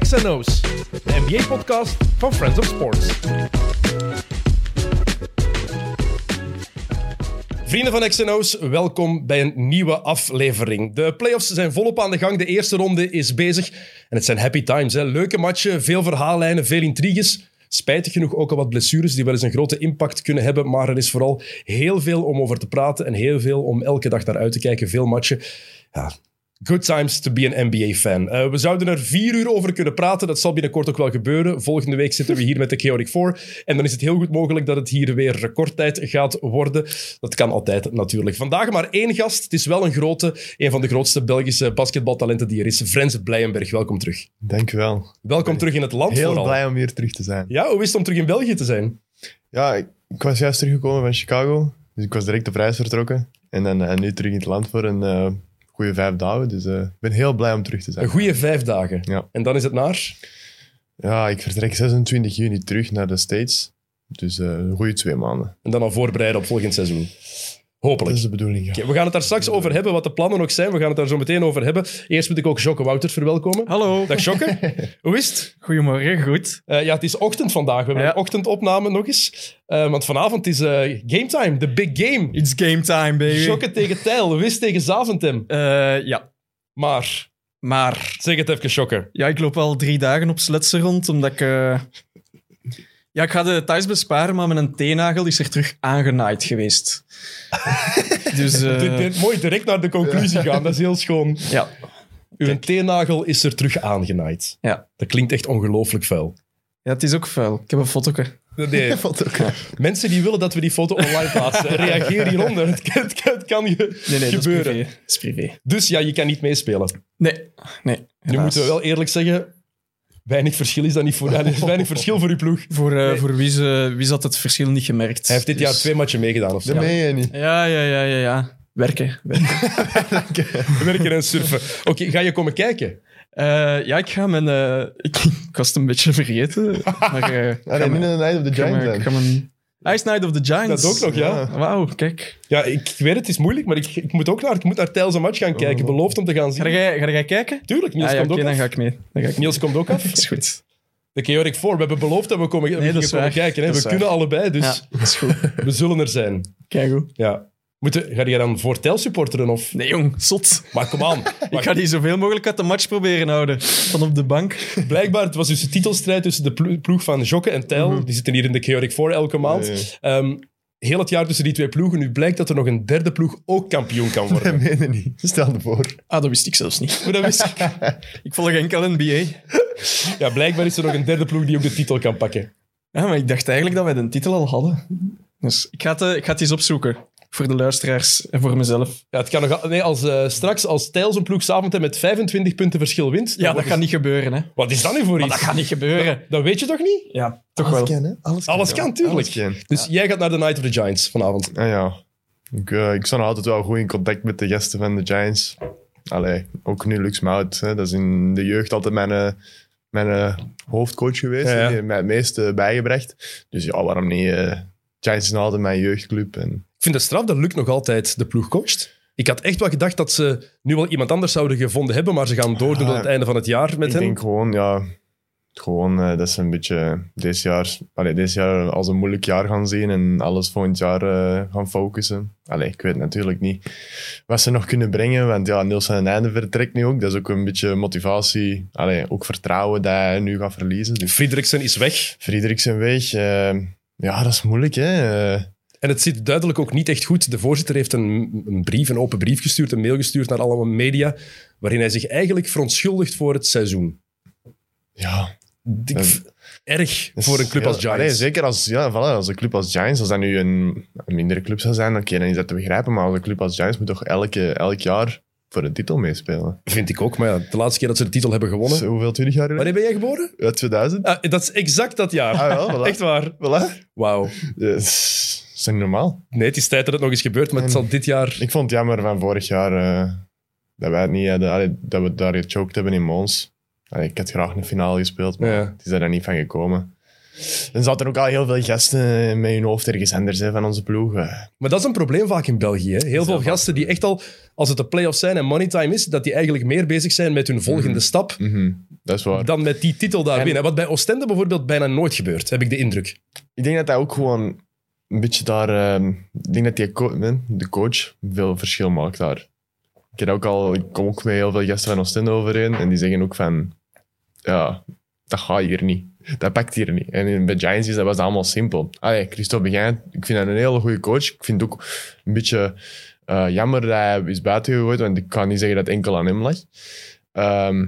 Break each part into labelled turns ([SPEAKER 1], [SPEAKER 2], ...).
[SPEAKER 1] XNO's, de NBA-podcast van Friends of Sports. Vrienden van XNO's, welkom bij een nieuwe aflevering. De playoffs zijn volop aan de gang, de eerste ronde is bezig. En het zijn happy times, hè. leuke matchen, veel verhaallijnen, veel intriges. Spijtig genoeg ook al wat blessures die wel eens een grote impact kunnen hebben. Maar er is vooral heel veel om over te praten en heel veel om elke dag naar uit te kijken. Veel matchen. Ja, Good times to be an NBA-fan. Eh, we zouden er vier uur over kunnen praten. Dat zal binnenkort ook wel gebeuren. Volgende week zitten we hier met de Chaotic Four. En dan is het heel goed mogelijk dat het hier weer recordtijd gaat worden. Dat kan altijd natuurlijk. Vandaag maar één gast. Het is wel een grote, een van de grootste Belgische basketbaltalenten die er is. Frans Blijenberg, welkom terug.
[SPEAKER 2] Dank u wel.
[SPEAKER 1] Welkom terug in het land
[SPEAKER 2] Heel
[SPEAKER 1] vooral.
[SPEAKER 2] blij om hier terug te zijn.
[SPEAKER 1] Ja, hoe is het om terug in België te zijn?
[SPEAKER 2] Ja, ik, ik was juist teruggekomen van Chicago. Dus ik was direct op reis vertrokken. En dan eh, nu terug in het land voor een eh goede vijf dagen. Dus eh, ik ben heel blij om terug te zijn.
[SPEAKER 1] Een goede vijf dagen.
[SPEAKER 2] Ja.
[SPEAKER 1] En dan is het naar?
[SPEAKER 2] Ja, ik vertrek 26 juni terug naar de States. Dus eh, een goede twee maanden.
[SPEAKER 1] En dan al voorbereiden op volgend seizoen.
[SPEAKER 2] Dat
[SPEAKER 1] Hopelijk.
[SPEAKER 2] is de bedoeling, ja.
[SPEAKER 1] Oké, we gaan het daar straks over hebben, wat de plannen ook zijn. We gaan het daar zo meteen over hebben. Eerst moet ik ook Jokke Wouters verwelkomen.
[SPEAKER 3] Hallo.
[SPEAKER 1] Dag Jokke. Hoe is het?
[SPEAKER 3] Goedemorgen, goed.
[SPEAKER 1] Eh, ja, het is ochtend vandaag. We hebben
[SPEAKER 3] Ja.
[SPEAKER 1] een ochtendopname nog eens. Eh, want vanavond is eh, game time, de big game.
[SPEAKER 3] It's game time, baby.
[SPEAKER 1] Jokke tegen Tijl, Wist tegen Zaventem.
[SPEAKER 3] Eh, ja,
[SPEAKER 1] Maar,
[SPEAKER 3] maar
[SPEAKER 1] zeg het even Jokke.
[SPEAKER 3] ja, ik loop al drie dagen op sletsen rond, omdat ik... eh, Ja, ik ga de details besparen, maar mijn teennagel is er terug aangenaaid geweest. dus eh,
[SPEAKER 1] Dit- dit- Mooi direct naar de conclusie gaan, dat is heel schoon.
[SPEAKER 3] ja,
[SPEAKER 1] Uw teennagel is er terug aangenaaid.
[SPEAKER 3] ja.
[SPEAKER 1] Dat klinkt echt ongelooflijk vuil.
[SPEAKER 3] ja, het is ook vuil. Ik heb een fotoke.
[SPEAKER 1] Nee,
[SPEAKER 2] Valt ook.
[SPEAKER 1] mensen die willen dat we die foto online plaatsen, reageer hieronder. Het kan, het kan- het kan ge-
[SPEAKER 3] Nee, nee, dat is
[SPEAKER 1] gebeuren.
[SPEAKER 3] privé. Dat is privé.
[SPEAKER 1] Dus ja, je kan niet meespelen.
[SPEAKER 3] Nee, nee.
[SPEAKER 1] Nu
[SPEAKER 3] helaas.
[SPEAKER 1] moeten we wel eerlijk zeggen, weinig verschil is dat niet voor, er is weinig verschil voor uw ploeg.
[SPEAKER 3] Voor, eh, voor wie, ze, wie ze had het verschil niet gemerkt.
[SPEAKER 1] Hij heeft dit
[SPEAKER 3] Dus-
[SPEAKER 1] jaar twee matchen meegedaan of zo.
[SPEAKER 2] Dat meen je niet.
[SPEAKER 3] Ja, ja, ja, ja, ja. Werken, werken.
[SPEAKER 1] Werken en surfen. Oké, ga je komen kijken?
[SPEAKER 3] Eh, ja, ik ga mijn... eh, ik, ik was het een beetje vergeten, maar... eh, ik ga
[SPEAKER 2] Ah, nee,
[SPEAKER 3] mijn-
[SPEAKER 2] niet in de Night of the
[SPEAKER 3] ik ga
[SPEAKER 2] Giant
[SPEAKER 3] mijn- ik ga
[SPEAKER 2] zijn.
[SPEAKER 3] mijn- Ice Night of the Giants.
[SPEAKER 1] Dat ook nog, ja.
[SPEAKER 2] Ja.
[SPEAKER 3] Wauw, kijk.
[SPEAKER 1] Ja, ik weet het, het is moeilijk, maar ik, ik moet ook naar, ik moet naar Tijls een match gaan kijken. Beloofd om te gaan
[SPEAKER 3] Oh. Ga
[SPEAKER 1] zien.
[SPEAKER 3] jij, ga jij kijken?
[SPEAKER 1] Tuurlijk, Niels
[SPEAKER 3] ah, ja,
[SPEAKER 1] komt
[SPEAKER 3] oké,
[SPEAKER 1] ook
[SPEAKER 3] dan
[SPEAKER 1] af.
[SPEAKER 3] ga ik mee. Dan ga ik mee.
[SPEAKER 1] Niels komt ook af.
[SPEAKER 3] Dat is goed.
[SPEAKER 1] De Chaotic 4, we hebben beloofd dat we komen, dat we
[SPEAKER 3] Nee,
[SPEAKER 1] gingen
[SPEAKER 3] dat is
[SPEAKER 1] komen
[SPEAKER 3] waar.
[SPEAKER 1] kijken. Hè.
[SPEAKER 3] Dat
[SPEAKER 1] We
[SPEAKER 3] is waar.
[SPEAKER 1] kunnen allebei, dus
[SPEAKER 3] Ja, dat is goed.
[SPEAKER 1] we zullen er zijn.
[SPEAKER 3] Kijk goed.
[SPEAKER 1] Ja. Moeten, ga je dan voor Tijl supporteren? Of?
[SPEAKER 3] Nee, jong, zot.
[SPEAKER 1] Maar kom aan.
[SPEAKER 3] Ik ga die zoveel mogelijk uit de match proberen houden. Van op de bank.
[SPEAKER 1] Blijkbaar, het was dus de titelstrijd tussen de plo- ploeg van Jokke en Tijl.
[SPEAKER 3] Mhm.
[SPEAKER 1] Die zitten hier in de Chaotic 4 elke maand.
[SPEAKER 2] Ja, ja.
[SPEAKER 1] Ehm, heel het jaar tussen die twee ploegen. Nu blijkt dat er nog een derde ploeg ook kampioen kan worden.
[SPEAKER 2] Dat meen je niet. Stel je voor.
[SPEAKER 3] Ah, dat wist ik zelfs niet.
[SPEAKER 1] Maar dat wist ik.
[SPEAKER 3] Ik volg enkel NBA.
[SPEAKER 1] Ja, blijkbaar is er nog een derde ploeg die ook de titel kan pakken.
[SPEAKER 3] Ja, maar ik dacht eigenlijk dat wij de titel al hadden. Dus ik ga het, eh, ik ga het eens opzoeken. Voor de luisteraars en voor mezelf.
[SPEAKER 1] Ja, het kan nog, al- nee, als, eh, straks, als Tijl zijn ploeg s'avond met 25 punten verschil wint... dan
[SPEAKER 3] Ja, dat
[SPEAKER 1] wordt
[SPEAKER 3] gaat
[SPEAKER 1] het-
[SPEAKER 3] niet gebeuren, hè.
[SPEAKER 1] Wat is dat nu voor
[SPEAKER 3] Maar
[SPEAKER 1] iets?
[SPEAKER 3] dat gaat niet gebeuren.
[SPEAKER 1] Dat weet je toch niet?
[SPEAKER 3] Ja, toch
[SPEAKER 2] Alles
[SPEAKER 3] wel.
[SPEAKER 2] kan, hè? Alles kan.
[SPEAKER 1] Alles kan, tuurlijk.
[SPEAKER 2] Alles kan.
[SPEAKER 1] Dus jij gaat naar de Night of the Giants vanavond.
[SPEAKER 2] Ah ja. Ik, eh, ik sta nog altijd wel goed in contact met de gasten van de Giants. Allee, ook nu Lux Mout. hè. Dat is in de jeugd altijd mijn, eh, mijn eh, hoofdcoach geweest.
[SPEAKER 1] Ja, ja.
[SPEAKER 2] Die heeft mij het meeste bijgebracht. Dus ja, waarom niet? eh, Giants is nog altijd mijn jeugdclub. En,
[SPEAKER 1] Ik vind het straf dat Luc nog altijd de ploeg coacht. Ik had echt wel gedacht dat ze nu wel iemand anders zouden gevonden hebben, maar ze gaan doordoen tot het einde van het jaar met
[SPEAKER 2] Ah. ik
[SPEAKER 1] hem.
[SPEAKER 2] denk gewoon, ja... Gewoon, eh, dat ze een beetje dit jaar, allee, dit jaar als een moeilijk jaar gaan zien en alles volgend jaar eh, gaan focussen. Allee, ik weet natuurlijk niet wat ze nog kunnen brengen, want ja, Niels aan het einde vertrekt nu ook. Dat is ook een beetje motivatie, allee, ook vertrouwen dat hij nu gaat verliezen. Dus
[SPEAKER 1] Friedrichsen is weg.
[SPEAKER 2] Friedrichsen weg, eh, ja, dat is moeilijk hè. Eh,
[SPEAKER 1] En het zit duidelijk ook niet echt goed. De voorzitter heeft een, een brief, een open brief gestuurd, een mail gestuurd naar alle media, waarin hij zich eigenlijk verontschuldigt voor het seizoen.
[SPEAKER 2] ja,
[SPEAKER 1] Ik
[SPEAKER 2] Dat-
[SPEAKER 1] v- erg
[SPEAKER 2] dat is
[SPEAKER 1] voor een club
[SPEAKER 2] heel-
[SPEAKER 1] als Giants.
[SPEAKER 2] Allee, zeker als, ja, voilà, als een club als Giants, als dat nu een, een mindere club zou zijn, oké, dan is dat te begrijpen. Maar als een club als Giants moet toch elke, elk jaar voor een titel meespelen.
[SPEAKER 1] Vind ik ook, maar ja, de laatste keer dat ze de titel hebben gewonnen.
[SPEAKER 2] Zo, hoeveel, 20 jaar geleden?
[SPEAKER 1] Wanneer ben jij geboren?
[SPEAKER 2] Ja, 2000?
[SPEAKER 1] Ah, dat is exact dat jaar.
[SPEAKER 2] Ah, wel, voilà.
[SPEAKER 1] Echt waar.
[SPEAKER 2] Voilà.
[SPEAKER 1] Wauw.
[SPEAKER 2] Ja, Dat is dat is niet normaal.
[SPEAKER 1] Nee, het is tijd dat het nog eens gebeurt, maar het
[SPEAKER 2] En-
[SPEAKER 1] zal dit jaar...
[SPEAKER 2] Ik vond het jammer van vorig jaar eh, dat wij het niet hadden, allee, dat we daar gechoked hebben in Mons. Allee, ik had graag een finale gespeeld, maar
[SPEAKER 1] Ja.
[SPEAKER 2] het is daar dan niet van gekomen. Dan zaten er ook al heel veel gasten met hun hoofd ergens anders hè, van onze ploeg. eh.
[SPEAKER 1] Maar dat is een probleem vaak in België. Hè? Heel veel gasten die echt al, als het de play-offs zijn en money time is, dat die eigenlijk meer bezig zijn met hun volgende stap
[SPEAKER 2] Mhm, Dat is waar.
[SPEAKER 1] dan met die titel daar binnen. Wat bij Oostende bijvoorbeeld bijna nooit gebeurt, heb ik de indruk.
[SPEAKER 2] Ik denk dat hij ook gewoon een beetje daar. ehm, ik denk dat die co- nee, de coach veel verschil maakt daar. Ik, heb ook al, ik kom ook met heel veel gasten van Oostende overeen en die zeggen ook van. Ja, dat gaat hier niet. Dat pakt hier niet. En in- bij Giants is dat was dat allemaal simpel. Allee, Christophe Begijn, ik vind dat een hele goede coach. Ik vind het ook een beetje eh, jammer dat hij is buitengegooid, want ik kan niet zeggen dat het enkel aan hem lag. Ehm,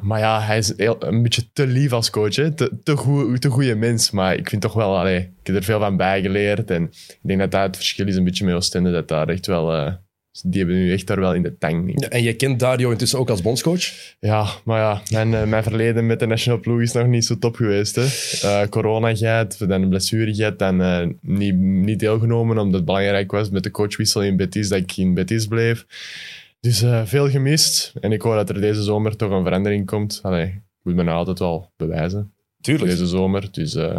[SPEAKER 2] maar ja, hij is heel- een beetje te lief als coach. Hè? Te, te, goe- te goede mens. Maar ik vind toch wel, allee, ik heb er veel van bijgeleerd. En ik denk dat dat het verschil is een beetje met Oostende. Dat daar echt wel, eh, die hebben nu echt daar wel in de tang. denk ik.
[SPEAKER 1] En je kent Dario intussen ook als bondscoach.
[SPEAKER 2] Ja, maar ja, mijn, eh, mijn verleden met de nationale ploeg is nog niet zo top geweest. Hè. Eh, corona gehad, dan een blessure gehad, dan eh, niet, niet deelgenomen omdat het belangrijk was met de coachwissel in Betis, dat ik in Betis bleef. Dus eh, veel gemist. En ik hoor dat er deze zomer toch een verandering komt. Allee, ik moet me nou altijd wel bewijzen. Deze zomer, dus eh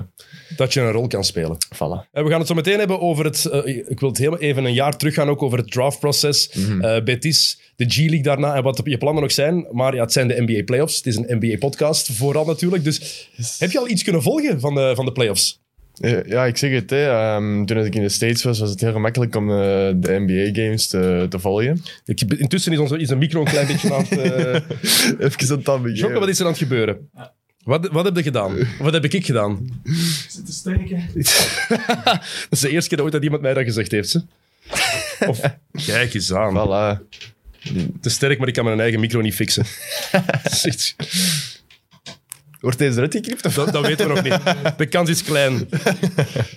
[SPEAKER 1] Dat je een rol kan spelen.
[SPEAKER 2] voilà.
[SPEAKER 1] En we gaan het zo meteen hebben over het. eh, ik wil het heel even een jaar teruggaan ook over het draftproces.
[SPEAKER 2] Mhm.
[SPEAKER 1] Eh, Betis, de G-League daarna en wat je plannen nog zijn. Maar ja, het zijn de NBA Playoffs. Het is een NBA-podcast vooral natuurlijk. Dus heb je al iets kunnen volgen van de, van de playoffs?
[SPEAKER 2] Eh, ja, ik zeg het. Hè, ehm, toen ik in de States was, was het heel gemakkelijk om eh, de NBA-games te, te volgen.
[SPEAKER 1] Ik, intussen is, onze, is de micro een klein beetje aan het. eh,
[SPEAKER 2] Even een tand
[SPEAKER 1] Jokke, wat is er aan het gebeuren? Wat, wat heb je gedaan? Wat heb ik gedaan?
[SPEAKER 4] zit te steken.
[SPEAKER 1] Dat is de eerste keer ooit dat iemand mij dat gezegd heeft. Hè? Of, kijk eens aan.
[SPEAKER 2] Voilà.
[SPEAKER 1] Te sterk, maar ik kan mijn eigen micro niet fixen. Zit.
[SPEAKER 2] Wordt deze eruit geknipt? of-
[SPEAKER 1] Dat, dat weten we nog niet. De kans is klein.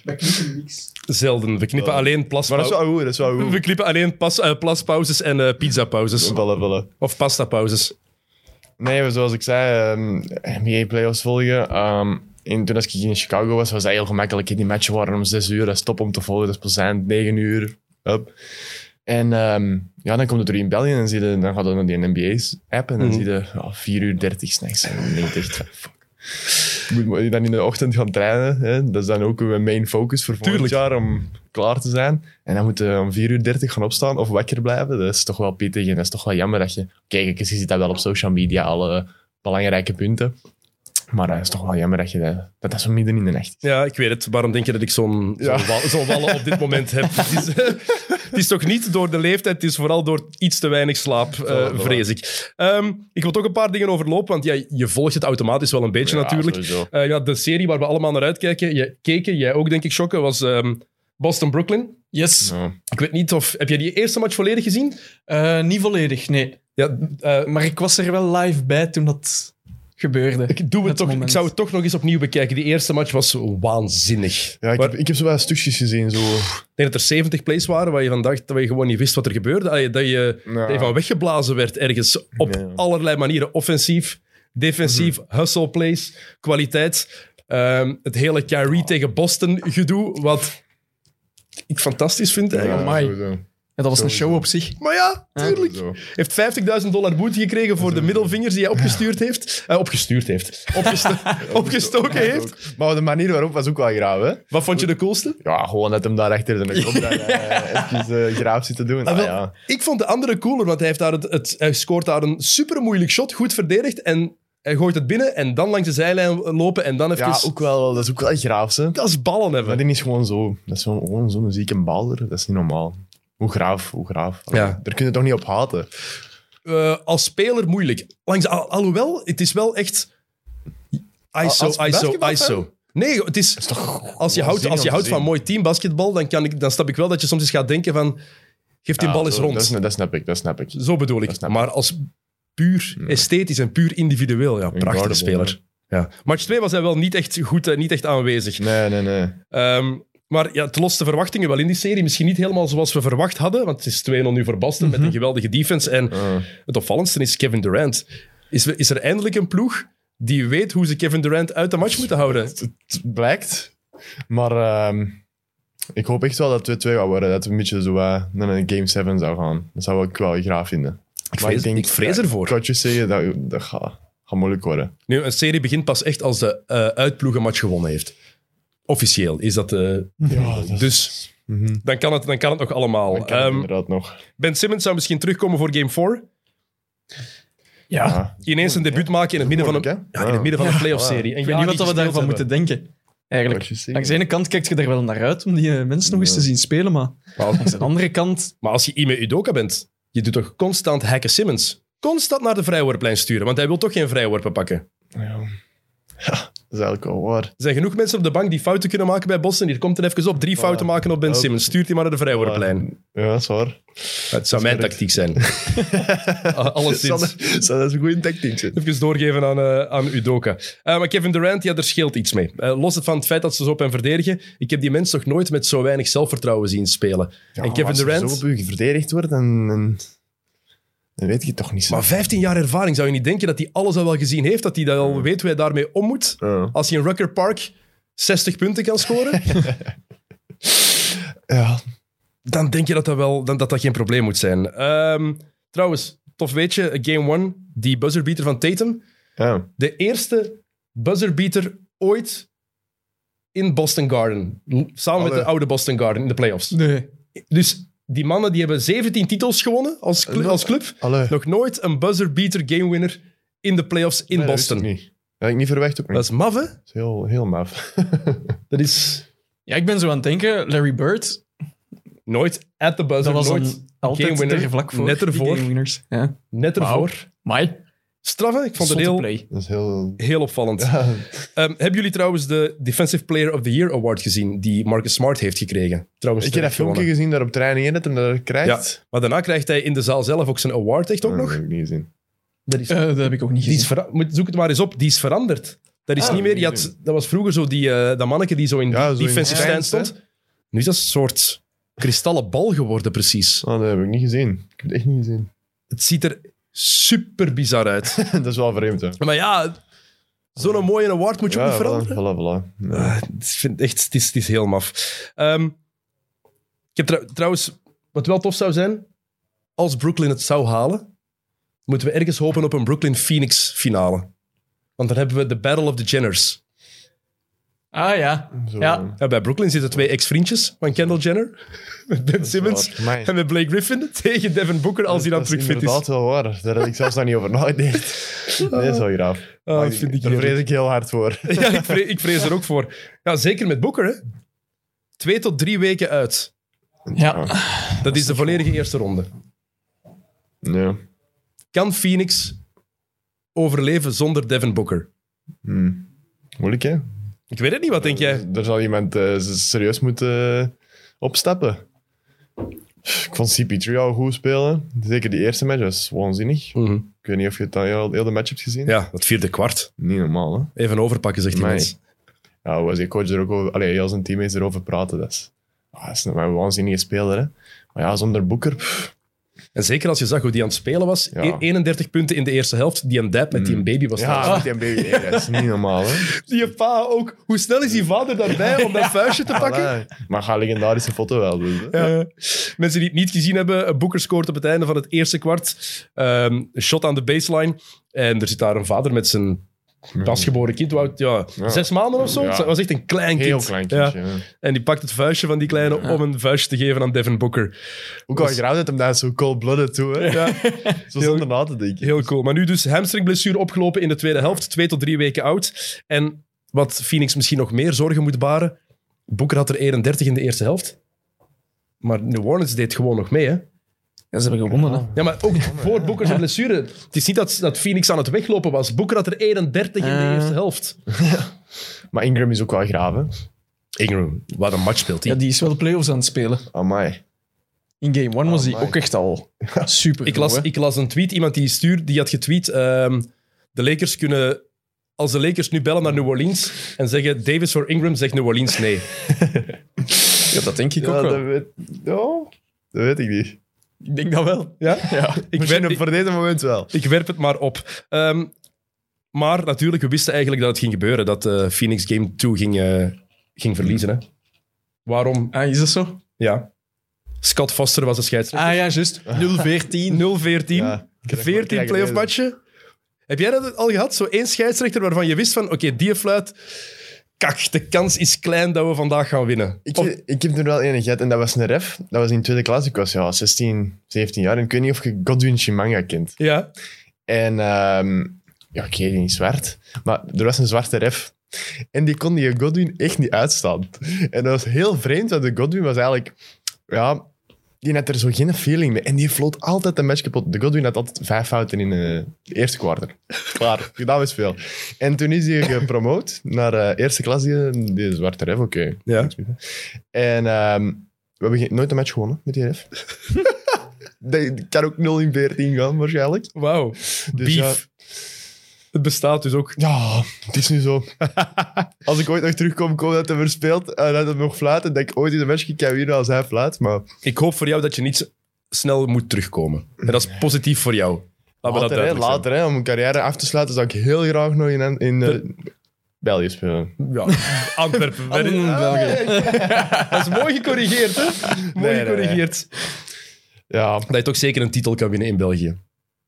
[SPEAKER 4] Dat klinkt in niks.
[SPEAKER 1] Zelden. We knippen alleen
[SPEAKER 2] Maar dat is
[SPEAKER 1] plaspau-
[SPEAKER 2] wel goed, dat is wel goed.
[SPEAKER 1] We knippen alleen pas, eh, plaspauzes en eh, pizzapauzes.
[SPEAKER 2] Ballen, ballen.
[SPEAKER 1] Of pastapauzes.
[SPEAKER 2] Nee, zoals ik zei, ehm, NBA playoffs volgen. Ehm en toen als ik in Chicago was, was dat heel gemakkelijk. Die matchen waren om 6 uur, dat is top om te volgen. Dat is plezant, 9 uur. Up. En ehm, ja, dan komt het er in België en dan, zie je, dan gaat het naar die NBA's-app en dan
[SPEAKER 1] Mhm.
[SPEAKER 2] zie je ja, 4 uur 30 s'nachts. En dan denk je echt, "Ah, fuck. Moet moet je dan in de ochtend gaan trainen. Hè? Dat is dan ook mijn main focus voor volgend
[SPEAKER 1] Tuurlijk.
[SPEAKER 2] jaar om klaar te zijn. En dan moet je om 4 uur 30 gaan opstaan of wakker blijven. Dat is toch wel pittig en dat is toch wel jammer dat je... Kijk, ik- je ziet dat wel op social media, alle belangrijke punten. Maar eh, het is toch wel jammer dat je dat, dat, dat zo midden in de nacht is.
[SPEAKER 1] Ja, ik weet het. Waarom denk je dat ik zo'n
[SPEAKER 2] Ja.
[SPEAKER 1] zo'n wal- zo'n wallen op dit moment heb? Het is, eh, het is toch niet door de leeftijd, het is vooral door iets te weinig slaap, eh,
[SPEAKER 2] voilà.
[SPEAKER 1] vrees ik. Ehm, ik wil toch een paar dingen overlopen, want ja, je volgt het automatisch wel een beetje
[SPEAKER 2] Ja,
[SPEAKER 1] natuurlijk.
[SPEAKER 2] sowieso.
[SPEAKER 1] Eh, ja, de serie waar we allemaal naar uitkijken, je, keken, jij ook denk ik, Shokken, was ehm, Boston-Brooklyn.
[SPEAKER 3] Yes.
[SPEAKER 2] Ja.
[SPEAKER 1] Ik weet niet of... Heb jij die eerste match volledig gezien?
[SPEAKER 3] Eh, niet volledig, nee.
[SPEAKER 1] Ja, eh,
[SPEAKER 3] Maar ik was er wel live bij toen dat gebeurde.
[SPEAKER 1] Ik, doe het
[SPEAKER 3] Het
[SPEAKER 1] toch, ik
[SPEAKER 3] moment.
[SPEAKER 1] zou het toch nog eens opnieuw bekijken. Die eerste match was waanzinnig.
[SPEAKER 2] Ja, ik,
[SPEAKER 1] Maar
[SPEAKER 2] heb, ik heb zo wel stukjes gezien. Zo.
[SPEAKER 1] ik denk dat er 70 plays waren waar je van dacht dat je gewoon niet wist wat er gebeurde. Allee, Dat je,
[SPEAKER 2] Ja.
[SPEAKER 1] dat je van weggeblazen werd ergens op
[SPEAKER 2] Ja.
[SPEAKER 1] allerlei manieren. Offensief, defensief,
[SPEAKER 3] Mhm.
[SPEAKER 1] hustle plays, kwaliteit. Ehm, het hele Kyrie
[SPEAKER 3] Oh.
[SPEAKER 1] tegen Boston gedoe, wat ik fantastisch vind
[SPEAKER 2] Ja,
[SPEAKER 1] eigenlijk.
[SPEAKER 3] amai.
[SPEAKER 2] sowieso.
[SPEAKER 3] Ja, dat was een
[SPEAKER 2] Sowieso.
[SPEAKER 3] show op zich.
[SPEAKER 1] Maar ja, tuurlijk.
[SPEAKER 2] Sowieso.
[SPEAKER 1] Heeft 50.000 dollar boete gekregen voor de middelvingers die hij opgestuurd heeft. Eh, opgestuurd heeft. Opgesto- opgestoken heeft.
[SPEAKER 2] Maar de manier waarop was ook wel graaf, hè?
[SPEAKER 1] Wat vond je de coolste?
[SPEAKER 2] Ja, gewoon dat hem daar achter de kop daar, eh, eventjes eh, graaf zit te doen.
[SPEAKER 1] Ah,
[SPEAKER 2] Ah,
[SPEAKER 1] wel,
[SPEAKER 2] ja.
[SPEAKER 1] Ik vond de andere cooler, want hij, heeft daar het, het- hij scoort daar een super moeilijk shot, goed verdedigd. En hij gooit het binnen en dan langs de zijlijn lopen en dan even...
[SPEAKER 2] ja, ook wel, dat is ook wel graaf, hè?
[SPEAKER 1] Dat is ballen
[SPEAKER 2] Maar
[SPEAKER 1] hebben.
[SPEAKER 2] die is gewoon zo. Dat is gewoon gewoon zo'n zieke baller. Dat is niet normaal. Hoe graaf, hoe graaf.
[SPEAKER 1] Ja.
[SPEAKER 2] Daar kun je toch niet op haten.
[SPEAKER 1] Eh, als speler moeilijk. Langs, al- alhoewel, het is wel echt... ISO, ISO,
[SPEAKER 2] als basketbalfan?
[SPEAKER 1] ISO. Nee, het is... Als je houdt,
[SPEAKER 2] zin
[SPEAKER 1] als je
[SPEAKER 2] om
[SPEAKER 1] houdt
[SPEAKER 2] te
[SPEAKER 1] van
[SPEAKER 2] zien.
[SPEAKER 1] mooi teambasketbal, dan, kan ik, dan snap ik wel dat je soms eens gaat denken van... Geef die
[SPEAKER 2] Ja,
[SPEAKER 1] bal eens
[SPEAKER 2] zo,
[SPEAKER 1] rond.
[SPEAKER 2] Dat, is- dat snap ik, dat snap ik.
[SPEAKER 1] Zo bedoel
[SPEAKER 2] dat
[SPEAKER 1] ik.
[SPEAKER 2] snap ik.
[SPEAKER 1] Maar als puur esthetisch en puur individueel, ja, prachtige
[SPEAKER 2] Guardable,
[SPEAKER 1] speler. Ja. Match 2 was hij wel niet echt goed, eh, niet echt aanwezig.
[SPEAKER 2] Nee, nee, nee.
[SPEAKER 1] Ehm, maar ja, het lost de verwachtingen wel in die serie. Misschien niet helemaal zoals we verwacht hadden, want het is 2-0 nu voor Boston met
[SPEAKER 2] Mhm.
[SPEAKER 1] een geweldige defense. En
[SPEAKER 2] Ah.
[SPEAKER 1] het opvallendste is Kevin Durant. Is, is er eindelijk een ploeg die weet hoe ze Kevin Durant uit de match moeten houden?
[SPEAKER 2] het blijkt. Maar ehm, ik hoop echt wel dat het 2-2 gaat worden. Dat het een beetje zo eh, naar een Game 7 zou gaan. Dat zou ik wel graag vinden. Ik
[SPEAKER 1] vrees- ik vrees ervoor.
[SPEAKER 2] Ik kan je zeggen, dat, dat gaat, gaat moeilijk worden.
[SPEAKER 1] Nu, een serie begint pas echt als de eh uitploeg een match gewonnen heeft. Officieel is dat... de dus
[SPEAKER 2] Mhm.
[SPEAKER 1] dan kan, het, dan kan het nog allemaal.
[SPEAKER 2] Dan kan het
[SPEAKER 1] Ehm,
[SPEAKER 2] inderdaad nog.
[SPEAKER 1] ben Simmons zou misschien terugkomen voor Game 4.
[SPEAKER 3] Ja.
[SPEAKER 1] ah,
[SPEAKER 3] Ik
[SPEAKER 2] Ja.
[SPEAKER 1] Ineens een debuut maken in het midden van een,
[SPEAKER 2] Moeilijk, hè?
[SPEAKER 1] ja, in het midden van een
[SPEAKER 2] Ja.
[SPEAKER 1] playoff-serie. Ik
[SPEAKER 3] weet niet wat we daarvan moeten denken. Eigenlijk.
[SPEAKER 2] Wat je ziet.
[SPEAKER 3] Aan de ene kant kijkt je daar wel naar uit om die eh, mensen nog eens
[SPEAKER 2] Ja.
[SPEAKER 3] te zien spelen, maar aan de andere kant...
[SPEAKER 1] Maar als je Ime Udoka bent, je doet toch constant hacken Simmons? Constant naar de vrijworplijn sturen, want hij wil toch geen vrijworpen pakken.
[SPEAKER 2] Ja. Ja, dat is eigenlijk wel waar.
[SPEAKER 1] Er zijn genoeg mensen op de bank die fouten kunnen maken bij Boston. Hier komt er even op. Drie fouten maken op Ben
[SPEAKER 2] Ook.
[SPEAKER 1] Simmons. Stuurt hij maar naar de vrijwoordplein.
[SPEAKER 2] Ja, dat is waar.
[SPEAKER 1] Het zou mijn
[SPEAKER 2] correct.
[SPEAKER 1] tactiek zijn. Ah, Alleszins.
[SPEAKER 2] Dat, dat is een goede tactiek. zeg.
[SPEAKER 1] Even doorgeven aan, eh, aan Udoka. Eh, maar Kevin Durant, ja, daar scheelt iets mee. Eh, los het van het feit dat ze zo op hem verdedigen. Ik heb die mens nog nooit met zo weinig zelfvertrouwen zien spelen.
[SPEAKER 2] Ja,
[SPEAKER 1] en Kevin
[SPEAKER 2] maar
[SPEAKER 1] Durant...
[SPEAKER 2] Als je zo op je verdedigd wordt, dan, dan, dan weet je het toch niet zo.
[SPEAKER 1] Maar 15 jaar ervaring, zou je niet denken dat hij alles al wel gezien heeft? Dat hij dat al weet hoe hij daarmee om moet?
[SPEAKER 2] Ja.
[SPEAKER 1] Als hij in Rucker Park 60 punten kan scoren,
[SPEAKER 2] Ja.
[SPEAKER 1] dan denk je dat dat, wel, dan, dat, dat geen probleem moet zijn. Ehm, trouwens, tof weetje, Game 1, die buzzerbeater van Tatum.
[SPEAKER 2] Ja.
[SPEAKER 1] De eerste buzzerbeater ooit in Boston Garden. L- Samen met
[SPEAKER 2] Allee.
[SPEAKER 1] de oude Boston Garden in de playoffs.
[SPEAKER 3] Nee.
[SPEAKER 1] Dus die mannen die hebben 17 titels gewonnen als, cl-
[SPEAKER 2] Eh,
[SPEAKER 1] als club.
[SPEAKER 2] Allee.
[SPEAKER 1] Nog nooit een buzzerbeater gamewinner in de playoffs in
[SPEAKER 2] Nee, dat wist
[SPEAKER 1] Boston.
[SPEAKER 2] ik
[SPEAKER 1] Dat,
[SPEAKER 2] niet. Dat had ik niet verwacht ook niet. Dat
[SPEAKER 1] is maf, hè?
[SPEAKER 2] is heel, heel maf.
[SPEAKER 1] Dat is
[SPEAKER 3] Ja, ik ben zo aan het denken, Larry Bird,
[SPEAKER 1] nooit at the buzzer,
[SPEAKER 3] dat was
[SPEAKER 1] nooit
[SPEAKER 3] dan altijd
[SPEAKER 1] gamewinner,
[SPEAKER 3] er vlak voor.
[SPEAKER 1] net
[SPEAKER 3] die
[SPEAKER 1] ervoor.
[SPEAKER 3] gamewinners. Ja. eh,
[SPEAKER 1] net ervoor.
[SPEAKER 3] Maar,
[SPEAKER 1] Straf, hè? Ik vond het
[SPEAKER 3] zotte
[SPEAKER 1] heel,
[SPEAKER 3] play.
[SPEAKER 2] Dat is heel...
[SPEAKER 1] heel opvallend.
[SPEAKER 2] Ja.
[SPEAKER 1] Ehm, hebben jullie trouwens de Defensive Player of the Year Award gezien die Marcus Smart heeft gekregen? Trouwens,
[SPEAKER 2] Ik heb dat
[SPEAKER 1] terecht
[SPEAKER 2] filmpje
[SPEAKER 1] gewonnen.
[SPEAKER 2] gezien daar op training in, dat hem dat krijgt.
[SPEAKER 1] Ja, maar daarna krijgt hij in de zaal zelf ook zijn award echt ook
[SPEAKER 2] Ah, Dat
[SPEAKER 1] nog.
[SPEAKER 2] heb ik niet gezien.
[SPEAKER 1] Dat is,
[SPEAKER 3] Eh, dat heb ik ook niet
[SPEAKER 1] die is
[SPEAKER 3] gezien.
[SPEAKER 1] vera- moet, zoek het maar eens op, die is veranderd. Dat is
[SPEAKER 2] Ah,
[SPEAKER 1] niet meer, je had,
[SPEAKER 2] gezien.
[SPEAKER 1] dat was vroeger zo die, eh, dat manneke die zo in
[SPEAKER 2] Ja,
[SPEAKER 1] die
[SPEAKER 2] zo in
[SPEAKER 1] defensive
[SPEAKER 2] die
[SPEAKER 1] stand
[SPEAKER 2] stand,
[SPEAKER 1] stond. Nu is dat een soort kristallen bal geworden precies.
[SPEAKER 2] Ah, dat heb ik niet gezien. Ik heb het echt niet gezien.
[SPEAKER 1] Het ziet er super bizar uit.
[SPEAKER 2] dat is wel vreemd, hè.
[SPEAKER 1] maar ja, zo'n mooie award moet je ook
[SPEAKER 2] ja,
[SPEAKER 1] niet veranderen.
[SPEAKER 2] voilà, voilà, voilà. Ja.
[SPEAKER 1] Ah, ik vind echt, het is, het is heel maf. Ehm, ik heb trouw- trouwens, wat wel tof zou zijn, als Brooklyn het zou halen, moeten we ergens hopen op een Brooklyn-Phoenix finale. Want dan hebben we de Battle of the Jenners.
[SPEAKER 3] Ah ja.
[SPEAKER 2] Zo.
[SPEAKER 3] Ja.
[SPEAKER 1] Ja, bij Brooklyn zitten twee ex-vriendjes van Kendall Jenner, met Ben Simmons
[SPEAKER 2] Waar. Amai.
[SPEAKER 1] en met Blake Griffin tegen Devin Booker als hij dan
[SPEAKER 2] Dat
[SPEAKER 1] terug fit
[SPEAKER 2] inderdaad
[SPEAKER 1] is.
[SPEAKER 2] wel waar. Daar had ik zelfs nog niet over nagedacht. Nee, dat is wel graaf.
[SPEAKER 1] Ah,
[SPEAKER 2] Maar
[SPEAKER 1] vind ik
[SPEAKER 2] daar
[SPEAKER 1] heerlijk.
[SPEAKER 2] vrees ik heel hard voor.
[SPEAKER 1] Ja, ik vrees, ik vrees er ook voor. Ja, zeker met Booker, hè. Twee tot drie weken uit.
[SPEAKER 3] ja.
[SPEAKER 1] Dat is de volledige eerste ronde.
[SPEAKER 2] Ja.
[SPEAKER 1] Kan Phoenix overleven zonder Devin Booker?
[SPEAKER 2] Hm. Moeilijk, hè?
[SPEAKER 1] Ik weet het niet, wat denk jij?
[SPEAKER 2] Er zal iemand eh, s- serieus moeten eh, opstappen. Ik vond CP3 al goed spelen. Zeker die eerste match, dat is waanzinnig. Ik weet niet of je het al heel, heel de match hebt gezien.
[SPEAKER 1] Ja, dat vierde kwart.
[SPEAKER 2] Niet normaal, hè?
[SPEAKER 1] Even overpakken, zegt die
[SPEAKER 2] Amai.
[SPEAKER 1] mens.
[SPEAKER 2] Ja, hoe was je coach er ook over... Allee, heel zijn teammates erover praten. Dat is, ah, dat is een een waanzinnige speler, hè? Maar ja, zonder Boeker... pff.
[SPEAKER 1] En zeker als je zag hoe die aan het spelen was.
[SPEAKER 2] Ja. Mhm.
[SPEAKER 1] E- 31 punten in de eerste helft. Die een dab met die een baby was.
[SPEAKER 2] Ja,
[SPEAKER 1] trouwens. Ah,
[SPEAKER 2] met die baby, eh, dat is niet normaal, hè?
[SPEAKER 1] Die pa ook. Hoe snel is die vader daarbij om dat vuistje te pakken?
[SPEAKER 2] Allee. Maar ga legendarische foto wel doen. hè.
[SPEAKER 1] Ja. Mensen die het niet gezien hebben, eh, Booker scoort op het einde van het eerste kwart. Ehm, een shot aan de baseline. En er zit daar een vader met zijn pasgeboren kind. hoe oud- Ja,
[SPEAKER 2] Mhm. Ja.
[SPEAKER 1] Zes maanden of zo.
[SPEAKER 2] Ja.
[SPEAKER 1] Dat was echt een klein kind.
[SPEAKER 2] Heel klein kindje.
[SPEAKER 1] Ja.
[SPEAKER 2] hè.
[SPEAKER 1] En die pakt het vuistje van die kleine om een vuistje te geven aan Devin Booker.
[SPEAKER 2] Ook al graag dat hem daar zo cold-blooded toe, hè? Zo zonder na te denken.
[SPEAKER 1] Heel cool. Maar nu dus hamstringblessure opgelopen in de tweede helft. Twee tot drie weken oud. En wat Phoenix misschien nog meer zorgen moet baren. Booker had er 31 in de eerste helft. Maar New Orleans deed gewoon nog mee, hè?
[SPEAKER 3] Ja, ze hebben gewonnen. hè.
[SPEAKER 1] Ja, maar ook voor Booker zijn blessure. Het is niet dat, dat Phoenix aan het weglopen was. Booker had er 31 in de
[SPEAKER 3] Eh.
[SPEAKER 1] eerste helft.
[SPEAKER 2] Maar Ingram is ook wel graaf, hè?
[SPEAKER 1] Ingram, wat een match speelt hij.
[SPEAKER 3] Ja, die is wel de playoffs aan het spelen.
[SPEAKER 2] Amai.
[SPEAKER 3] In game one was hij
[SPEAKER 2] Amai.
[SPEAKER 3] ook echt al super.
[SPEAKER 1] Ik las,
[SPEAKER 3] goed, hè.
[SPEAKER 1] ik las een tweet, iemand die stuurt, die had getweet. ehm, de Lakers kunnen. Als de Lakers nu bellen naar New Orleans en zeggen Davis voor Ingram, zegt New Orleans nee.
[SPEAKER 3] Ja, dat denk ik
[SPEAKER 2] Ja,
[SPEAKER 3] ook wel.
[SPEAKER 2] dat weet... ja, dat weet ik niet.
[SPEAKER 3] Ik denk dat wel.
[SPEAKER 1] Ja? Ik,
[SPEAKER 2] Ik ben
[SPEAKER 1] werp,
[SPEAKER 2] hem
[SPEAKER 1] ik,
[SPEAKER 2] voor dit moment wel.
[SPEAKER 1] ik werp het maar op. Ehm, maar natuurlijk, we wisten eigenlijk dat het ging gebeuren. Dat eh, Phoenix Game 2 ging, eh, ging verliezen. Hè? Waarom?
[SPEAKER 3] Ah, is dat zo?
[SPEAKER 1] Ja. Scott Foster was de scheidsrechter.
[SPEAKER 3] Ah ja, juist. 0-14.
[SPEAKER 1] 0-14.
[SPEAKER 2] Ja, krijg maar-
[SPEAKER 1] 14
[SPEAKER 2] krijg
[SPEAKER 1] playoff
[SPEAKER 2] deze.
[SPEAKER 1] matchen. Heb jij dat al gehad? Zo één scheidsrechter waarvan je wist van, oké, die fluit kak. De kans is klein dat we vandaag gaan winnen.
[SPEAKER 2] Ik,
[SPEAKER 1] Of-
[SPEAKER 2] ik heb er wel enig gehad en dat was een ref. Dat was in tweede klas. Ik was ja, 16, 17 jaar. En ik weet niet of je Godwin Chimanga kent.
[SPEAKER 1] ja.
[SPEAKER 2] En ehm, ja, oké, die is zwart. Maar er was een zwarte ref. En die kon die Godwin echt niet uitstaan. En dat was heel vreemd, want de Godwin was eigenlijk... Ja, die had er zo geen feeling mee. En die floot altijd de match kapot. De Godwin had altijd vijf fouten in eh, de eerste kwartier. Klaar, gedaan was veel. En toen is hij gepromoot naar eh, eerste klas, die, die zwarte ref. Oké,
[SPEAKER 1] ja.
[SPEAKER 2] en ehm, we hebben geen- nooit een match gewonnen met die ref. Dat kan ook 0 in 14 gaan, waarschijnlijk.
[SPEAKER 1] Wauw.
[SPEAKER 2] Dus ja.
[SPEAKER 1] Beef. Het bestaat dus ook.
[SPEAKER 2] Ja, het is nu zo. Als ik ooit nog terugkom, kom dat hij verspeelt en dat hij nog fluit. En dat ik ooit in de match kan winnen als hij fluit. Maar
[SPEAKER 1] Ik hoop voor jou dat je niet s- snel moet terugkomen. En dat is positief voor jou. Laten we dat
[SPEAKER 2] later, hè,
[SPEAKER 1] duidelijk zijn.
[SPEAKER 2] later hè, om mijn carrière af te sluiten, zou ik heel graag nog in, in eh, België spelen.
[SPEAKER 1] Ja, Antwerpen.
[SPEAKER 3] Allen in België.
[SPEAKER 1] dat is mooi gecorrigeerd, hè? Mooi
[SPEAKER 2] nee,
[SPEAKER 1] gecorrigeerd.
[SPEAKER 2] Ja,
[SPEAKER 1] Dat je toch zeker een titel kan winnen in België.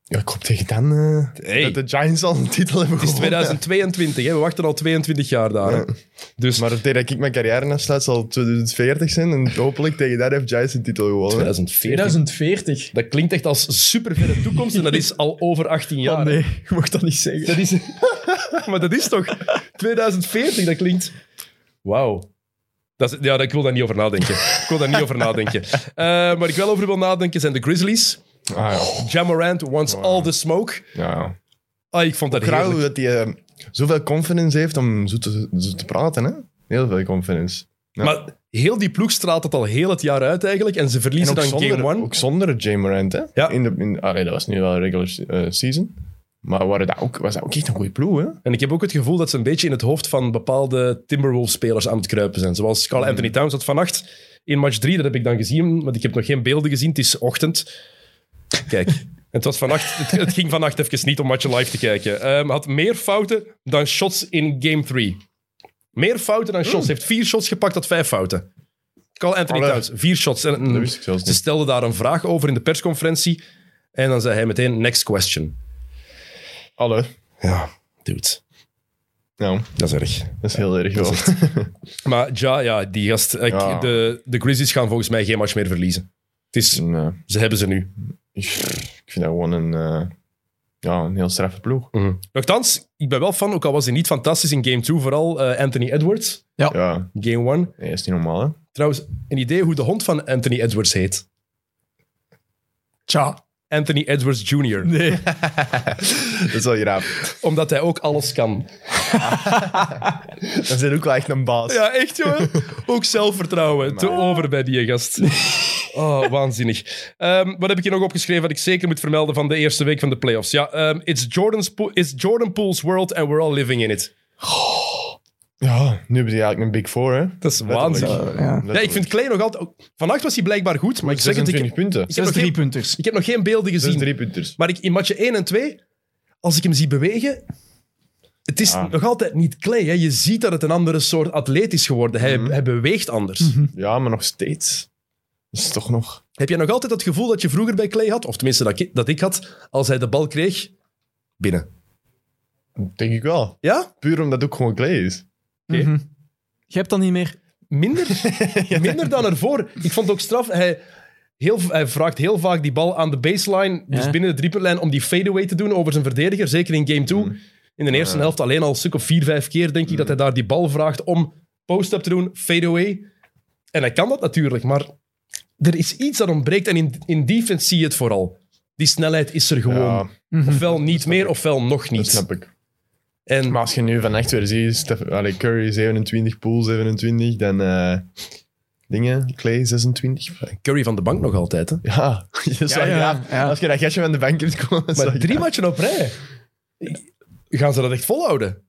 [SPEAKER 2] ja ik hoop tegen dan eh,
[SPEAKER 1] Hey.
[SPEAKER 2] dat de Giants al een titel hebben
[SPEAKER 1] Het is
[SPEAKER 2] gewonnen.
[SPEAKER 1] 2022, hè? we wachten al 22 jaar daar. hè. Dus
[SPEAKER 2] Maar tegen dat ik mijn carrière afsluit zal 2040 zijn. En hopelijk tegen dat heeft Giants een titel gewonnen.
[SPEAKER 1] 2040.
[SPEAKER 3] 2040.
[SPEAKER 1] Dat klinkt echt als superverre toekomst en dat is al over 18 jaar.
[SPEAKER 3] Oh nee, je mocht dat niet zeggen.
[SPEAKER 1] Dat is... maar dat is toch... 2040, dat klinkt... Wauw. Dat is... Ja, ik wil daar niet over nadenken. Ik wil daar niet over nadenken. Eh waar ik wel over wil nadenken zijn de Grizzlies.
[SPEAKER 2] Ah,
[SPEAKER 1] Jamorant wants all the smoke.
[SPEAKER 2] ja. ja.
[SPEAKER 1] Ah, ik vond dat
[SPEAKER 2] Graag
[SPEAKER 1] heerlijk.
[SPEAKER 2] hoe dat hij eh, zoveel confidence heeft om zo te, zo te praten. Hè? Heel veel confidence. Ja.
[SPEAKER 1] Maar heel die ploeg straalt het al heel het jaar uit eigenlijk. En ze
[SPEAKER 2] En
[SPEAKER 1] verliezen
[SPEAKER 2] ook
[SPEAKER 1] dan game
[SPEAKER 2] zonder,
[SPEAKER 1] one.
[SPEAKER 2] ook zonder Jay Morant. Hè?
[SPEAKER 1] Ja.
[SPEAKER 2] In de, in, allee, dat was nu wel regular se- eh, season. Maar waren dat ook, was dat ook echt een goede ploeg. Hè?
[SPEAKER 1] En ik heb ook het gevoel dat ze een beetje in het hoofd van bepaalde Timberwolves-spelers aan het kruipen zijn. Zoals Carl Anthony Towns had vannacht in match 3, dat heb ik dan gezien, want ik heb nog geen beelden gezien. Het is ochtend. Kijk, het, was vannacht, het, het ging vannacht even niet om matchen live te kijken. Ehm, had meer fouten dan shots in game 3. Meer fouten dan shots. Heeft vier shots gepakt, had vijf fouten. Carl Anthony
[SPEAKER 2] Allee.
[SPEAKER 1] Towns, vier shots. En, en-
[SPEAKER 2] Dat wist ik zelfs
[SPEAKER 1] ze
[SPEAKER 2] niet.
[SPEAKER 1] stelde daar een vraag over in de persconferentie. En dan zei hij meteen, next question.
[SPEAKER 2] Alle.
[SPEAKER 1] Ja, dude,
[SPEAKER 2] Nou,
[SPEAKER 1] dat is erg.
[SPEAKER 2] dat is heel erg. wel.
[SPEAKER 1] Maar ja, ja die gast. ik-
[SPEAKER 2] Ja.
[SPEAKER 1] De, de Grizzlies gaan volgens mij geen match meer verliezen. Het is,
[SPEAKER 2] En, eh,
[SPEAKER 1] ze hebben ze nu.
[SPEAKER 2] ik, ik vind dat gewoon een, eh, ja, een heel straffe ploeg.
[SPEAKER 3] Mhm.
[SPEAKER 1] Nochtans, ik ben wel fan, ook al was hij niet fantastisch in game 2, vooral eh, Anthony Edwards,
[SPEAKER 2] Ja,
[SPEAKER 1] game 1.
[SPEAKER 2] nee, is niet normaal. Hè?
[SPEAKER 1] Trouwens, een idee hoe de hond van Anthony Edwards heet.
[SPEAKER 3] Tja.
[SPEAKER 1] Anthony Edwards Jr.
[SPEAKER 3] Nee.
[SPEAKER 2] Dat is wel graaf.
[SPEAKER 1] Omdat hij ook alles kan.
[SPEAKER 2] Dat is ook wel echt een baas.
[SPEAKER 1] Ja, echt jongen. Ook zelfvertrouwen. Te over bij die gast. Oh, waanzinnig. Ehm, wat heb ik hier nog opgeschreven wat ik zeker moet vermelden van de eerste week van de playoffs? Ja, ehm, it's, Jordan's po- it's Jordan Poole's world and we're all living in it.
[SPEAKER 2] Ja, nu heb je eigenlijk een Big Four. Hè?
[SPEAKER 1] Dat is
[SPEAKER 2] Letterlijk.
[SPEAKER 1] waanzinnig.
[SPEAKER 3] ja.
[SPEAKER 1] Ja, ik vind Clay nog altijd... Vannacht was hij blijkbaar goed, maar ik zeg het, ik,
[SPEAKER 2] 26
[SPEAKER 1] ik
[SPEAKER 2] punten.
[SPEAKER 1] heb
[SPEAKER 3] Zes
[SPEAKER 1] nog geen,
[SPEAKER 3] driepunters.
[SPEAKER 1] ik heb nog geen beelden
[SPEAKER 2] Zes
[SPEAKER 1] gezien.
[SPEAKER 2] drie punters.
[SPEAKER 1] Maar ik, in matchen 1 en 2, als ik hem zie bewegen... Het is
[SPEAKER 2] Ja.
[SPEAKER 1] nog altijd niet Clay. Hè. Je ziet dat het een andere soort atleet is geworden. Hij,
[SPEAKER 2] Mhm.
[SPEAKER 1] hij beweegt anders.
[SPEAKER 2] Ja, maar nog steeds. Dat is toch nog...
[SPEAKER 1] Heb jij nog altijd dat gevoel dat je vroeger bij Clay had? Of tenminste dat ik, dat ik had, als hij de bal kreeg, binnen.
[SPEAKER 2] Denk ik wel.
[SPEAKER 1] Ja?
[SPEAKER 2] Puur omdat het ook gewoon Clay is.
[SPEAKER 3] Mhm. Je hebt dat niet meer.
[SPEAKER 1] Minder, minder dan ervoor. Ik vond het ook straf. Hij, heel, hij vraagt heel vaak die bal aan de baseline, dus
[SPEAKER 3] Ja.
[SPEAKER 1] binnen de driepuntlijn, om die fadeaway te doen over zijn verdediger. Zeker in game 2. In de eerste
[SPEAKER 2] Mhm. Ja. Mhm.
[SPEAKER 1] helft alleen al een stuk of vier, vijf keer, denk ik, dat hij daar die bal vraagt om post-up te doen, fadeaway. En hij kan dat natuurlijk, maar er is iets dat ontbreekt. En in, in defense zie je het vooral. Die snelheid is er gewoon.
[SPEAKER 2] Ja,
[SPEAKER 1] Ofwel niet meer, ofwel nog
[SPEAKER 2] dat
[SPEAKER 1] niet.
[SPEAKER 2] snap ik.
[SPEAKER 1] En
[SPEAKER 2] Maar als je nu van echt weer ziet, Steph, allee, Curry 27, Poole 27, dan... eh, dingen, Clay 26.
[SPEAKER 1] Curry van de bank nog altijd. Hè?
[SPEAKER 2] Ja, dat is wel
[SPEAKER 3] ja,
[SPEAKER 2] graaf.
[SPEAKER 3] ja.
[SPEAKER 2] Als je dat gastje van de bank hebt komen, dat is
[SPEAKER 1] Maar
[SPEAKER 2] wel
[SPEAKER 1] drie
[SPEAKER 2] graaf.
[SPEAKER 1] matchen op rij. Gaan ze dat echt volhouden?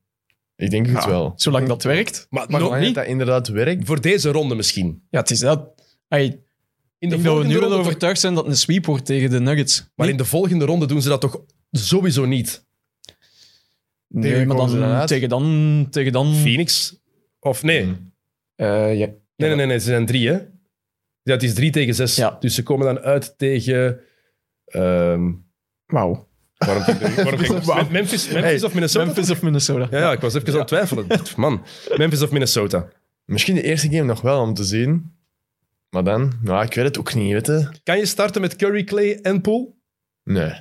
[SPEAKER 2] Ik denk het wel.
[SPEAKER 3] Zolang dat werkt.
[SPEAKER 1] Maar,
[SPEAKER 2] Maar
[SPEAKER 1] nog
[SPEAKER 2] zolang
[SPEAKER 1] niet.
[SPEAKER 2] dat inderdaad werkt...
[SPEAKER 1] Voor deze ronde misschien.
[SPEAKER 3] Ja, het is dat. Ai, ik
[SPEAKER 1] In de
[SPEAKER 3] denk dat we
[SPEAKER 1] volgende
[SPEAKER 3] nu al
[SPEAKER 1] ronde toch-
[SPEAKER 3] overtuigd zijn dat het een sweep wordt tegen de Nuggets.
[SPEAKER 1] maar in de volgende ronde doen ze dat toch sowieso niet?
[SPEAKER 3] Nee,
[SPEAKER 2] tegen wie
[SPEAKER 3] maar
[SPEAKER 2] komen ze dan
[SPEAKER 3] dan
[SPEAKER 2] uit?
[SPEAKER 3] tegen dan... Tegen dan
[SPEAKER 1] Phoenix? Of nee?
[SPEAKER 3] Mm.
[SPEAKER 2] Hmm.
[SPEAKER 3] Eh, ja.
[SPEAKER 1] Nee, nee, nee, nee, ze zijn drie, hè? Ja, het is drie tegen zes.
[SPEAKER 3] Ja.
[SPEAKER 1] Dus ze komen dan uit tegen... ehm,
[SPEAKER 3] Wauw.
[SPEAKER 1] Waarom vind ik waarom vind ik-
[SPEAKER 3] Wauw.
[SPEAKER 1] Memphis, Memphis
[SPEAKER 3] Hey,
[SPEAKER 1] of Minnesota?
[SPEAKER 3] Memphis of Minnesota.
[SPEAKER 1] Ja, ja, ik was even aan het twijfelen. Man, Memphis of Minnesota.
[SPEAKER 2] Misschien de eerste game nog wel om te zien. Maar dan, nou, ik weet het ook niet, weet je.
[SPEAKER 1] Kan je starten met Curry, Clay en Poole?
[SPEAKER 2] Nee,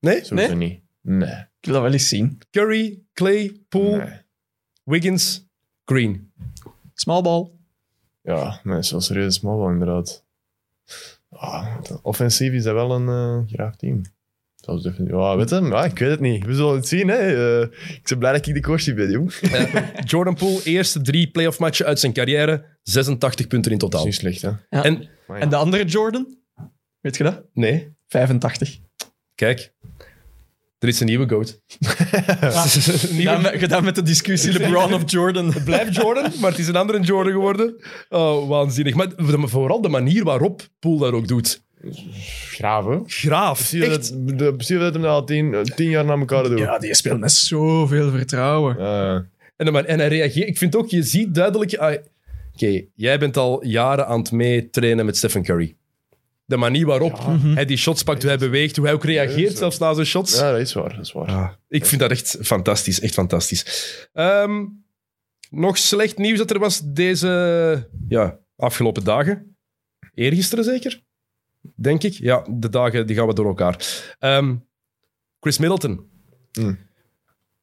[SPEAKER 1] Nee?
[SPEAKER 2] sowieso niet. Nee.
[SPEAKER 3] Ik wil dat wel eens zien.
[SPEAKER 1] Curry, Clay, Poole,
[SPEAKER 2] nee.
[SPEAKER 1] Wiggins, Green.
[SPEAKER 3] Smallbal.
[SPEAKER 2] Ja, nee, zo'n serieuze smallball inderdaad. Ah, offensief is dat wel een eh graag team. Zelfs defensief. Ja, weet je, ja, ik weet het niet. We zullen het zien, hè. Eh, ik ben blij dat ik de coach niet ben, jong. Dat
[SPEAKER 1] Eh, Jordan Poole, eerste drie playoff matchen uit zijn carrière. 86 punten in
[SPEAKER 2] is
[SPEAKER 1] totaal.
[SPEAKER 2] niet slecht, hè.
[SPEAKER 1] En,
[SPEAKER 3] En de andere Jordan? Weet je dat?
[SPEAKER 1] nee,
[SPEAKER 3] 85.
[SPEAKER 1] kijk. Er is een nieuwe GOAT.
[SPEAKER 3] Gedaan
[SPEAKER 1] nieuwe...
[SPEAKER 3] met, gedaan met de discussie LeBron of Jordan.
[SPEAKER 1] Blijft Jordan, maar het is een andere Jordan geworden. Oh, waanzinnig. Maar de- vooral de manier waarop Poole dat ook doet.
[SPEAKER 2] graven.
[SPEAKER 1] Graaf.
[SPEAKER 2] Zie je
[SPEAKER 1] Echt.
[SPEAKER 2] dat, de- zie je dat hem al tien, eh, tien jaar naar elkaar doet?
[SPEAKER 3] Ja, die speelt met zoveel vertrouwen.
[SPEAKER 2] Eh,
[SPEAKER 1] En, maar, en hij reageert. Ik vind ook, je ziet duidelijk. ah, Oké, jij bent al jaren aan het meetrainen met Stephen Curry. De manier waarop
[SPEAKER 2] Mhm.
[SPEAKER 1] hij die shots pakt, hoe hij beweegt, hoe hij ook reageert,
[SPEAKER 2] zo.
[SPEAKER 1] zelfs na zijn shots.
[SPEAKER 2] ja, dat is waar, dat is waar.
[SPEAKER 1] Ah, ik vind dat echt fantastisch. Echt fantastisch. Ehm, nog slecht nieuws dat er was deze ja, afgelopen dagen. Eergisteren zeker? Denk ik. Ja, de dagen die gaan we door elkaar. Ehm, Chris Middleton.
[SPEAKER 2] Hmm.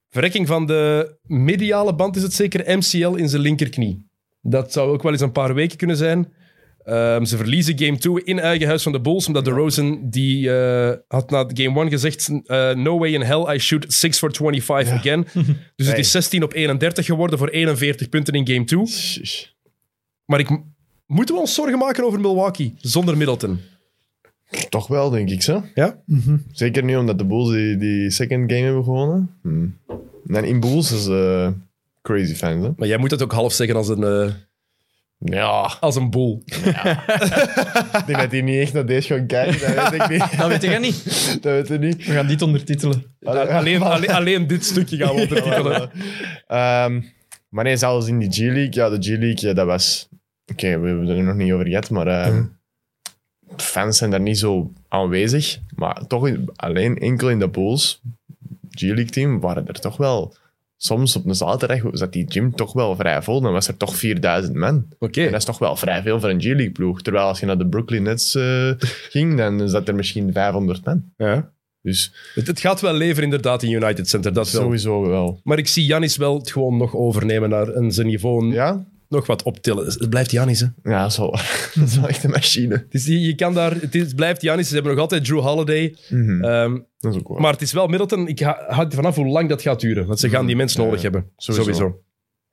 [SPEAKER 1] Verrekking van de mediale band is het zeker MCL in zijn linkerknie. Dat zou ook wel eens een paar weken kunnen zijn. Ehm, ze verliezen game 2 in eigen huis van de Bulls, omdat DeRozan die eh, had na game 1 gezegd eh, no way in hell I shoot 6 for 25 again. Dus het
[SPEAKER 2] Hey.
[SPEAKER 1] is 16 op 31 geworden voor 41 punten in game 2.
[SPEAKER 2] Sheesh.
[SPEAKER 1] Maar ik, moeten we ons zorgen maken over Milwaukee zonder Middleton?
[SPEAKER 2] Toch wel, denk ik, zo.
[SPEAKER 1] Ja?
[SPEAKER 2] Zeker nu omdat de Bulls die, die second game hebben gewonnen. Hm. En in Bulls is eh, crazy fans, hè.
[SPEAKER 1] Maar jij moet dat ook half zeggen als een, eh,
[SPEAKER 2] Ja,
[SPEAKER 1] als een boel.
[SPEAKER 2] ik denk dat hij niet echt naar deze gaat kijken. Dat weet ik niet.
[SPEAKER 3] Dat weet jij niet.
[SPEAKER 2] Dat weet ik niet.
[SPEAKER 3] We gaan dit ondertitelen.
[SPEAKER 1] Alleen, alleen, alleen, dit stukje gaan we ondertitelen.
[SPEAKER 2] Ehm, maar nee, zelfs in die G-League. Ja, de G-League, ja, dat was... Oké, we hebben het er nog niet over gehad, maar... ehm, Fans zijn daar niet zo aanwezig. Maar toch in- alleen enkel in de Bulls G-League-team waren er toch wel... Soms op een zaterdag zat die gym toch wel vrij vol. Dan was er toch 4000 man.
[SPEAKER 1] Oké.
[SPEAKER 2] En dat is toch wel vrij veel voor een G-League-ploeg. Terwijl als je naar de Brooklyn Nets eh, ging, dan zat er misschien 500 man.
[SPEAKER 1] Ja.
[SPEAKER 2] Dus
[SPEAKER 1] Het, het gaat wel leveren inderdaad in United Center, dat wel.
[SPEAKER 2] sowieso wel.
[SPEAKER 1] Maar ik zie Janis wel het gewoon nog overnemen naar, en zijn niveau
[SPEAKER 2] Ja?
[SPEAKER 1] nog wat optillen. Het blijft Janis, hè.
[SPEAKER 2] Ja, dat is wel, dat is wel echt een machine.
[SPEAKER 1] Dus je, je kan daar, het, is, het blijft Janis. Ze hebben nog altijd Drew Holiday. Ehm,
[SPEAKER 2] Eh, Dat is ook wel.
[SPEAKER 1] maar het is wel Middleton. Ik ha- houd er vanaf hoe lang dat gaat duren. Want ze gaan die mensen
[SPEAKER 2] Ja,
[SPEAKER 1] nodig
[SPEAKER 2] Mm. ja.
[SPEAKER 1] hebben. Sowieso.
[SPEAKER 2] Sowieso.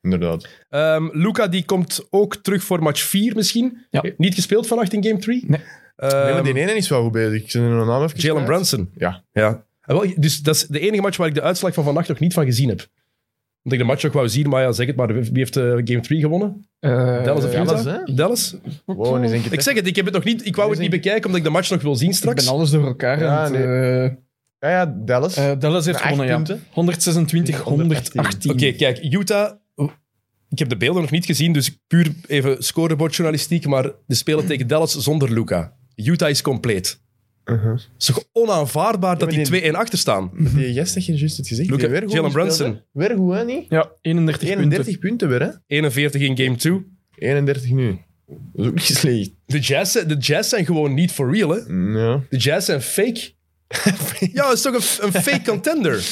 [SPEAKER 2] Inderdaad.
[SPEAKER 1] Ehm, Luca die komt ook terug voor match 4 misschien.
[SPEAKER 3] Ja.
[SPEAKER 1] Niet gespeeld vannacht in game 3.
[SPEAKER 3] Nee.
[SPEAKER 1] Ehm,
[SPEAKER 2] nee, maar die ene is wel goed bezig. Ik zit er nog naam even
[SPEAKER 1] Jalen
[SPEAKER 2] kwijt.
[SPEAKER 1] Brunson.
[SPEAKER 2] Ja.
[SPEAKER 1] ja. En wel, dus dat is de enige match waar ik de uitslag van vannacht nog niet van gezien heb. Want ik de match ook wou zien, maar ja, zeg het maar. Wie heeft eh, game 3 gewonnen?
[SPEAKER 3] Eh,
[SPEAKER 1] Dallas of
[SPEAKER 2] Dallas,
[SPEAKER 1] Utah?
[SPEAKER 2] hè?
[SPEAKER 1] Dallas?
[SPEAKER 2] Wow, nu denk ik
[SPEAKER 1] Ik zeg het, ik, heb het nog niet, ik wou het niet bekijken, omdat ik de match nog wil zien
[SPEAKER 3] Ik
[SPEAKER 1] straks.
[SPEAKER 3] ben alles door elkaar.
[SPEAKER 2] Ja,
[SPEAKER 3] aan het,
[SPEAKER 2] Ja, ja, Dallas.
[SPEAKER 3] eh, eh, Dallas heeft
[SPEAKER 2] Maar acht
[SPEAKER 3] gewonnen, ja.
[SPEAKER 2] punten?
[SPEAKER 3] 126, 118.
[SPEAKER 2] 118.
[SPEAKER 1] Oké, kijk, Utah... Ik heb de beelden nog niet gezien, dus puur even scorebordjournalistiek, maar de spelen tegen Dallas zonder Luca. Utah is compleet.
[SPEAKER 2] Uh-huh.
[SPEAKER 1] Het is toch onaanvaardbaar dat
[SPEAKER 2] maar
[SPEAKER 1] die
[SPEAKER 2] die-
[SPEAKER 1] 2-1 achter staan?
[SPEAKER 2] Die gast heeft juist het gezegd.
[SPEAKER 1] Look
[SPEAKER 2] Die
[SPEAKER 1] at
[SPEAKER 2] weer goed
[SPEAKER 1] Jalen
[SPEAKER 2] gespeeld,
[SPEAKER 1] Brunson.
[SPEAKER 2] hè? Weer goed, hè, niet?
[SPEAKER 3] Ja, 31,
[SPEAKER 2] 31 punten weer, hè?
[SPEAKER 1] 41 in game 2.
[SPEAKER 2] 31 nu. Dat is ook niet slecht.
[SPEAKER 1] De jazz, de jazz zijn gewoon niet for real, hè?
[SPEAKER 2] Ja.
[SPEAKER 1] De Jazz zijn fake. ja, het is toch een, een fake contender?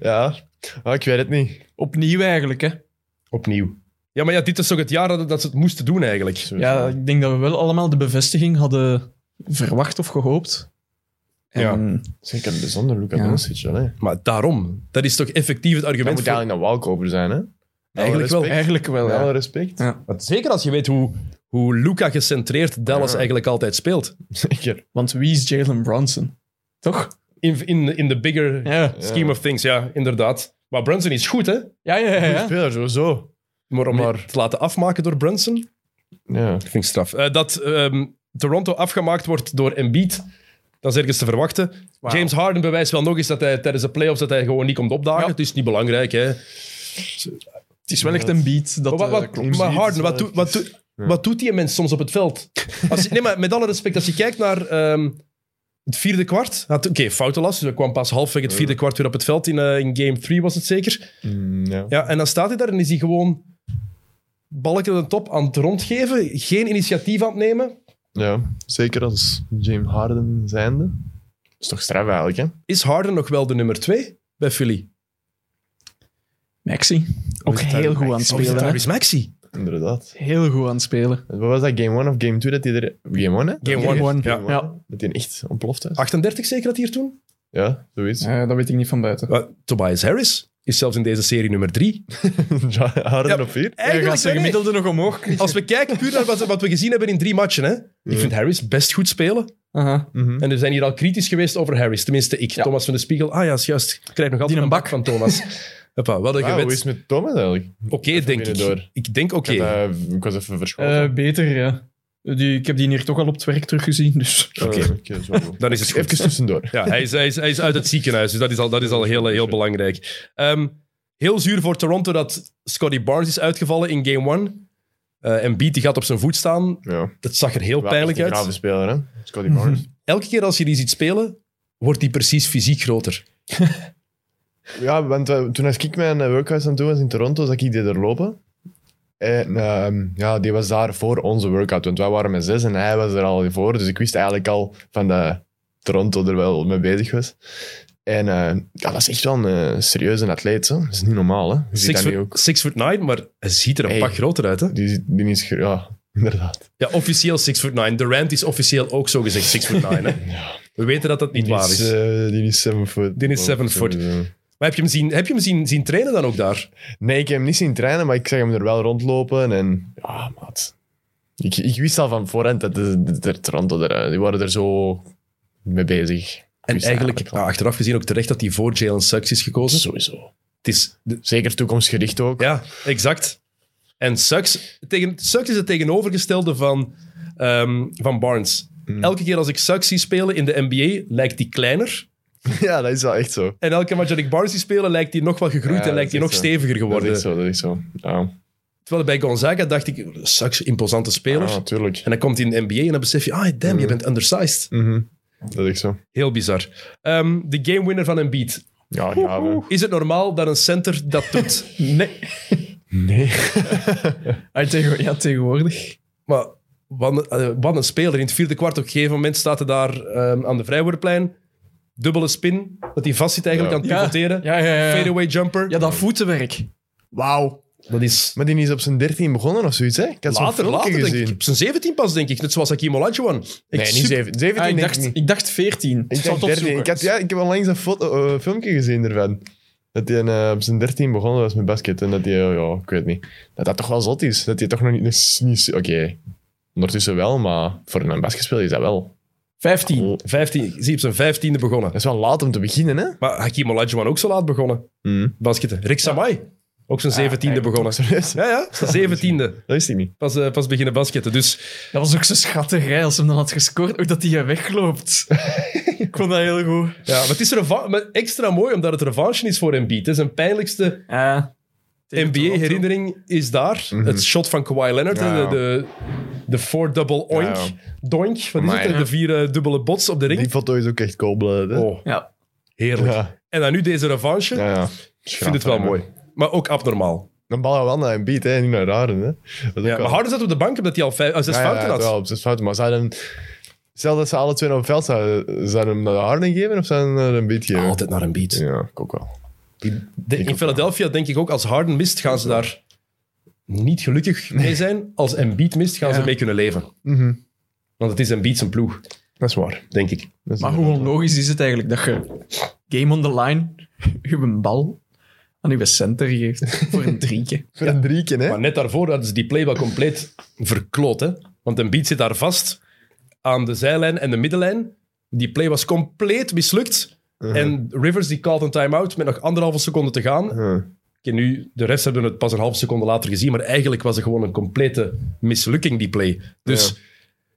[SPEAKER 2] Ja. Ah, ik weet het niet.
[SPEAKER 3] Opnieuw eigenlijk, hè.
[SPEAKER 1] Opnieuw. Ja, maar ja, dit is toch het jaar dat, dat ze het moesten doen, eigenlijk.
[SPEAKER 3] Ja, ik denk dat we wel allemaal de bevestiging hadden verwacht of gehoopt. En
[SPEAKER 2] Zeker bijzonder, Luka
[SPEAKER 3] Ja.
[SPEAKER 2] Doncic, wel, hè?
[SPEAKER 1] Maar daarom, dat is toch effectief het
[SPEAKER 2] Dan
[SPEAKER 1] argument
[SPEAKER 2] moet eigenlijk een walkover zijn, hè?
[SPEAKER 1] Eigenlijk wel.
[SPEAKER 2] respect.
[SPEAKER 3] Eigenlijk wel, ja.
[SPEAKER 2] Alle respect.
[SPEAKER 3] Ja.
[SPEAKER 1] voor- Zeker als je weet hoe, hoe Luca gecentreerd Dallas
[SPEAKER 2] Ja.
[SPEAKER 1] eigenlijk altijd speelt.
[SPEAKER 2] Zeker.
[SPEAKER 3] Want wie is Jalen Brunson? Toch?
[SPEAKER 1] In, in, in the bigger
[SPEAKER 3] Ja.
[SPEAKER 1] scheme of things, ja, inderdaad. Maar Brunson is goed, hè?
[SPEAKER 3] Ja, ja, ja. ja.
[SPEAKER 2] Speler, sowieso.
[SPEAKER 1] Maar om
[SPEAKER 2] Maar-
[SPEAKER 1] je te laten afmaken door Brunson,
[SPEAKER 2] Ja.
[SPEAKER 1] dat vind ik straf. Eh, dat ehm, Toronto afgemaakt wordt door Embiid, dat is ergens te verwachten.
[SPEAKER 3] Wauw.
[SPEAKER 1] James Harden bewijst wel nog eens dat hij tijdens de playoffs dat hij gewoon niet komt opdagen.
[SPEAKER 3] Ja.
[SPEAKER 1] Het is niet belangrijk, hè.
[SPEAKER 3] Het is wel echt een beat. Dat,
[SPEAKER 1] Maar, wat-
[SPEAKER 3] eh,
[SPEAKER 1] wat-
[SPEAKER 3] klopt.
[SPEAKER 2] klopt.
[SPEAKER 1] maar Harden,
[SPEAKER 2] Iets,
[SPEAKER 1] wat, doe- wat, doe- wat doet die mens soms op het veld? Als je- nee, maar met alle respect, als je kijkt naar ehm, Het vierde kwart. Had- Oké, fouten last. Dus dat kwam pas halfweg het vierde kwart weer op het veld. In, eh, in game 3 was het zeker.
[SPEAKER 2] Mm, ja.
[SPEAKER 1] Ja, en dan staat hij daar en is hij gewoon balken aan de top aan het rondgeven. Geen initiatief aan het nemen.
[SPEAKER 2] Ja, zeker als James Harden zijnde. is toch straf eigenlijk, hè?
[SPEAKER 1] Is Harden nog wel de nummer twee bij Philly?
[SPEAKER 3] Maxi. Ook
[SPEAKER 2] het daar
[SPEAKER 3] heel goed aan het
[SPEAKER 2] Maxi?
[SPEAKER 1] Of is het
[SPEAKER 3] spelen. hè.
[SPEAKER 1] Tyrese Maxi?
[SPEAKER 2] Inderdaad.
[SPEAKER 3] Heel goed aan het spelen.
[SPEAKER 2] Wat was dat, game 1 of game 2? Dat hij er... Game 1, hè?
[SPEAKER 1] Game
[SPEAKER 3] Game one.
[SPEAKER 1] one.
[SPEAKER 3] Ja.
[SPEAKER 1] Ja.
[SPEAKER 2] Dat hij echt ontploft is.
[SPEAKER 1] 38 zeker dat hier toen?
[SPEAKER 2] Ja, zoiets.
[SPEAKER 3] Eh, dat weet ik niet van buiten.
[SPEAKER 1] Eh, Tobias Harris is zelfs in deze serie nummer drie.
[SPEAKER 2] Harden
[SPEAKER 1] Ja.
[SPEAKER 2] op 4.
[SPEAKER 3] Je gaat zijn
[SPEAKER 1] nee, nee.
[SPEAKER 3] gemiddelde nog omhoog.
[SPEAKER 1] Als we kijken puur naar wat, wat we gezien hebben in drie matchen, hè? ik vind Harris best goed spelen.
[SPEAKER 3] Aha.
[SPEAKER 2] Mhm.
[SPEAKER 1] En er zijn hier al kritisch geweest over Harris. Tenminste, ik,
[SPEAKER 3] Ja.
[SPEAKER 1] Thomas van de Spiegel. Ah ja, is juist. Ik krijg nog altijd
[SPEAKER 3] Die
[SPEAKER 1] een
[SPEAKER 3] een
[SPEAKER 1] bak van Thomas. Hoppa, wat een
[SPEAKER 2] Ah, hoe
[SPEAKER 1] gewet.
[SPEAKER 2] is het met Thomas eigenlijk?
[SPEAKER 1] Oké, denk ik.
[SPEAKER 2] binnendoor.
[SPEAKER 1] Ik denk oké.
[SPEAKER 2] Ik, had, eh, ik was even verschoten.
[SPEAKER 3] Eh, beter, ja. Die, ik heb die hier toch al op het werk teruggezien, dus...
[SPEAKER 1] oké.
[SPEAKER 2] Eh, oké, zo goed.
[SPEAKER 1] Dan is het goed.
[SPEAKER 2] Even tussendoor.
[SPEAKER 1] Ja, hij is, hij, is, hij is uit het ziekenhuis, dus dat is al, dat is al heel, heel belangrijk. Ehm, heel zuur voor Toronto dat Scotty Barnes is uitgevallen in game one. Eh, en Beat die gaat op zijn voet staan.
[SPEAKER 2] Ja.
[SPEAKER 1] Dat zag er heel
[SPEAKER 2] Wel
[SPEAKER 1] pijnlijk
[SPEAKER 2] echt een grave
[SPEAKER 1] uit.
[SPEAKER 2] speler, hè? Scotty Barnes.
[SPEAKER 1] Elke keer als je die ziet spelen, wordt die precies fysiek groter.
[SPEAKER 2] Ja, want eh, toen als ik mijn eh, workouts aan het doen was in Toronto, zag ik die er lopen. En ehm, ja, die was daar voor onze workout, want wij waren met zes en hij was er al voor. Dus ik wist eigenlijk al van dat Toronto er wel mee bezig was. En eh, ja, dat is echt wel een eh, serieuze atleet, zo. Dat is niet normaal, hè. Je ziet
[SPEAKER 1] Six
[SPEAKER 2] dat nu
[SPEAKER 1] foot,
[SPEAKER 2] ook.
[SPEAKER 1] six foot nine, maar hij ziet er een
[SPEAKER 2] Hey.
[SPEAKER 1] pak groter uit. Hè?
[SPEAKER 2] Die, zit- die is... gro- Ja, inderdaad.
[SPEAKER 1] Ja, officieel six foot nine. De Rand is officieel ook zo gezegd six foot nine. Hè? We weten dat dat niet
[SPEAKER 2] die
[SPEAKER 1] waar is.
[SPEAKER 2] eh, die is seven foot.
[SPEAKER 1] Die is seven foot. Maar heb je hem, zien, heb je hem zien, zien trainen dan ook daar?
[SPEAKER 2] Nee, ik heb hem niet zien trainen, maar ik zag hem er wel rondlopen. En ja, maat. Ik, ik wist al van voorhand dat de, de, de Toronto er... eh, Die waren er zo mee bezig. Ik
[SPEAKER 1] En
[SPEAKER 2] wist
[SPEAKER 1] eigenlijk,
[SPEAKER 2] al.
[SPEAKER 1] ah, achteraf gezien, ook terecht dat hij voor Jalen Suggs is gekozen.
[SPEAKER 2] Sowieso.
[SPEAKER 1] Het is,
[SPEAKER 2] Zeker toekomstgericht ook.
[SPEAKER 1] ja, exact. En Suggs, tegen, Suggs is het tegenovergestelde van, ehm, van Barnes.
[SPEAKER 2] Hmm.
[SPEAKER 1] Elke keer als ik Suggs zie spelen in de NBA, lijkt hij kleiner.
[SPEAKER 2] Ja, dat is wel echt zo.
[SPEAKER 1] En elke keer als ik Barnes zie spelen, lijkt hij nog wat gegroeid
[SPEAKER 2] Ja,
[SPEAKER 1] en lijkt
[SPEAKER 2] dat
[SPEAKER 1] hij
[SPEAKER 2] is
[SPEAKER 1] nog
[SPEAKER 2] echt zo.
[SPEAKER 1] steviger
[SPEAKER 2] Dat is
[SPEAKER 1] geworden.
[SPEAKER 2] echt zo, dat is zo. Ja,
[SPEAKER 1] Terwijl bij Gonzaga dacht ik, Suggs, imposante speler.
[SPEAKER 2] ja natuurlijk.
[SPEAKER 1] En dan komt hij in de NBA en dan besef je, ah, damn,
[SPEAKER 2] Hmm.
[SPEAKER 1] je bent undersized.
[SPEAKER 2] Mhm. Dat is echt zo.
[SPEAKER 1] Heel bizar. Ehm, de game winner van Embiid.
[SPEAKER 2] Ja, ja. we-
[SPEAKER 1] Is het normaal dat een center dat doet?
[SPEAKER 3] Nee.
[SPEAKER 2] Nee.
[SPEAKER 3] Ah, tegen- ja, tegenwoordig.
[SPEAKER 1] Maar wat, een- eh, wat een speler. In het vierde kwart op een gegeven moment staat hij daar ehm, aan de vrijwoordplein. Dubbele spin, dat hij vast zit eigenlijk
[SPEAKER 2] Ja.
[SPEAKER 1] aan het pivoteren.
[SPEAKER 3] Ja, ja, ja. ja.
[SPEAKER 1] Fadeaway jumper.
[SPEAKER 3] Ja, dat voetenwerk.
[SPEAKER 2] Wauw.
[SPEAKER 1] Dat is
[SPEAKER 2] Maar die is op zijn 13 begonnen of zoiets, hè? Ik had zo'n
[SPEAKER 1] later,
[SPEAKER 2] filmpje
[SPEAKER 1] later denk
[SPEAKER 2] gezien.
[SPEAKER 1] ik. Op zijn 17 pas, denk ik. Net zoals Hakim Olajuwon. Ik
[SPEAKER 2] Nee, niet
[SPEAKER 1] super-
[SPEAKER 2] 17. 17
[SPEAKER 3] Ah, ik,
[SPEAKER 2] denk
[SPEAKER 3] dacht,
[SPEAKER 2] ik niet.
[SPEAKER 3] ik dacht 14.
[SPEAKER 2] Ik,
[SPEAKER 3] zal
[SPEAKER 2] dacht
[SPEAKER 3] het
[SPEAKER 2] 13. Ik,
[SPEAKER 3] opzoeken.
[SPEAKER 2] had, ja, ik heb onlangs een foto, eh, filmpje gezien ervan. Dat hij eh, op zijn 13 begonnen was met basket. En dat hij, eh, ja, ik weet niet. Dat dat toch wel zot is. Dat hij toch nog niet. dat is niet Oké, ondertussen wel, maar voor een basketspeler is dat wel.
[SPEAKER 3] 15.
[SPEAKER 1] 15, ik zie op zijn 15e begonnen.
[SPEAKER 2] Dat is wel laat om te beginnen, hè?
[SPEAKER 1] Maar Hakim Olajuwon ook zo laat begonnen.
[SPEAKER 2] Mm.
[SPEAKER 1] Basketten. Rick Samai. Ook zijn 17e begonnen.
[SPEAKER 2] Serieus?
[SPEAKER 1] Ja, ja. Zijn 17e.
[SPEAKER 2] Dat wist ik niet.
[SPEAKER 1] Pas, eh, pas beginnen basketten. Dus
[SPEAKER 3] Dat was ook zo schattig, hè, als hem dan had gescoord. Ook dat hij wegloopt. ik vond dat heel goed.
[SPEAKER 1] ja, maar het is reva- maar extra mooi omdat het revanche is voor Embiid. Het is een pijnlijkste
[SPEAKER 3] Ja. Eh, Tegen Toronto.
[SPEAKER 1] NBA-herinnering is daar. Het shot van Kawhi Leonard.
[SPEAKER 2] Mhm. Ja,
[SPEAKER 1] hè,
[SPEAKER 2] ja.
[SPEAKER 1] De, de, de four-double oink,
[SPEAKER 2] Ja,
[SPEAKER 1] doink. Wat is
[SPEAKER 2] Amai,
[SPEAKER 1] het? hè?
[SPEAKER 2] ja.
[SPEAKER 1] De vier eh, dubbele bots op de
[SPEAKER 2] Die
[SPEAKER 1] ring.
[SPEAKER 2] foto is ook echt cold-blooded, hè?
[SPEAKER 1] Oh,
[SPEAKER 3] Ja.
[SPEAKER 1] heerlijk.
[SPEAKER 2] Ja,
[SPEAKER 1] En dan nu deze revanche.
[SPEAKER 2] ja. ja.
[SPEAKER 1] Ik vind het wel mooi. Maar ook abnormaal.
[SPEAKER 2] Dan bal wel naar een beat, hè? Niet naar Raren, hè? Dat is
[SPEAKER 1] Ja,
[SPEAKER 2] ook
[SPEAKER 1] maar
[SPEAKER 2] wel-
[SPEAKER 1] Harden zat op de bank omdat hij al vijf, ah, zes
[SPEAKER 2] Ja, ja,
[SPEAKER 1] fouten
[SPEAKER 2] ja,
[SPEAKER 1] had.
[SPEAKER 2] wel, op zes fouten. Maar zouden... Stel dat ze alle twee op het veld zouden... Zouden hem naar Harden geven of zouden hem naar een beat geven?
[SPEAKER 1] Altijd naar een beat.
[SPEAKER 2] Ja, ik ook wel.
[SPEAKER 1] De- in Philadelphia denk ik ook, als Harden mist, gaan ze daar niet gelukkig mee zijn. Als Embiid mist, gaan ze
[SPEAKER 3] Ja.
[SPEAKER 1] mee kunnen leven.
[SPEAKER 2] Mhm.
[SPEAKER 1] Want het is Embiid zijn ploeg,
[SPEAKER 2] Dat is waar.
[SPEAKER 1] denk ik.
[SPEAKER 2] Dat is
[SPEAKER 3] Maar hoe
[SPEAKER 2] inderdaad
[SPEAKER 3] onlogisch is het eigenlijk dat je game on the line, je een bal aan je center geeft voor een drietje.
[SPEAKER 2] waar. Voor een drieken, hè?
[SPEAKER 1] Maar net daarvoor hadden ze die play wel compleet verkloot. Hè? Want een beat zit daar vast aan de zijlijn en de middenlijn. Die play was compleet mislukt. En Rivers die called een time-out met nog anderhalve seconde te gaan.
[SPEAKER 2] Huh.
[SPEAKER 1] Oké, nu, de refs hebben het pas een halve seconde later gezien, maar eigenlijk was het gewoon een complete mislukking, die play. Dus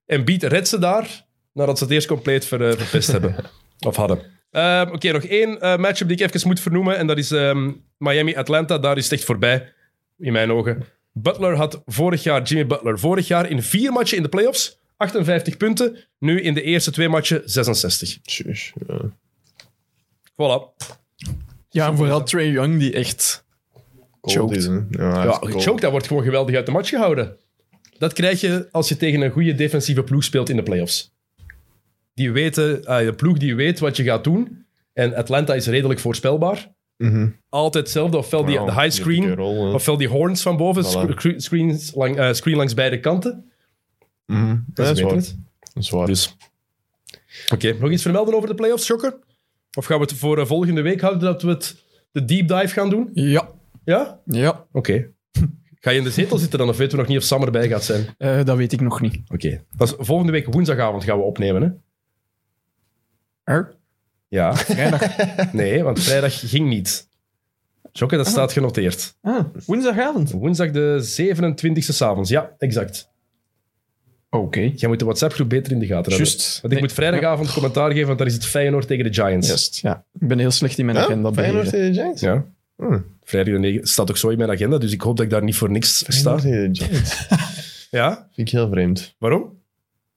[SPEAKER 1] en Beat redt ze daar, nadat ze het eerst compleet ver, eh, verpest hebben. Of hadden. Ehm, Oké, nog één eh, matchup die ik even moet vernoemen, en dat is ehm, Miami-Atlanta. Daar is het echt voorbij, in mijn ogen. Butler had vorig jaar, Jimmy Butler, vorig jaar in vier matchen in de playoffs 58 punten. Nu in de eerste twee matchen 66.
[SPEAKER 2] Tjus, ja.
[SPEAKER 1] Voilà.
[SPEAKER 3] Ja, en vooral Trey Young, die echt...
[SPEAKER 2] Cold
[SPEAKER 3] Choked.
[SPEAKER 2] is, hè. Ja, hij
[SPEAKER 1] Ja,
[SPEAKER 2] is
[SPEAKER 1] die
[SPEAKER 2] cold.
[SPEAKER 1] choke, dat wordt gewoon geweldig uit de match gehouden. Dat krijg je als je tegen een goede defensieve ploeg speelt in de playoffs. Die weten, eh, de ploeg die weet wat je gaat doen. En Atlanta is redelijk voorspelbaar.
[SPEAKER 2] Mhm.
[SPEAKER 1] Altijd hetzelfde. Ofwel die,
[SPEAKER 2] Ja,
[SPEAKER 1] de high
[SPEAKER 2] die dikke
[SPEAKER 1] screen,
[SPEAKER 2] rol, hè.
[SPEAKER 1] ofwel die horns van boven.
[SPEAKER 2] Voilà.
[SPEAKER 1] sc- cre- screens lang, eh, screen langs beide kanten.
[SPEAKER 2] Mhm.
[SPEAKER 1] Dat is
[SPEAKER 2] waar.
[SPEAKER 1] beter.
[SPEAKER 2] Dat is waar.
[SPEAKER 1] Dus. Oké, nog iets vermelden over de playoffs, Jokker? Of gaan we het voor eh, volgende week houden dat we het, de deep dive gaan doen?
[SPEAKER 3] Ja.
[SPEAKER 1] Ja?
[SPEAKER 3] Ja,
[SPEAKER 1] Oké. Ga je in de zetel zitten dan, of weten we nog niet of Sam erbij gaat zijn?
[SPEAKER 3] eh, dat weet ik nog niet.
[SPEAKER 1] Oké. Dat is volgende week woensdagavond gaan we opnemen, hè?
[SPEAKER 3] Er?
[SPEAKER 1] Ja.
[SPEAKER 3] Vrijdag.
[SPEAKER 1] Nee, want vrijdag ging niet. Jokke, dat staat genoteerd.
[SPEAKER 3] Ah, woensdagavond.
[SPEAKER 1] Woensdag de 27e s'avonds. Ja, exact.
[SPEAKER 3] Oké.
[SPEAKER 1] Jij moet de WhatsApp-groep beter in de gaten houden.
[SPEAKER 3] Juist.
[SPEAKER 1] Want ik
[SPEAKER 3] Nee.
[SPEAKER 1] moet vrijdagavond commentaar geven, want daar is het Feyenoord tegen de Giants.
[SPEAKER 3] Juist, ja. Ik ben heel slecht in mijn
[SPEAKER 2] Ja?
[SPEAKER 3] agenda
[SPEAKER 2] Feyenoord
[SPEAKER 3] beheren.
[SPEAKER 2] tegen de Giants?
[SPEAKER 1] Ja. Hm.
[SPEAKER 2] Hmm.
[SPEAKER 1] Vrijdag de 9 staat ook zo in mijn agenda, dus ik hoop dat ik daar niet voor niks sta.
[SPEAKER 2] Feyenoord tegen de Giants.
[SPEAKER 1] Ja?
[SPEAKER 2] Vind ik heel vreemd.
[SPEAKER 1] Waarom?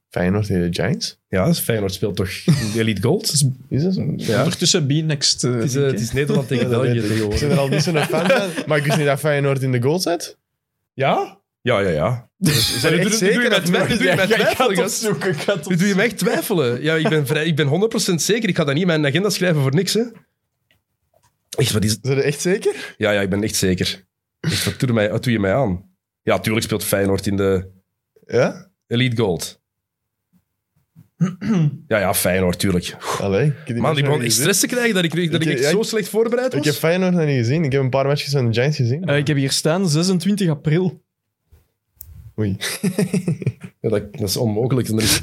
[SPEAKER 2] Feyenoord tegen de Giants?
[SPEAKER 1] Ja, Feyenoord speelt toch in de Elite Gold?
[SPEAKER 2] Is dat zo?
[SPEAKER 1] Ja. Het
[SPEAKER 3] Ondertussen B-next. eh,
[SPEAKER 1] is, eh,
[SPEAKER 3] week,
[SPEAKER 1] het
[SPEAKER 3] hè.
[SPEAKER 1] is Nederland tegen België
[SPEAKER 2] Ik ben
[SPEAKER 1] tegenwoordig.
[SPEAKER 2] er al niet zo'n fan van. Maar ik wist niet dat Feyenoord in de goal zet.
[SPEAKER 1] Ja? Ja, ja, ja. Zijn
[SPEAKER 2] echt zeker
[SPEAKER 1] doe je
[SPEAKER 2] dat
[SPEAKER 1] met twijfel-
[SPEAKER 2] het nog-
[SPEAKER 1] doe je met
[SPEAKER 2] Ja, ik ga het
[SPEAKER 1] twijfel, gast.
[SPEAKER 3] opzoeken, ik ga het
[SPEAKER 1] Nu doe je me echt twijfelen. Ja, ik ben, vrij, ik ben 100% zeker. Ik ga dat niet in mijn agenda schrijven voor niks, hè. Echt, wat is het?
[SPEAKER 2] Zijn er echt zeker?
[SPEAKER 1] Ja, ja, ik ben echt zeker. Echt, wat doe, je mij, wat doe je mij aan? Ja, tuurlijk speelt Feyenoord in de
[SPEAKER 2] Ja?
[SPEAKER 1] Elite Gold. Ja, ja, Feyenoord, tuurlijk.
[SPEAKER 2] Allee. ik heb die
[SPEAKER 1] Man,
[SPEAKER 2] match
[SPEAKER 1] ik begon
[SPEAKER 2] nog niet
[SPEAKER 1] echt
[SPEAKER 2] gezien.
[SPEAKER 1] stress te krijgen dat ik, dat ik
[SPEAKER 2] Ik-
[SPEAKER 1] echt
[SPEAKER 2] ja,
[SPEAKER 1] zo
[SPEAKER 2] ik-
[SPEAKER 1] slecht voorbereid was.
[SPEAKER 2] Ik heb Feyenoord nog niet gezien. Ik heb een paar matches van de Giants gezien.
[SPEAKER 3] Eh, ik heb hier staan 26 april.
[SPEAKER 2] Oei.
[SPEAKER 1] Ja, dat, dat is onmogelijk. Dat is-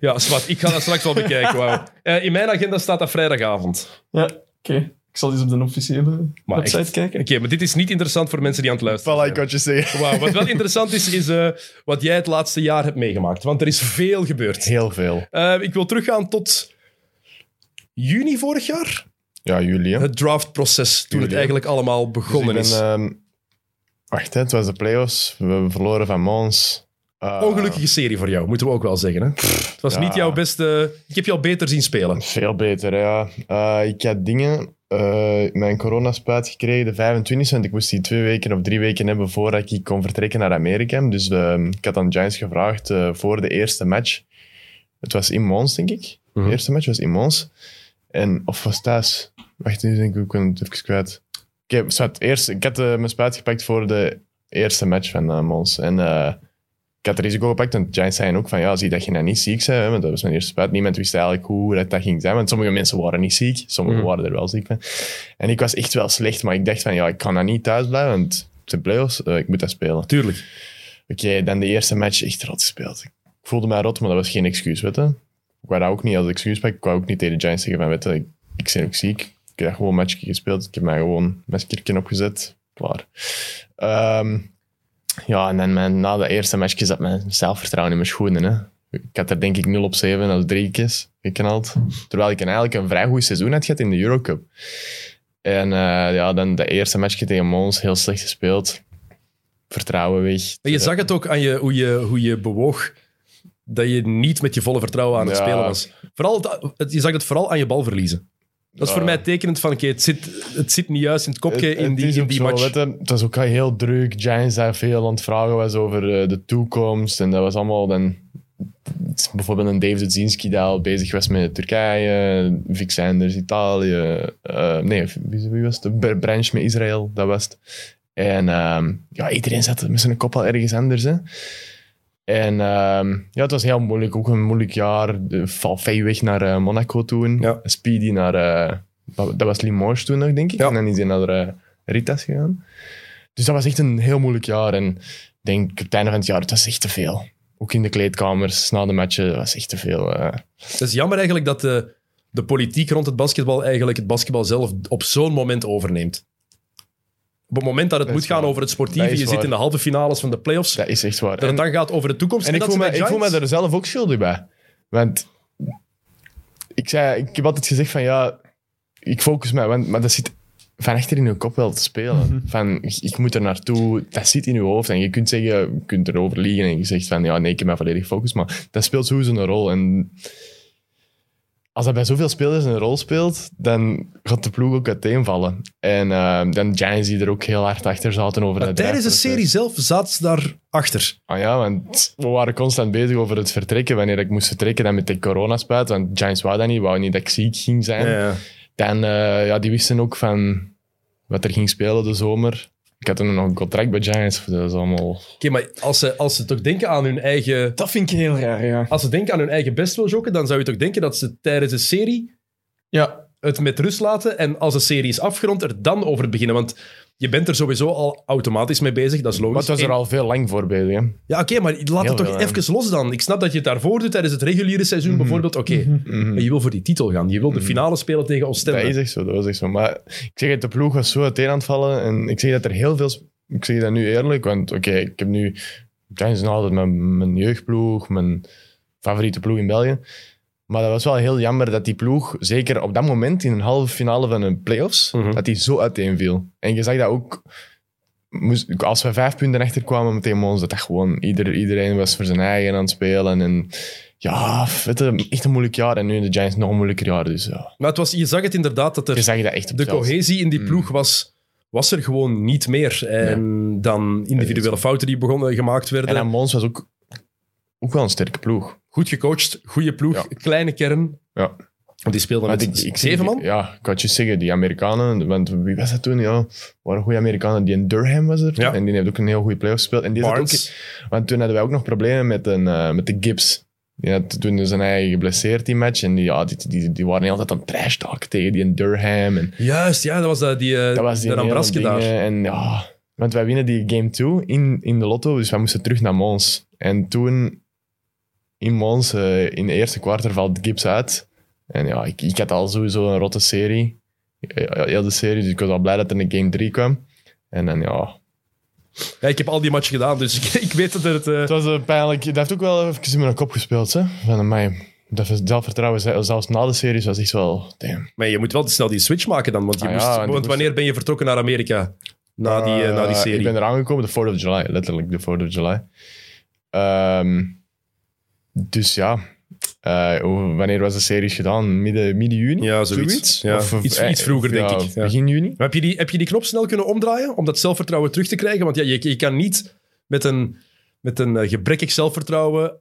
[SPEAKER 1] ja, zwart. Ik ga dat straks wel bekijken. wauw. Eh, in mijn agenda staat dat vrijdagavond.
[SPEAKER 3] Ja, oké. Ik zal eens op de officiële
[SPEAKER 1] Maar
[SPEAKER 3] website
[SPEAKER 1] echt.
[SPEAKER 3] kijken.
[SPEAKER 1] Oké, maar dit is niet interessant voor mensen die aan het luisteren
[SPEAKER 2] Voilà,
[SPEAKER 1] zijn.
[SPEAKER 2] ik had je zeggen.
[SPEAKER 1] Wauw, wat wel interessant is, is eh, wat jij het laatste jaar hebt meegemaakt. Want er is veel gebeurd.
[SPEAKER 2] Heel veel.
[SPEAKER 1] Eh, ik wil teruggaan tot juni vorig jaar.
[SPEAKER 2] Ja, jullie. hè.
[SPEAKER 1] Het draftproces, toen het
[SPEAKER 2] Juli, ja.
[SPEAKER 1] eigenlijk allemaal
[SPEAKER 2] Dus ik
[SPEAKER 1] begonnen
[SPEAKER 2] ben,
[SPEAKER 1] is.
[SPEAKER 2] ehm, wacht, hè, het was de playoffs. We hebben verloren van Mons. Eh,
[SPEAKER 1] Ongelukkige serie voor jou, moeten we ook wel zeggen. Hè? het was
[SPEAKER 2] ja.
[SPEAKER 1] niet jouw beste... Ik heb jou beter zien spelen.
[SPEAKER 2] Veel beter, ja. Eh, ik had dingen, eh, mijn coronaspuit gekregen, de 25 want ik moest die twee weken of drie weken hebben voordat ik kon vertrekken naar Amerika. Dus eh, ik had aan de Giants gevraagd eh, voor de eerste match. Het was in Mons, denk ik.
[SPEAKER 1] Mhm.
[SPEAKER 2] De eerste match was in Mons. En, of was thuis? Wacht, nu denk ik, ik ben het even kwijt. Ik, heb, zwart, eerst, ik had eh, mijn spuit gepakt voor de eerste match van eh, Mons. En... eh, ik had het risico gepakt, want de Giants zeiden ook van ja, zie dat je nou niet ziek bent, hè, want dat was mijn eerste spuit. Niemand wist eigenlijk hoe dat, dat ging zijn, want sommige mensen waren niet ziek, sommigen
[SPEAKER 1] Mhm.
[SPEAKER 2] waren er wel ziek van. En ik was echt wel slecht, maar ik dacht van ja, ik kan dat niet thuis blijven, want de playoffs, eh, ik moet dat spelen.
[SPEAKER 1] Tuurlijk.
[SPEAKER 2] Oké, dan de eerste match echt rot gespeeld. Ik voelde mij rot, maar dat was geen excuus, weet je. Ik wou dat ook niet als excuus pakken, ik wou ook niet tegen de Giants zeggen van weet je, ik, ik ben ook ziek. Ik heb dat gewoon een matchje gespeeld, ik heb mij gewoon een maskertje opgezet, klaar. Ehm, ja, en dan mijn, na dat eerste matchje zat mijn zelfvertrouwen in mijn schoenen. Hè. Ik had er denk ik 0 op 7 als drie keer geknald. Terwijl ik een- eigenlijk een vrij goed seizoen had gehad in de Eurocup. En eh, ja, dan dat eerste matchje tegen Mons, heel slecht gespeeld. Vertrouwen weg.
[SPEAKER 1] En je zag het ook aan je, hoe, je, hoe je bewoog dat je niet met je volle vertrouwen aan het
[SPEAKER 2] Ja.
[SPEAKER 1] spelen was. Vooral, het- het- je zag het vooral aan je bal verliezen. Dat is
[SPEAKER 2] Ja.
[SPEAKER 1] voor mij tekenend van, oké, het, zit, het zit niet juist in het kopje
[SPEAKER 2] Het-
[SPEAKER 1] in
[SPEAKER 2] het is
[SPEAKER 1] die, in
[SPEAKER 2] ook
[SPEAKER 1] die
[SPEAKER 2] zo,
[SPEAKER 1] match.
[SPEAKER 2] weet je, het was ook al heel druk. Giants daar veel aan het vragen was over eh, de toekomst. En dat was allemaal dan... het is Bijvoorbeeld een David Zinski die al bezig was met Turkije. Vic Sanders, Italië. eh, nee, wie, wie was het? Ber- Branch met Israël, dat was het. En ehm, ja, iedereen zat met zijn kop al ergens anders. Hè. En ehm, ja, het was heel moeilijk. Ook een moeilijk jaar. De Valvei weg naar eh, Monaco toen.
[SPEAKER 1] Ja.
[SPEAKER 2] Speedy naar... eh, dat dat was Limoges toen nog, denk ik.
[SPEAKER 1] Ja.
[SPEAKER 2] En dan is hij naar eh, Ritas gegaan. Dus dat was echt een heel moeilijk jaar. En ik denk, op het einde van het jaar, het was echt te veel. Ook in de kleedkamers, na de matchen, dat was echt te veel. eh.
[SPEAKER 1] Het is jammer eigenlijk dat de, de politiek rond het basketbal eigenlijk het basketbal zelf op zo'n moment overneemt. Op het moment dat het
[SPEAKER 2] Dat
[SPEAKER 1] moet
[SPEAKER 2] is
[SPEAKER 1] gaan
[SPEAKER 2] waar.
[SPEAKER 1] over het sportieve,
[SPEAKER 2] Dat
[SPEAKER 1] je
[SPEAKER 2] is
[SPEAKER 1] zit
[SPEAKER 2] waar.
[SPEAKER 1] in de halve finales van de playoffs,
[SPEAKER 2] dat is echt waar.
[SPEAKER 1] dat het
[SPEAKER 2] En-
[SPEAKER 1] dan gaat over de toekomst.
[SPEAKER 2] En ik
[SPEAKER 1] dat
[SPEAKER 2] voel,
[SPEAKER 1] ze
[SPEAKER 2] me,
[SPEAKER 1] bij
[SPEAKER 2] ik voel me
[SPEAKER 1] Giants-
[SPEAKER 2] er zelf ook schuldig bij. Want ik, zei, ik heb altijd gezegd van ja, ik focus mij. Want, maar dat zit van achter in je kop wel te
[SPEAKER 1] Mhm.
[SPEAKER 2] spelen. Van, ik ik moet er naartoe, dat zit in je hoofd. En je kunt zeggen, je kunt erover liegen en je zegt van, ja, nee, ik heb mij volledig focus. Maar dat speelt sowieso een rol. En als dat bij zoveel spelers een rol speelt, dan gaat de ploeg ook uiteenvallen. En eh, dan Giants die er ook heel hard achter zaten over
[SPEAKER 1] Maar
[SPEAKER 2] dat
[SPEAKER 1] tijdens de
[SPEAKER 2] draaiproces.
[SPEAKER 1] serie zelf zaten ze daarachter.
[SPEAKER 2] Ah ja, want we waren constant bezig over het vertrekken. Wanneer ik moest vertrekken, dan met de coronaspuit. Want Giants wou dat niet, wou niet dat ik ziek ging zijn. Dan, eh, ja, die wisten ook van wat er ging spelen de zomer. Ik had toen nog een contract bij Giants. dus Dat is allemaal...
[SPEAKER 1] Oké, maar als ze, als ze toch denken aan hun eigen...
[SPEAKER 3] Dat vind ik heel raar, ja.
[SPEAKER 1] Als ze denken aan hun eigen best wil jokken, dan zou je toch denken dat ze tijdens de serie
[SPEAKER 3] Ja,
[SPEAKER 1] het met rust laten en als de serie is afgerond, er dan over beginnen. Want je bent er sowieso al automatisch mee bezig, dat is logisch.
[SPEAKER 2] Maar het was er
[SPEAKER 1] En-
[SPEAKER 2] al veel lang voor bezig. hè.
[SPEAKER 1] Ja, oké, maar laat
[SPEAKER 2] Heel
[SPEAKER 1] het toch
[SPEAKER 2] veel, hè.
[SPEAKER 1] even los dan. Ik snap dat je het daarvoor doet tijdens het reguliere seizoen bijvoorbeeld. Oké,
[SPEAKER 2] Mhm.
[SPEAKER 1] maar je wil voor die titel gaan. Je wil de finale spelen tegen
[SPEAKER 2] Dat
[SPEAKER 1] Oostende.
[SPEAKER 2] Mhm. is echt zo, dat was echt zo. Maar ik zeg het, de ploeg was zo uiteen aan het vallen. En ik zeg dat er heel veel... sp- Ik zeg dat nu eerlijk, want oké, ik heb nu... Giants is nog altijd mijn, mijn jeugdploeg, mijn favoriete ploeg in België. Maar dat was wel heel jammer dat die ploeg, zeker op dat moment in een halve finale van een playoffs,
[SPEAKER 1] Mhm.
[SPEAKER 2] dat die zo uiteenviel. En je zag dat ook... moest- Als we vijf punten achter kwamen meteen ons, dat dat gewoon ieder, iedereen was voor zijn eigen aan het spelen. En ja, het is echt een moeilijk jaar. En nu in de Giants nog een moeilijker jaar. Dus ja,
[SPEAKER 1] Maar het was, je zag het inderdaad dat er...
[SPEAKER 2] je zag dat echt op
[SPEAKER 1] de
[SPEAKER 2] het veld.
[SPEAKER 1] cohesie in die
[SPEAKER 2] Mm.
[SPEAKER 1] ploeg was, was er gewoon niet meer. En dan individuele fouten die begonnen gemaakt
[SPEAKER 2] En
[SPEAKER 1] werden.
[SPEAKER 2] dan Mons was ook, ook wel een sterke ploeg.
[SPEAKER 1] Goed gecoacht, goede ploeg,
[SPEAKER 2] Ja.
[SPEAKER 1] kleine kern.
[SPEAKER 2] Ja.
[SPEAKER 1] Want die speelden met zeven man.
[SPEAKER 2] Ja, ik had je zeggen, die Amerikanen, want wie was dat toen? Ja, waren goede Amerikanen. Die in Durham was er.
[SPEAKER 1] Ja.
[SPEAKER 2] En die heeft ook een heel goede playoff gespeeld. En die zat ook,
[SPEAKER 1] Barnes.
[SPEAKER 2] want toen hadden wij ook nog problemen met, een, eh, met de Gibbs. Die had toen zijn eigen geblesseerd die match. En die, ja, die, die, die waren altijd aan het trash talken tegen die in Durham. En
[SPEAKER 1] Juist, ja, dat was dat, die, eh
[SPEAKER 2] dat was die
[SPEAKER 1] de
[SPEAKER 2] hele
[SPEAKER 1] Ambraske
[SPEAKER 2] dingen.
[SPEAKER 1] daar.
[SPEAKER 2] En ja, want wij winnen die game 2 in, in de lotto, dus wij moesten terug naar Mons. En toen in Mons, eh, in de eerste kwartier, valt Gibbs uit. En ja, ik, ik had al sowieso een rotte serie. Eh, Heel de serie, dus ik was al blij dat er een game 3 kwam. En dan ja...
[SPEAKER 1] Ja, ik heb al die matchen gedaan, dus ik, ik weet dat het... eh,
[SPEAKER 2] Het was eh, pijnlijk. Dat heeft ook wel even in mijn kop gespeeld, hè. Van mij. Dat zelfvertrouwen, ze- zelfs na de series, was echt wel... Damn.
[SPEAKER 1] maar je moet wel snel die switch maken dan, want, je
[SPEAKER 2] Ah ja,
[SPEAKER 1] moest,
[SPEAKER 2] en die
[SPEAKER 1] want
[SPEAKER 2] moest-
[SPEAKER 1] wanneer ben je vertrokken naar Amerika? Na die, eh, na die
[SPEAKER 2] Eh,
[SPEAKER 1] serie.
[SPEAKER 2] Ik ben er aangekomen, de 4th of July, letterlijk de 4th of July. Ehm, dus ja, eh, hoe- wanneer was de serie gedaan? Midden, midden juni?
[SPEAKER 1] Ja, zoiets. Ja, iets- iets
[SPEAKER 2] eh,
[SPEAKER 1] vroeger, denk ik. Ja.
[SPEAKER 2] Begin juni?
[SPEAKER 1] Maar heb je, die, heb je die knop snel kunnen omdraaien om dat zelfvertrouwen terug te krijgen? Want ja, je, je kan niet met een, met een eh, gebrekkig zelfvertrouwen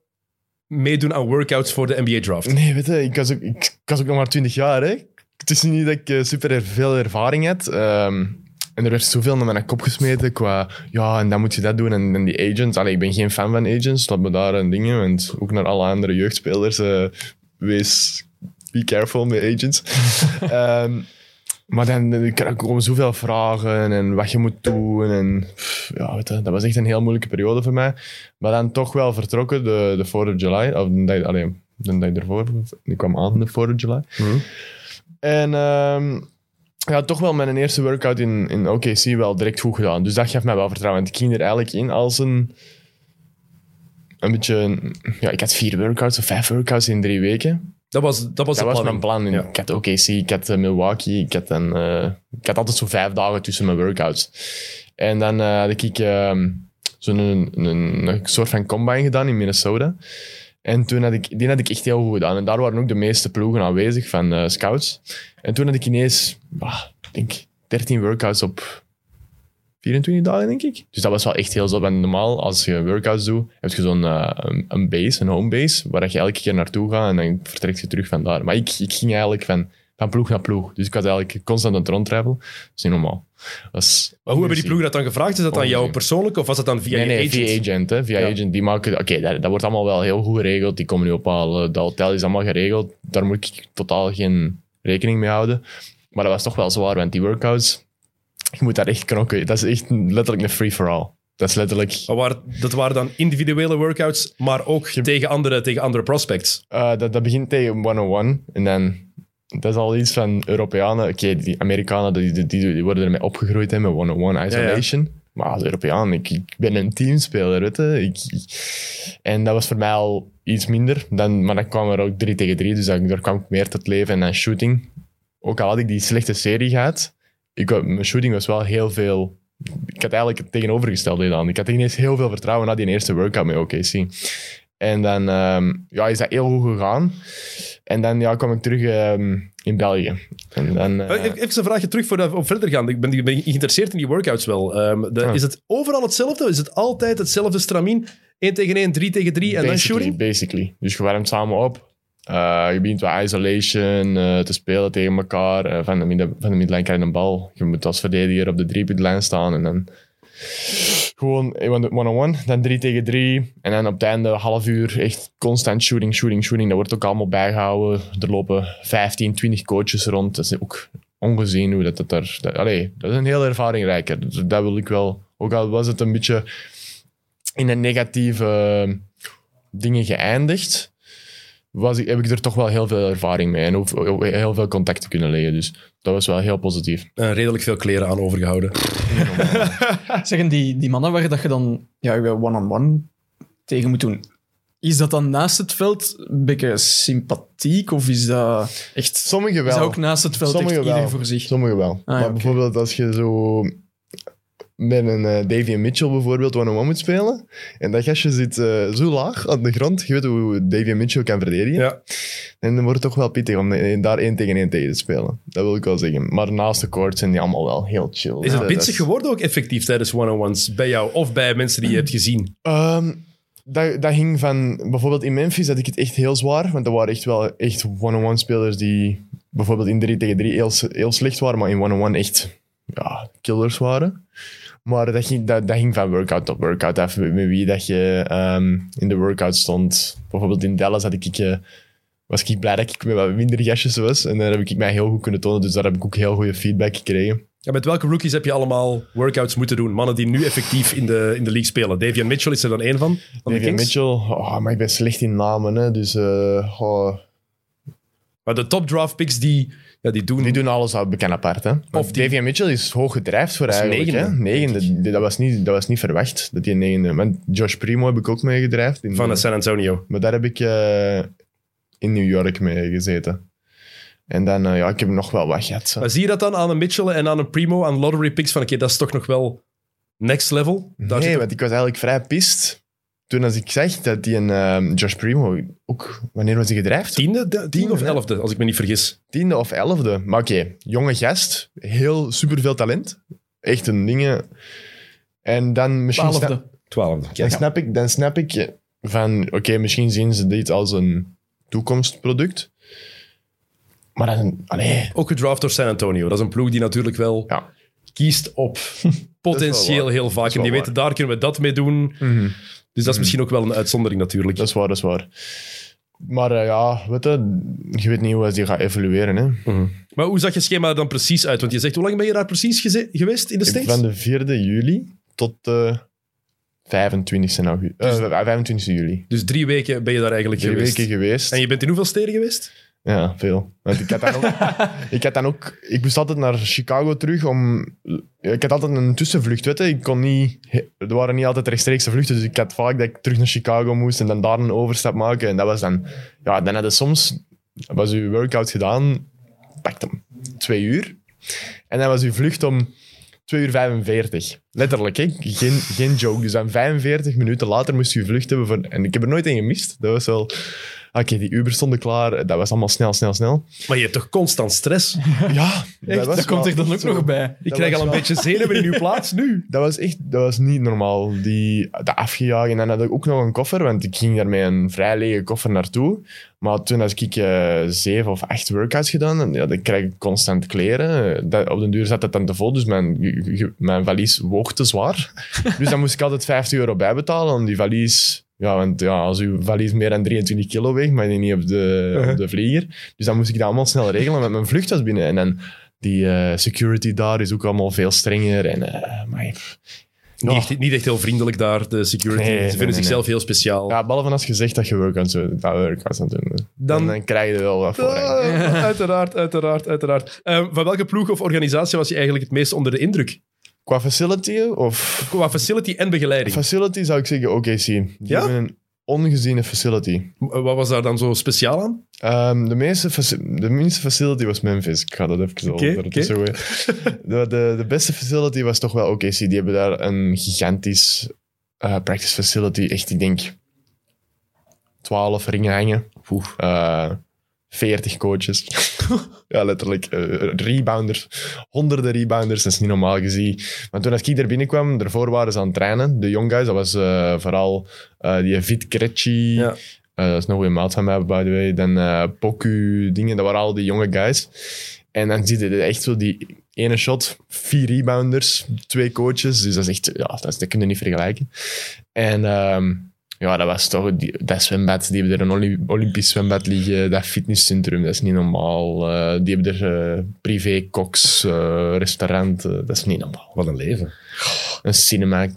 [SPEAKER 1] meedoen aan workouts voor de NBA-draft.
[SPEAKER 2] Nee, weet je, ik was ook, ik, ik was ook nog maar 20 jaar. Hè? Het is niet dat ik eh, super er- veel ervaring had. ehm, en er werd zoveel naar mijn kop gesmeten qua... Ja, en dan moet je dat doen. En, en die agents... Allee, ik ben geen fan van agents. Laat me daar een ding in. Want ook naar alle andere jeugdspelers... eh, wees... Be careful met agents. Ehm, maar dan eh, krijg ik gewoon zoveel vragen en wat je moet doen. En, pff, ja, weet je, dat was echt een heel moeilijke periode voor mij. Maar dan toch wel vertrokken, de, de 4th of July. Of de dag, allee, de dag ervoor. Ik kwam aan de 4th of July.
[SPEAKER 1] Mhm.
[SPEAKER 2] En ehm, ja, toch wel mijn eerste workout in, in OKC wel direct goed gedaan. Dus dat gaf mij wel vertrouwen. Want ik ging er eigenlijk in als een... Een beetje... een- Ja, ik had vier workouts of vijf workouts in drie weken.
[SPEAKER 1] Dat was, dat was, de
[SPEAKER 2] Dat was mijn
[SPEAKER 1] planning.
[SPEAKER 2] plan.
[SPEAKER 1] Ja.
[SPEAKER 2] Ik had OKC, ik had eh, Milwaukee, ik had, een, eh, ik had altijd zo'n vijf dagen tussen mijn workouts. En dan eh, had ik ehm, zo'n een, een, een soort van combine gedaan in Minnesota. En toen had ik, die had ik echt heel goed gedaan. En daar waren ook de meeste ploegen aanwezig van eh, scouts. En toen had ik ineens, ah, ik denk 13 workouts op 24 dagen, denk ik. Dus dat was wel echt heel zot. En normaal, als je workouts doet, heb je zo'n eh, een, een base, een home base, waar je elke keer naartoe gaat en dan vertrekt je terug van daar. Maar ik, ik ging eigenlijk van, van ploeg naar ploeg. Dus ik was eigenlijk constant aan het rondtravelen. Dat is niet normaal. Dat is
[SPEAKER 1] Maar hoe hebben die ploegen dat dan gevraagd? Is dat dan jou
[SPEAKER 2] Ongezien.
[SPEAKER 1] persoonlijk of was dat dan via
[SPEAKER 2] Nee,
[SPEAKER 1] je
[SPEAKER 2] nee,
[SPEAKER 1] agent?
[SPEAKER 2] via agent. Hè, via
[SPEAKER 1] Ja.
[SPEAKER 2] agent die maken, oké, dat, dat wordt allemaal wel heel goed geregeld. Die komen nu ophalen. Dat hotel is allemaal geregeld. Daar moet ik totaal geen rekening mee houden. Maar dat was toch wel zwaar, want die workouts, je moet daar echt knokken. Dat is echt een- letterlijk een free-for-all. Dat is letterlijk...
[SPEAKER 1] Maar waar- dat waren dan individuele workouts, maar ook tegen, andere, tegen andere prospects.
[SPEAKER 2] eh, dat, dat begint tegen 101 en dan... Dat is al iets van Europeanen. Oké, die Amerikanen die, die, die, die worden ermee opgegroeid hè, met 101 isolation. Maar als Europeaan, ik, ik ben een teamspeler. Weet je. Ik, ik- en dat was voor mij al iets minder. Dan, maar dan kwam er ook 3 tegen 3, dus dan, daar kwam ik meer tot leven. En dan shooting. Ook al had ik die slechte serie gehad, ik, had- mijn shooting was wel heel veel... Ik had eigenlijk het tegenovergestelde gedaan. Ik had ineens heel veel vertrouwen na die eerste workout met OKC. En dan ehm, ja, is dat heel goed gegaan. En dan ja, kwam ik terug ehm, in België. En dan, eh,
[SPEAKER 1] Eh, Even een vraagje terug voordat we verder gaan. Ik ben, ik ben geïnteresseerd in die workouts wel. Ehm, de-
[SPEAKER 2] Ah.
[SPEAKER 1] Is het overal hetzelfde? Is het altijd hetzelfde stramien? 1 tegen 1, 3 tegen 3 en dan
[SPEAKER 2] basically,
[SPEAKER 1] shooting?
[SPEAKER 2] Basically. Dus je warmt samen op. Eh, je begint wat isolation eh, te spelen tegen elkaar. Eh, van, de midden, van de midline krijg je een bal. Je moet als verdediger op de driepuntlijn staan. En dan gewoon eh, one- one-on-one. Dan drie tegen drie. En dan op het einde half uur echt constant shooting, shooting, shooting. Dat wordt ook allemaal bijgehouden. Er lopen 15, 20 coaches rond. Dat is ook ongezien hoe dat, dat daar... Dat, allee, dat is een heel ervaringrijker. Dus dat wil ik wel... Ook al was het een beetje in een negatieve dingen geëindigd, was ik, heb ik er toch wel heel veel ervaring mee en hoef- heel veel contacten kunnen leggen. Dus dat was wel heel positief.
[SPEAKER 1] Eh, redelijk veel kleren aan overgehouden.
[SPEAKER 3] Ah, Zeggen die, die mannen waar dat je dan ja, je one-on-one tegen moet doen, is dat dan naast het veld een beetje sympathiek of is dat echt...
[SPEAKER 2] Sommigen
[SPEAKER 3] Is
[SPEAKER 2] wel.
[SPEAKER 3] dat ook naast het veld echt
[SPEAKER 2] Sommigen
[SPEAKER 3] ieder
[SPEAKER 2] wel.
[SPEAKER 3] voor zich?
[SPEAKER 2] Sommigen wel.
[SPEAKER 3] ja,
[SPEAKER 2] maar
[SPEAKER 3] oké.
[SPEAKER 2] bijvoorbeeld als je zo met een eh, Davy en Mitchell bijvoorbeeld one-on-one moet spelen en dat gastje zit eh, zo laag aan de grond, je weet hoe Davy en Mitchell kan verdedigen.
[SPEAKER 1] Ja.
[SPEAKER 2] En dan wordt het toch wel pittig om eh, daar één tegen één tegen te spelen. Dat wil ik wel zeggen. Maar naast de court zijn die allemaal wel heel chill.
[SPEAKER 1] Is het
[SPEAKER 2] Ja,
[SPEAKER 1] bitsig
[SPEAKER 2] dat-
[SPEAKER 1] geworden ook effectief tijdens one-on-ones bij jou of bij mensen die je hebt gezien?
[SPEAKER 2] Ehm, dat, dat hing van... Bijvoorbeeld in Memphis had ik het echt heel zwaar. Want er waren echt wel echt one-on-one spelers die bijvoorbeeld in 3 tegen 3 heel, heel slecht waren. Maar in one-on-one echt ja, killers waren. Maar dat ging, dat, dat ging van workout tot workout af. Met met wie dat je ehm, in de workout stond. Bijvoorbeeld in Dallas had ik... eh, was ik blij dat ik met wat minder gastjes was. En daar heb ik mij heel goed kunnen tonen. Dus daar heb ik ook heel goede feedback gekregen.
[SPEAKER 1] Ja, met welke rookies heb je allemaal workouts moeten doen? Mannen die nu effectief in de, in de league spelen. Davian Mitchell is er dan één van. van de
[SPEAKER 2] Davian
[SPEAKER 1] Kings.
[SPEAKER 2] Mitchell. Oh, maar ik ben slecht in namen. Hè, dus... eh, oh,
[SPEAKER 1] Maar de top draft picks die, ja, die doen...
[SPEAKER 2] Die doen alles al bekend apart. Hè?
[SPEAKER 1] Of
[SPEAKER 2] Of
[SPEAKER 1] die-
[SPEAKER 2] Davy Mitchell is hoog gedrijfd voor
[SPEAKER 1] is
[SPEAKER 2] eigenlijk.
[SPEAKER 1] negende,
[SPEAKER 2] hè? negende. Die- Dat was, niet, dat was niet verwacht, dat hij negende... Want Josh Primo heb ik ook mee gedrijfd. in-
[SPEAKER 1] van eh, San Antonio.
[SPEAKER 2] Maar daar heb ik eh, in New York mee gezeten. En dan, eh, ja, ik heb nog wel wat gehad. zo.
[SPEAKER 1] Maar zie je dat dan aan een Mitchell en aan een Primo, aan lottery picks? Van oké, dat is toch nog wel next level? Daar
[SPEAKER 2] nee,
[SPEAKER 1] zit-
[SPEAKER 2] want ik was eigenlijk vrij pist toen als ik zeg dat die een eh, Josh Primo ook... Wanneer was hij gedrijfd?
[SPEAKER 1] Tiende, de- tiende of
[SPEAKER 2] hè?
[SPEAKER 1] elfde, als ik me niet vergis.
[SPEAKER 2] tiende of elfde. Maar oké, jonge gast, heel superveel talent. Echt een dingen. En dan misschien... sna-
[SPEAKER 3] Twaalfde.
[SPEAKER 1] Twaalfde.
[SPEAKER 2] Dan snap ik, dan snap ik van, oké, misschien zien ze dit als een toekomstproduct. Maar dan, allee,
[SPEAKER 1] Ook gedraft door San Antonio. Dat is een ploeg die natuurlijk wel
[SPEAKER 2] ja.
[SPEAKER 1] kiest op potentieel heel vaak. En die
[SPEAKER 2] wel waar. Mm.
[SPEAKER 1] weten, daar kunnen we dat mee doen. Dus dat is misschien ook wel een uitzondering natuurlijk.
[SPEAKER 2] Dat is waar, dat is waar. Maar eh, ja, weet je, je weet niet hoe die gaat evolueren. Hè.
[SPEAKER 1] Maar hoe zag je schema er dan precies uit? Want je zegt, hoe lang ben je daar precies geze- geweest in de States?
[SPEAKER 2] Van de 4e juli tot de 25e, augu- eh, 25e juli.
[SPEAKER 1] Dus drie weken ben je daar eigenlijk
[SPEAKER 2] Drie
[SPEAKER 1] Dus- geweest.
[SPEAKER 2] weken geweest.
[SPEAKER 1] En je bent in hoeveel steden geweest?
[SPEAKER 2] Ja, veel. Want ik had dan ook... ik, had dan ook ik moest altijd naar Chicago terug om... Ik had altijd een tussenvlucht, weet je. Ik kon niet... Er waren niet altijd rechtstreekse vluchten, dus ik had vaak dat ik terug naar Chicago moest en dan daar een overstap maken. En dat was dan... Ja, dan had je soms... Was je workout gedaan, pakte hem twee uur. En dan was uw vlucht om 2 uur 45. Letterlijk, hè? Geen, geen joke. Dus dan 45 minuten later moest u vlucht hebben. Voor... En ik heb er nooit een gemist. Dat was wel... Ah, Oké, die Uber stonden klaar. Dat was allemaal snel, snel, snel.
[SPEAKER 1] Maar je hebt toch constant stress?
[SPEAKER 2] Ja,
[SPEAKER 3] Echt, dat,
[SPEAKER 2] was
[SPEAKER 3] komt
[SPEAKER 2] wel
[SPEAKER 3] er dan ook
[SPEAKER 2] zo-
[SPEAKER 3] nog bij.
[SPEAKER 1] Ik
[SPEAKER 2] Dat
[SPEAKER 1] krijg
[SPEAKER 2] was
[SPEAKER 1] al een
[SPEAKER 2] wel-
[SPEAKER 1] beetje zenuwen in uw plaats nu.
[SPEAKER 2] Dat was echt dat was niet normaal. Die, dat afgejaagd. En dan had ik ook nog een koffer, want ik ging daar met een vrij lege koffer naartoe. Maar toen had ik eh, zeven of acht workouts gedaan, en ja, dan krijg ik constant kleren. Dat, op den duur zat dat dan te vol, dus mijn, ge- ge- mijn valies woog te zwaar. dus dan moest ik altijd 50 euro bijbetalen om die valies... Ja, want ja, als uw valies meer dan 23 kilo weegt, maar je niet op de, op de vlieger. Dus dan moest ik dat allemaal snel regelen, want mijn vlucht was binnen. En dan die eh, security daar is ook allemaal veel strenger. En, eh, maar, pff.
[SPEAKER 1] Niet, echt, niet echt heel vriendelijk daar, de security.
[SPEAKER 2] Oh. Nee,
[SPEAKER 1] Ze
[SPEAKER 2] nee,
[SPEAKER 1] vinden
[SPEAKER 2] nee,
[SPEAKER 1] zichzelf heel speciaal.
[SPEAKER 2] Ja, behalve als je zegt dat je workouts, eh, dat workouts aan het doen bent.
[SPEAKER 1] Dan-
[SPEAKER 2] Dan, oh, dan krijg je er wel wat voor.
[SPEAKER 1] Eh, uiteraard, uiteraard, uiteraard. Eh, van welke ploeg of organisatie was je eigenlijk het meest onder de indruk?
[SPEAKER 2] Qua facility of
[SPEAKER 1] Qua facility en begeleiding.
[SPEAKER 2] facility zou ik zeggen OKC. Die
[SPEAKER 1] Ja?
[SPEAKER 2] hebben een ongeziene facility.
[SPEAKER 1] W- Wat was daar dan zo speciaal aan?
[SPEAKER 2] Ehm, de, meeste faci- de minste facility was Memphis. Ik ga dat even zo
[SPEAKER 1] Oké,
[SPEAKER 2] okay, ertussen gooien. De, de, de beste facility was toch wel OKC. Die hebben daar een gigantisch eh, practice facility. Echt, ik denk, 12 ringen hangen. Eh, 40 coaches. ja, letterlijk. eh, rebounders. Honderden rebounders. Dat is niet normaal gezien. Maar toen dat ik daar binnenkwam, daarvoor waren ze aan het trainen. De young guys, dat was eh, vooral eh, die Vit Krejci.
[SPEAKER 1] Ja.
[SPEAKER 2] Eh, dat is nog een maat van mij, by the way. Dan eh Poku, dingen. Dat waren al die jonge guys. En dan zie je echt zo die ene shot, vier rebounders, twee coaches. Dus dat is echt, ja, dat, is- dat kun je niet vergelijken. En ehm, ja, dat was toch die, dat zwembad. Die hebben er een Olymp- Olympisch zwembad liggen, dat fitnesscentrum, dat is niet normaal. Eh, die hebben er eh privé koks, eh, restaurant, eh, dat is niet normaal.
[SPEAKER 1] Oh, Wat een leven.
[SPEAKER 2] Een cinema,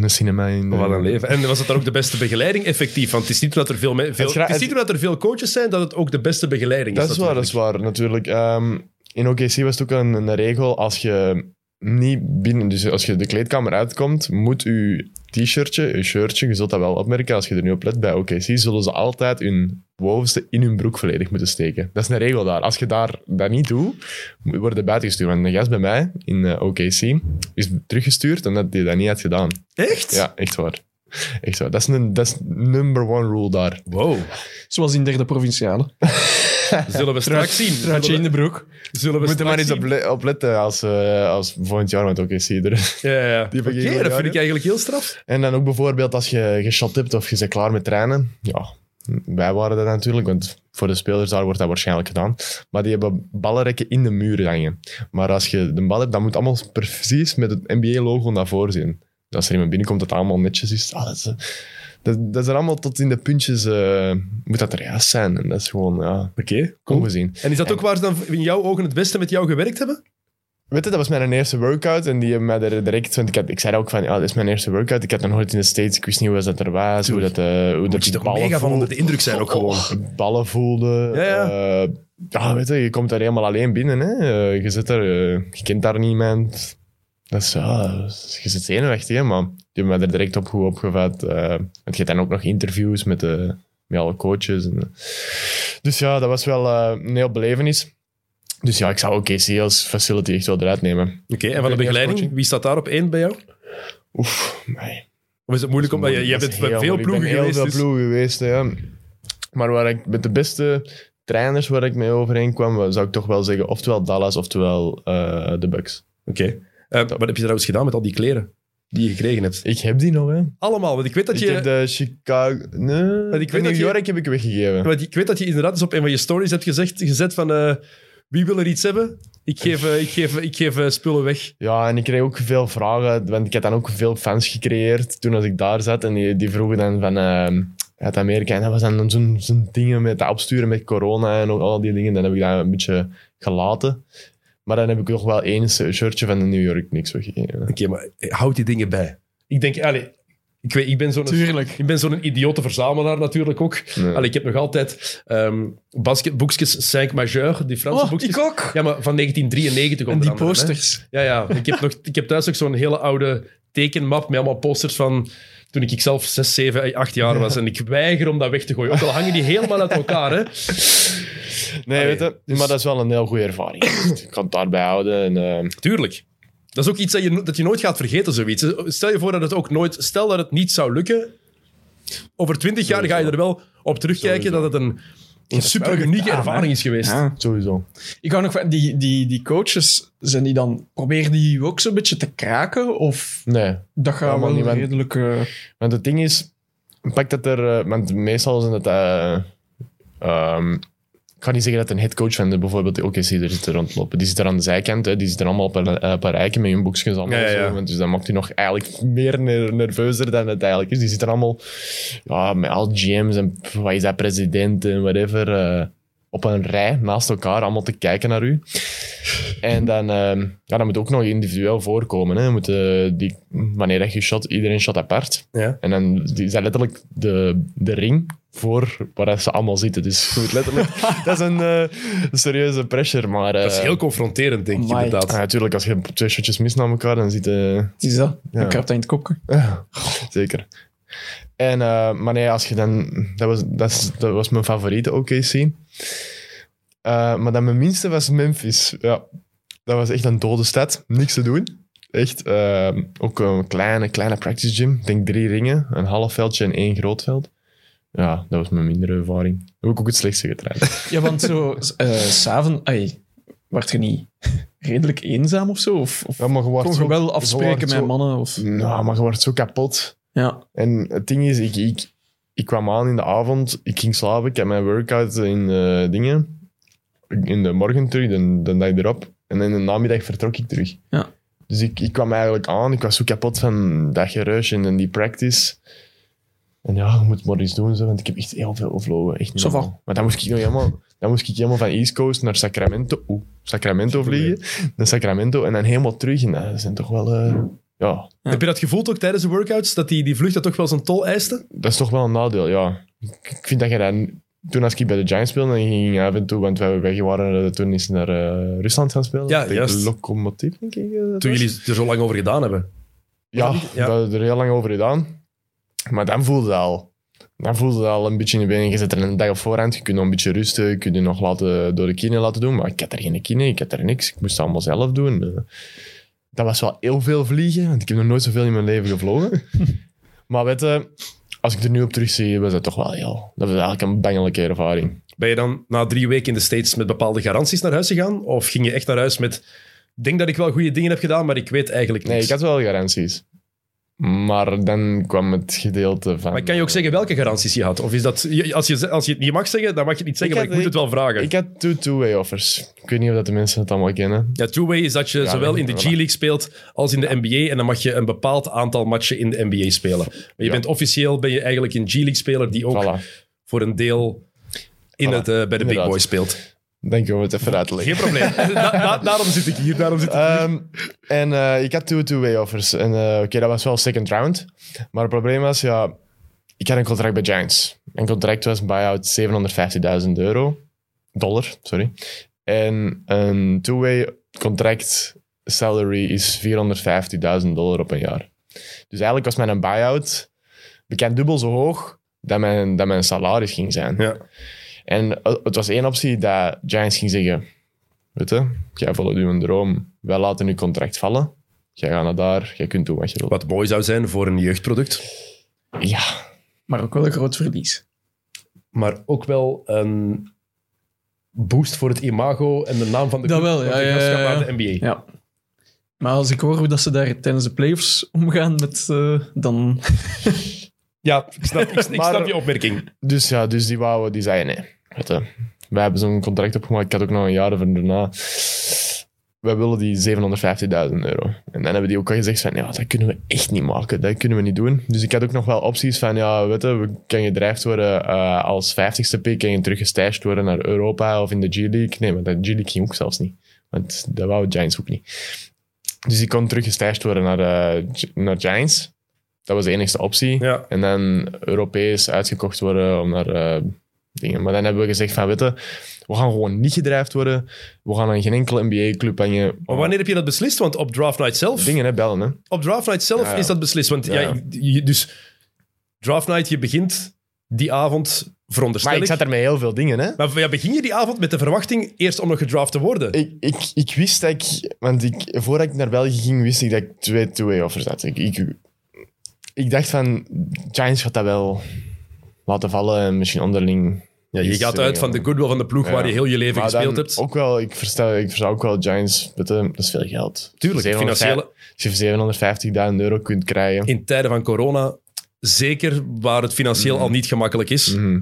[SPEAKER 2] een cinema in de-
[SPEAKER 1] Oh, Wat een leven. En was het dan ook de beste begeleiding effectief? Want het is niet omdat er veel, me- veel,
[SPEAKER 2] Het gra-
[SPEAKER 1] het is niet omdat er veel coaches zijn dat het ook de beste begeleiding is.
[SPEAKER 2] Dat is waar, dat is waar, natuurlijk. Ehm, in OKC was het ook een, een regel, als je niet binnen, dus als je de kleedkamer uitkomt, moet je t-shirtje, je shirtje, je zult dat wel opmerken als je er nu op let bij OKC, zullen ze altijd hun bovenste in hun broek volledig moeten steken. Dat is een regel daar. Als je daar, dat niet doet, wordt je buiten gestuurd. Want een gast bij mij in eh, OKC is teruggestuurd omdat hij dat niet had gedaan.
[SPEAKER 1] natuurlijk. Echt?
[SPEAKER 2] Ja, echt waar. Echt waar. Dat is, een, dat is number one rule daar.
[SPEAKER 1] Wow.
[SPEAKER 3] Zoals in derde provinciale.
[SPEAKER 1] Zullen we straks zien. Zullen
[SPEAKER 3] Truitje
[SPEAKER 1] we,
[SPEAKER 3] in de broek.
[SPEAKER 1] zullen we
[SPEAKER 2] We moeten maar
[SPEAKER 1] straks
[SPEAKER 2] eens op,
[SPEAKER 1] zien.
[SPEAKER 2] le- op letten als, eh, als volgend jaar met OKC er.
[SPEAKER 1] Ja, ja.
[SPEAKER 2] Die
[SPEAKER 1] Oké,
[SPEAKER 2] beginnen
[SPEAKER 1] dat
[SPEAKER 2] daar,
[SPEAKER 1] vind
[SPEAKER 2] hè?
[SPEAKER 1] ik eigenlijk heel straf.
[SPEAKER 2] En dan ook bijvoorbeeld als je geshot hebt of je bent klaar met trainen. Ja, wij waren dat natuurlijk, want voor de spelers daar wordt dat waarschijnlijk gedaan. Maar die hebben ballenrekken in de muren hangen. Maar als je de bal hebt, dan moet allemaal precies met het NBA-logo naar voren zien. Dus als er iemand binnenkomt dat allemaal netjes is. Ah, dat, is eh, dat, dat is er allemaal tot in de puntjes, eh, moet dat er juist zijn. En dat is gewoon, ja,
[SPEAKER 1] Oké.
[SPEAKER 2] ongezien.
[SPEAKER 1] En is dat ook waar ze dan in jouw ogen het beste met jou gewerkt hebben?
[SPEAKER 2] Weet je, dat was mijn eerste workout en die hebben mij er direct... Want ik, had, ik zei ook van, ja, dit is mijn eerste workout. Ik had nog nooit in de States, ik wist niet hoe dat er was, hoe dat, eh hoe dat
[SPEAKER 1] Moet je
[SPEAKER 2] die
[SPEAKER 1] toch
[SPEAKER 2] ballen
[SPEAKER 1] mega van
[SPEAKER 2] voel-
[SPEAKER 1] onder de indruk zijn ook gewoon.
[SPEAKER 2] Oh, ballen voelde.
[SPEAKER 1] Ja, ja.
[SPEAKER 2] eh, ja, weet je, je komt daar helemaal alleen binnen. Hè. Eh, je zit daar, eh, je kent daar niemand. Dat is, ja, je zit zenuwachtig, hè, maar die hebben mij er direct op goed opgevat. eh, want je hebt dan ook nog interviews met, de, met alle coaches. En, eh. dus ja, dat was wel eh, een heel belevenis. Dus ja, ik zou OKC als facility echt wel eruit nemen.
[SPEAKER 1] Oké, en van de begeleiding,
[SPEAKER 2] coaching.
[SPEAKER 1] wie staat daar op één bij jou?
[SPEAKER 2] Oef, nee.
[SPEAKER 1] Of is het moeilijk, omdat je, je bent bij veel ploegen
[SPEAKER 2] heel
[SPEAKER 1] geweest.
[SPEAKER 2] veel
[SPEAKER 1] dus-
[SPEAKER 2] ploegen geweest, ja. Maar waar ik met de beste trainers waar ik mee overheen kwam, wa- zou ik toch wel zeggen, oftewel Dallas, oftewel eh, de Bucks.
[SPEAKER 1] Oké. Eh, wat heb je trouwens gedaan met al die kleren die je gekregen hebt?
[SPEAKER 2] Ik heb die nog, hè.
[SPEAKER 1] Allemaal, want ik weet dat
[SPEAKER 2] ik
[SPEAKER 1] je...
[SPEAKER 2] heb de Chicago... Nee,
[SPEAKER 1] weet
[SPEAKER 2] ik weet New
[SPEAKER 1] dat je-
[SPEAKER 2] York heb ik weggegeven.
[SPEAKER 1] Want ik weet dat je inderdaad eens op een van je stories hebt gezegd, gezet van eh, wie wil er iets hebben? Ik geef, eh, ik geef, ik geef eh, spullen weg.
[SPEAKER 2] Ja, en ik kreeg ook veel vragen, want ik had dan ook veel fans gecreëerd toen als ik daar zat. En die, die vroegen dan van ehm, uit Amerika, en dat was dan zo'n zo'n dingen met dat opsturen met corona en ook al die dingen. Dan heb ik dat een beetje gelaten. Maar dan heb ik nog wel één shirtje van de New York niks weggegeven.
[SPEAKER 1] Oké, maar eh, houd die dingen bij. Ik denk, allee, ik, weet, ik ben zo'n...
[SPEAKER 3] Tuurlijk.
[SPEAKER 1] Ik ben zo'n idiote verzamelaar natuurlijk ook.
[SPEAKER 2] Nee.
[SPEAKER 1] Allee, ik heb nog altijd ehm basket, boekjes 5 majeur, die Franse
[SPEAKER 3] Oh,
[SPEAKER 1] boekjes.
[SPEAKER 3] ik ook.
[SPEAKER 1] Ja, maar van 1993
[SPEAKER 3] en
[SPEAKER 1] onder
[SPEAKER 3] die
[SPEAKER 1] andere, hè.
[SPEAKER 3] posters.
[SPEAKER 1] Ja, ja. Ik heb, nog, ik heb thuis ook zo'n hele oude tekenmap met allemaal posters van toen ik zelf 6, 7, 8 jaar was. En ik weiger om dat weg te gooien. Ook al hangen die helemaal uit elkaar, hè.
[SPEAKER 2] Nee,
[SPEAKER 1] Allee,
[SPEAKER 2] weet je, maar dat is wel een heel goede ervaring. ik kan het daarbij houden. En, ehm,
[SPEAKER 1] Tuurlijk. Dat is ook iets dat je, no- dat je nooit gaat vergeten, zoiets. Stel je voor dat het ook nooit... Stel dat het niet zou lukken. Over 20 jaar ga je er wel op terugkijken dat het een, een super unieke
[SPEAKER 3] gedaan, hè?
[SPEAKER 1] ervaring is geweest.
[SPEAKER 3] Ja.
[SPEAKER 2] sowieso.
[SPEAKER 3] Ik hou nog van die, die, die coaches. Zijn die dan, probeer die ook zo'n beetje te kraken? Of
[SPEAKER 2] Nee,
[SPEAKER 3] dat gaat
[SPEAKER 2] maar
[SPEAKER 3] wel
[SPEAKER 2] niemand-
[SPEAKER 3] redelijk. eh,
[SPEAKER 2] Want het ding is, pak dat er. eh, want meestal zijn het. eh, ehm, ik ga niet zeggen dat een headcoach van de, bijvoorbeeld de OKC er zit te rondlopen. Die zit er aan de zijkant, hè, die zit er allemaal op een eh, paar eiken met hun boekjes allemaal.
[SPEAKER 1] Ja, ja,
[SPEAKER 2] zo,
[SPEAKER 1] ja.
[SPEAKER 2] want dus dat maakt hij nog eigenlijk meer ner- nerveuzer dan het eigenlijk is. Die zitten allemaal ja, met al GM's en pff, wat is dat, president en whatever. eh, op een rij naast elkaar allemaal te kijken naar u. En dan, ehm, ja, dat moet ook nog individueel voorkomen. Hè. Je Moet, eh, die, wanneer dat je shot, iedereen shot apart. En dan die zijn letterlijk de, de ring voor waar dat ze allemaal zitten. Dus je moet letterlijk, dat is een eh, serieuze pressure. Maar eh,
[SPEAKER 1] Dat is heel confronterend, denk ik,
[SPEAKER 3] Amai.
[SPEAKER 1] inderdaad.
[SPEAKER 2] ja, natuurlijk, als je twee shotjes mist na elkaar, dan zit eh,
[SPEAKER 3] Het is dat.
[SPEAKER 2] Ja.
[SPEAKER 3] Dan kruipt hij in het kopje.
[SPEAKER 2] zeker. En, eh, maar nee, als je dan, dat, was, dat, is- dat was mijn favoriete OKC. Eh, maar dan mijn minste was Memphis. Ja, dat was echt een dode stad. Niks te doen. Echt eh, ook een kleine, kleine practice gym. Ik denk drie ringen, een half veldje en één groot veld. Ja, dat was mijn mindere ervaring. Heb ik ook het slechtste getraind.
[SPEAKER 3] Ja, want zo, eh s'avonds, ai, werd je niet redelijk eenzaam of zo? Of, of
[SPEAKER 2] Ja, maar je wordt
[SPEAKER 3] kon
[SPEAKER 2] zo-
[SPEAKER 3] je wel
[SPEAKER 2] je
[SPEAKER 3] afspreken
[SPEAKER 2] wordt
[SPEAKER 3] met
[SPEAKER 2] zo-
[SPEAKER 3] mannen? Of,
[SPEAKER 2] Nou, maar je wordt zo kapot.
[SPEAKER 3] ja.
[SPEAKER 2] En het ding is, ik, ik, ik kwam aan in de avond, ik ging slapen, ik had mijn workout in eh, dingen. In de morgen terug, de, de dag erop. En in de namiddag vertrok ik terug.
[SPEAKER 3] Ja.
[SPEAKER 2] Dus ik, ik kwam eigenlijk aan, ik was zo kapot van dat geruis en en die practice. En ja, je moet maar eens doen, zo, want ik heb echt heel veel overlopen. Echt niet
[SPEAKER 3] Zo van.
[SPEAKER 2] normaal. Maar dan moest ik nog helemaal... Dan moest ik helemaal van East Coast naar Sacramento, oeh, Sacramento vliegen. Naar Sacramento en dan helemaal terug. En dat zijn toch wel... eh, ja,
[SPEAKER 1] Heb je dat gevoeld ook tijdens de workouts, dat die, die vlucht dat toch wel zijn tol eiste?
[SPEAKER 2] dat is toch wel een nadeel, ja. Ik ik vind dat je dan... Toen als ik bij de Giants speelde, dan ging ik af en toe, want wij weg waren, eh, toen is naar eh, Rusland gaan spelen.
[SPEAKER 1] Ja,
[SPEAKER 2] Tegen
[SPEAKER 1] juist.
[SPEAKER 2] De locomotief, denk ik. eh, dat
[SPEAKER 1] Toen
[SPEAKER 2] was.
[SPEAKER 1] jullie er zo lang over gedaan hebben.
[SPEAKER 2] Ja,
[SPEAKER 1] Ja.
[SPEAKER 2] we hadden er heel lang over gedaan. Maar dan voelde het al. Dan voelde het al een beetje in de benen. Je zit er een dag op voorhand, je kunt nog een beetje rusten, je kunt je nog laten, door de kine laten doen. Maar ik had er geen kine, ik had er niks. Ik moest het allemaal zelf doen. Eh, Dat was wel heel veel vliegen, want ik heb nog nooit zoveel in mijn leven gevlogen. maar weet je, als ik er nu op terugzie, was dat toch wel heel... Dat was eigenlijk een bangelijke ervaring.
[SPEAKER 1] Ben je dan na drie weken in de States met bepaalde garanties naar huis gegaan? Of ging je echt naar huis met... Ik denk dat ik wel goede dingen heb gedaan, maar ik weet eigenlijk niks.
[SPEAKER 2] Nee, ik had wel garanties. Maar dan kwam het gedeelte van...
[SPEAKER 1] Maar kan je ook zeggen welke garanties je had? Of is dat... je- Als je, als je het niet mag zeggen, dan mag je het niet zeggen,
[SPEAKER 2] Ik
[SPEAKER 1] maar ik
[SPEAKER 2] had-
[SPEAKER 1] moet het wel vragen.
[SPEAKER 2] Ik had two two-way offers. Ik weet niet of dat de mensen het allemaal kennen.
[SPEAKER 1] Ja, two-way is dat je
[SPEAKER 2] Ja,
[SPEAKER 1] zowel
[SPEAKER 2] nee,
[SPEAKER 1] in de
[SPEAKER 2] voilà.
[SPEAKER 1] G-League speelt als in de NBA. En dan mag je een bepaald aantal matchen in de NBA spelen. Maar je
[SPEAKER 2] Ja.
[SPEAKER 1] bent officieel ben je eigenlijk een G-League-speler die ook
[SPEAKER 2] Voilà.
[SPEAKER 1] voor een deel in
[SPEAKER 2] Voilà,
[SPEAKER 1] het, eh, bij de Big
[SPEAKER 2] inderdaad.
[SPEAKER 1] Boys speelt.
[SPEAKER 2] Denk je om het even uit te leggen.
[SPEAKER 1] Geen probleem. Da- da- daarom zit ik hier. Daarom zit ik...
[SPEAKER 2] Ehm, en eh, ik had two two-way offers. En eh, oké, dat was wel second round. Maar het probleem was, ja, ik had een contract bij Giants. Mijn contract was een buyout 750.000 euro. Dollar, sorry. En een two-way contract salary is 450.000 dollar op een jaar. Dus eigenlijk was mijn buyout bekend dubbel zo hoog dat mijn, dat mijn salaris ging zijn.
[SPEAKER 1] Ja.
[SPEAKER 2] En eh, het was één optie dat Giants ging zeggen... Weet je, jij volgt uw droom. Wij laten uw contract vallen. Jij gaat naar daar. Jij kunt doen wat je wilt.
[SPEAKER 1] Wat mooi zou zijn voor een jeugdproduct.
[SPEAKER 2] Ja,
[SPEAKER 3] Maar ook wel een groot verlies.
[SPEAKER 1] Maar ook wel een boost voor het imago en de naam van de
[SPEAKER 3] Dat
[SPEAKER 1] club,
[SPEAKER 3] wel,
[SPEAKER 1] want
[SPEAKER 3] ja,
[SPEAKER 1] die
[SPEAKER 3] ja,
[SPEAKER 1] gast gaat
[SPEAKER 3] ja,
[SPEAKER 1] naar
[SPEAKER 3] ja.
[SPEAKER 1] de NBA.
[SPEAKER 3] Ja. Maar als ik hoor hoe dat ze daar tijdens de playoffs omgaan met... eh, dan...
[SPEAKER 1] Ja, ik snap, ik, ik
[SPEAKER 2] Maar-
[SPEAKER 1] snap je opmerking.
[SPEAKER 2] Dus ja, dus die wouden, die zeiden nee. Weet je, wij hebben zo'n contract opgemaakt. Ik had ook nog een jaar ervan daarna. Wij willen die 750.000 euro. En dan hebben die ook al gezegd van, ja, dat kunnen we echt niet maken. Dat kunnen we niet doen. Dus ik had ook nog wel opties van, ja, weet je, we kan gedreigd worden eh, als 50ste pick. Kan je teruggestashed worden naar Europa of in de G-League. Nee, maar de G-League ging ook zelfs niet. Want dat wou Giants ook niet. Dus die kon teruggestashed worden naar, eh, Gi- naar Giants. Dat was de enige optie.
[SPEAKER 1] Ja.
[SPEAKER 2] En dan Europees uitgekocht worden om naar eh, dingen. Maar dan hebben we gezegd van, weet je, we gaan gewoon niet gedreigd worden. We gaan aan geen enkele NBA-club hangen.
[SPEAKER 1] Maar wanneer heb je dat beslist? Want op draft night zelf...
[SPEAKER 2] Dingen, hè, bellen, hè.
[SPEAKER 1] Op draft night zelf
[SPEAKER 2] Ja, ja.
[SPEAKER 1] is dat beslist. Want ja.
[SPEAKER 2] Ja, ja.
[SPEAKER 1] je- dus draft night, je begint die avond, veronderstel
[SPEAKER 2] Maar ik zat er met heel veel dingen, hè.
[SPEAKER 1] Maar ja, begin je die avond met de verwachting eerst om nog gedraft te worden?
[SPEAKER 2] Ik, ik, ik wist dat ik... Want ik, voordat ik naar België ging, wist ik dat ik twee two-way offers had. Ik, ik, ik dacht van, Giants gaat dat wel laten vallen en misschien onderling...
[SPEAKER 1] ja, je
[SPEAKER 2] iets,
[SPEAKER 1] gaat
[SPEAKER 2] eh,
[SPEAKER 1] uit van de goodwill van de ploeg
[SPEAKER 2] Ja.
[SPEAKER 1] waar je heel je leven
[SPEAKER 2] Maar dan
[SPEAKER 1] gespeeld hebt.
[SPEAKER 2] Ook wel, ik versta, ik versta ook wel Giants, weet je, dat is veel geld.
[SPEAKER 1] Tuurlijk,
[SPEAKER 2] 750
[SPEAKER 1] financiële,
[SPEAKER 2] Als je 750.000 euro kunt krijgen.
[SPEAKER 1] in tijden van corona, zeker waar het financieel al niet gemakkelijk is.
[SPEAKER 2] Mhm.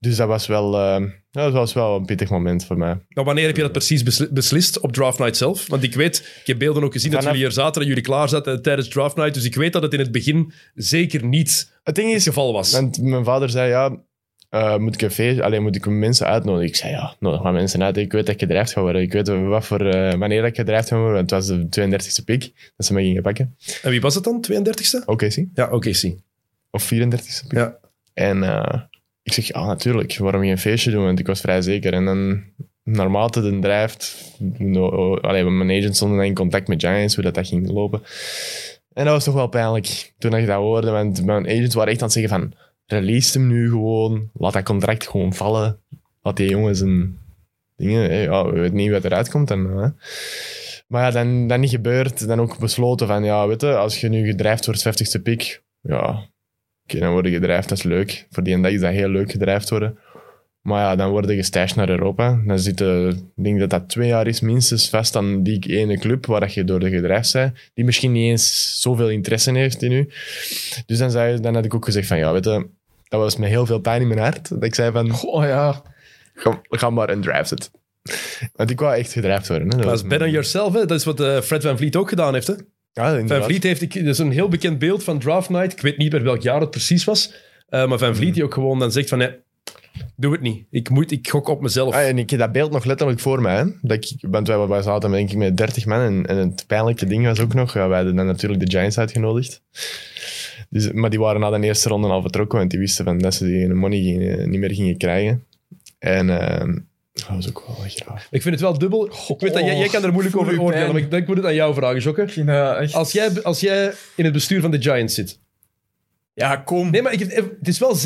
[SPEAKER 2] Dus dat was, wel, eh, dat was wel een pittig moment voor mij.
[SPEAKER 1] Maar wanneer heb je dat precies besli- beslist? Op draft night zelf? Want ik weet, ik heb beelden ook gezien dat
[SPEAKER 2] Vanaf-
[SPEAKER 1] jullie er zaten en jullie klaar zaten tijdens draft night. Dus ik weet dat het in het begin zeker niet
[SPEAKER 2] Het ding
[SPEAKER 1] het
[SPEAKER 2] is,
[SPEAKER 1] geval was.
[SPEAKER 2] want mijn vader zei ja, eh, moet ik een feest, alleen moet ik mensen uitnodigen? Ik zei ja, nodig maar mensen uit. Ik weet dat ik gedreigd ga worden. Ik weet wat voor, eh, wanneer ik gedreigd ga worden. Want het was de 32e pick dat ze me gingen pakken.
[SPEAKER 1] En wie was het dan? 32e?
[SPEAKER 2] Oké, zie.
[SPEAKER 1] Ja, oké, zie.
[SPEAKER 2] Of 34e pick.
[SPEAKER 1] Ja.
[SPEAKER 2] En eh, ik zeg ja, natuurlijk. Waarom geen feestje doen? Want ik was vrij zeker. En dan, naarmate de drijft, no, allee, mijn agent stond dan in contact met Giants, hoe dat, dat ging lopen. En dat was toch wel pijnlijk toen ik dat hoorde. Want mijn agents waren echt aan het zeggen van... Release hem nu gewoon. Laat dat contract gewoon vallen. Laat die jongens een... Dingen, hé, ja, we weten niet wat eruit komt. En, hè. Maar ja, dan, dan niet gebeurd. Dan ook besloten van... Ja, weet je, als je nu gedrijfd wordt 50ste pick... Ja, oké, dan word je gedrijfd. Dat is leuk. Voor die en dat is dat heel leuk gedrijfd worden. Maar ja, dan worden gestashed naar Europa. Dan zit, eh, ik denk dat dat twee jaar is minstens vast aan die ene club waar dat je door de gedrijf bent, die misschien niet eens zoveel interesse heeft in u. Dus dan, zei, dan had ik ook gezegd van, ja, weet je, dat was met heel veel pijn in mijn hart. Dat ik zei van,
[SPEAKER 3] Oh ja.
[SPEAKER 2] ga, ga maar en draft het. Want ik wou echt gedraft worden. Hè. Dat
[SPEAKER 1] Dat
[SPEAKER 2] was
[SPEAKER 1] is better yourself, hè? Dat is wat eh, Fred Van Vliet ook gedaan heeft, hè?
[SPEAKER 2] Ja,
[SPEAKER 1] Van
[SPEAKER 2] inderdaad.
[SPEAKER 1] Vliet heeft ik- dat is een heel bekend beeld van Draft Night. Ik weet niet meer welk jaar het precies was. eh, maar Van
[SPEAKER 2] Mm-hmm.
[SPEAKER 1] Vliet die ook gewoon dan zegt van... Nee, doe het niet. Ik, moet, ik gok op mezelf.
[SPEAKER 2] Ah, en ik heb dat beeld nog letterlijk voor mij. hè. Dat ik, want wij, wij zaten denk ik met 30 man en, en het pijnlijke ding was ook nog, ja, wij hadden dan natuurlijk de Giants uitgenodigd. Dus, maar die waren na de eerste ronde al vertrokken, want die wisten van dat ze die hun money gingen- niet meer gingen krijgen. En ehm, dat was ook wel graag.
[SPEAKER 1] Ik vind het wel dubbel. ik weet dat jij, jij kan er moeilijk
[SPEAKER 3] voel
[SPEAKER 1] over
[SPEAKER 3] uw
[SPEAKER 1] oordelen,
[SPEAKER 3] pijn.
[SPEAKER 1] maar ik, denk, ik moet het aan jou vragen, Jokke.
[SPEAKER 3] Ik vind dat echt...
[SPEAKER 1] Als jij, als jij in het bestuur van de Giants zit...
[SPEAKER 3] Ja, kom.
[SPEAKER 1] Nee, maar ik, eh, het is wel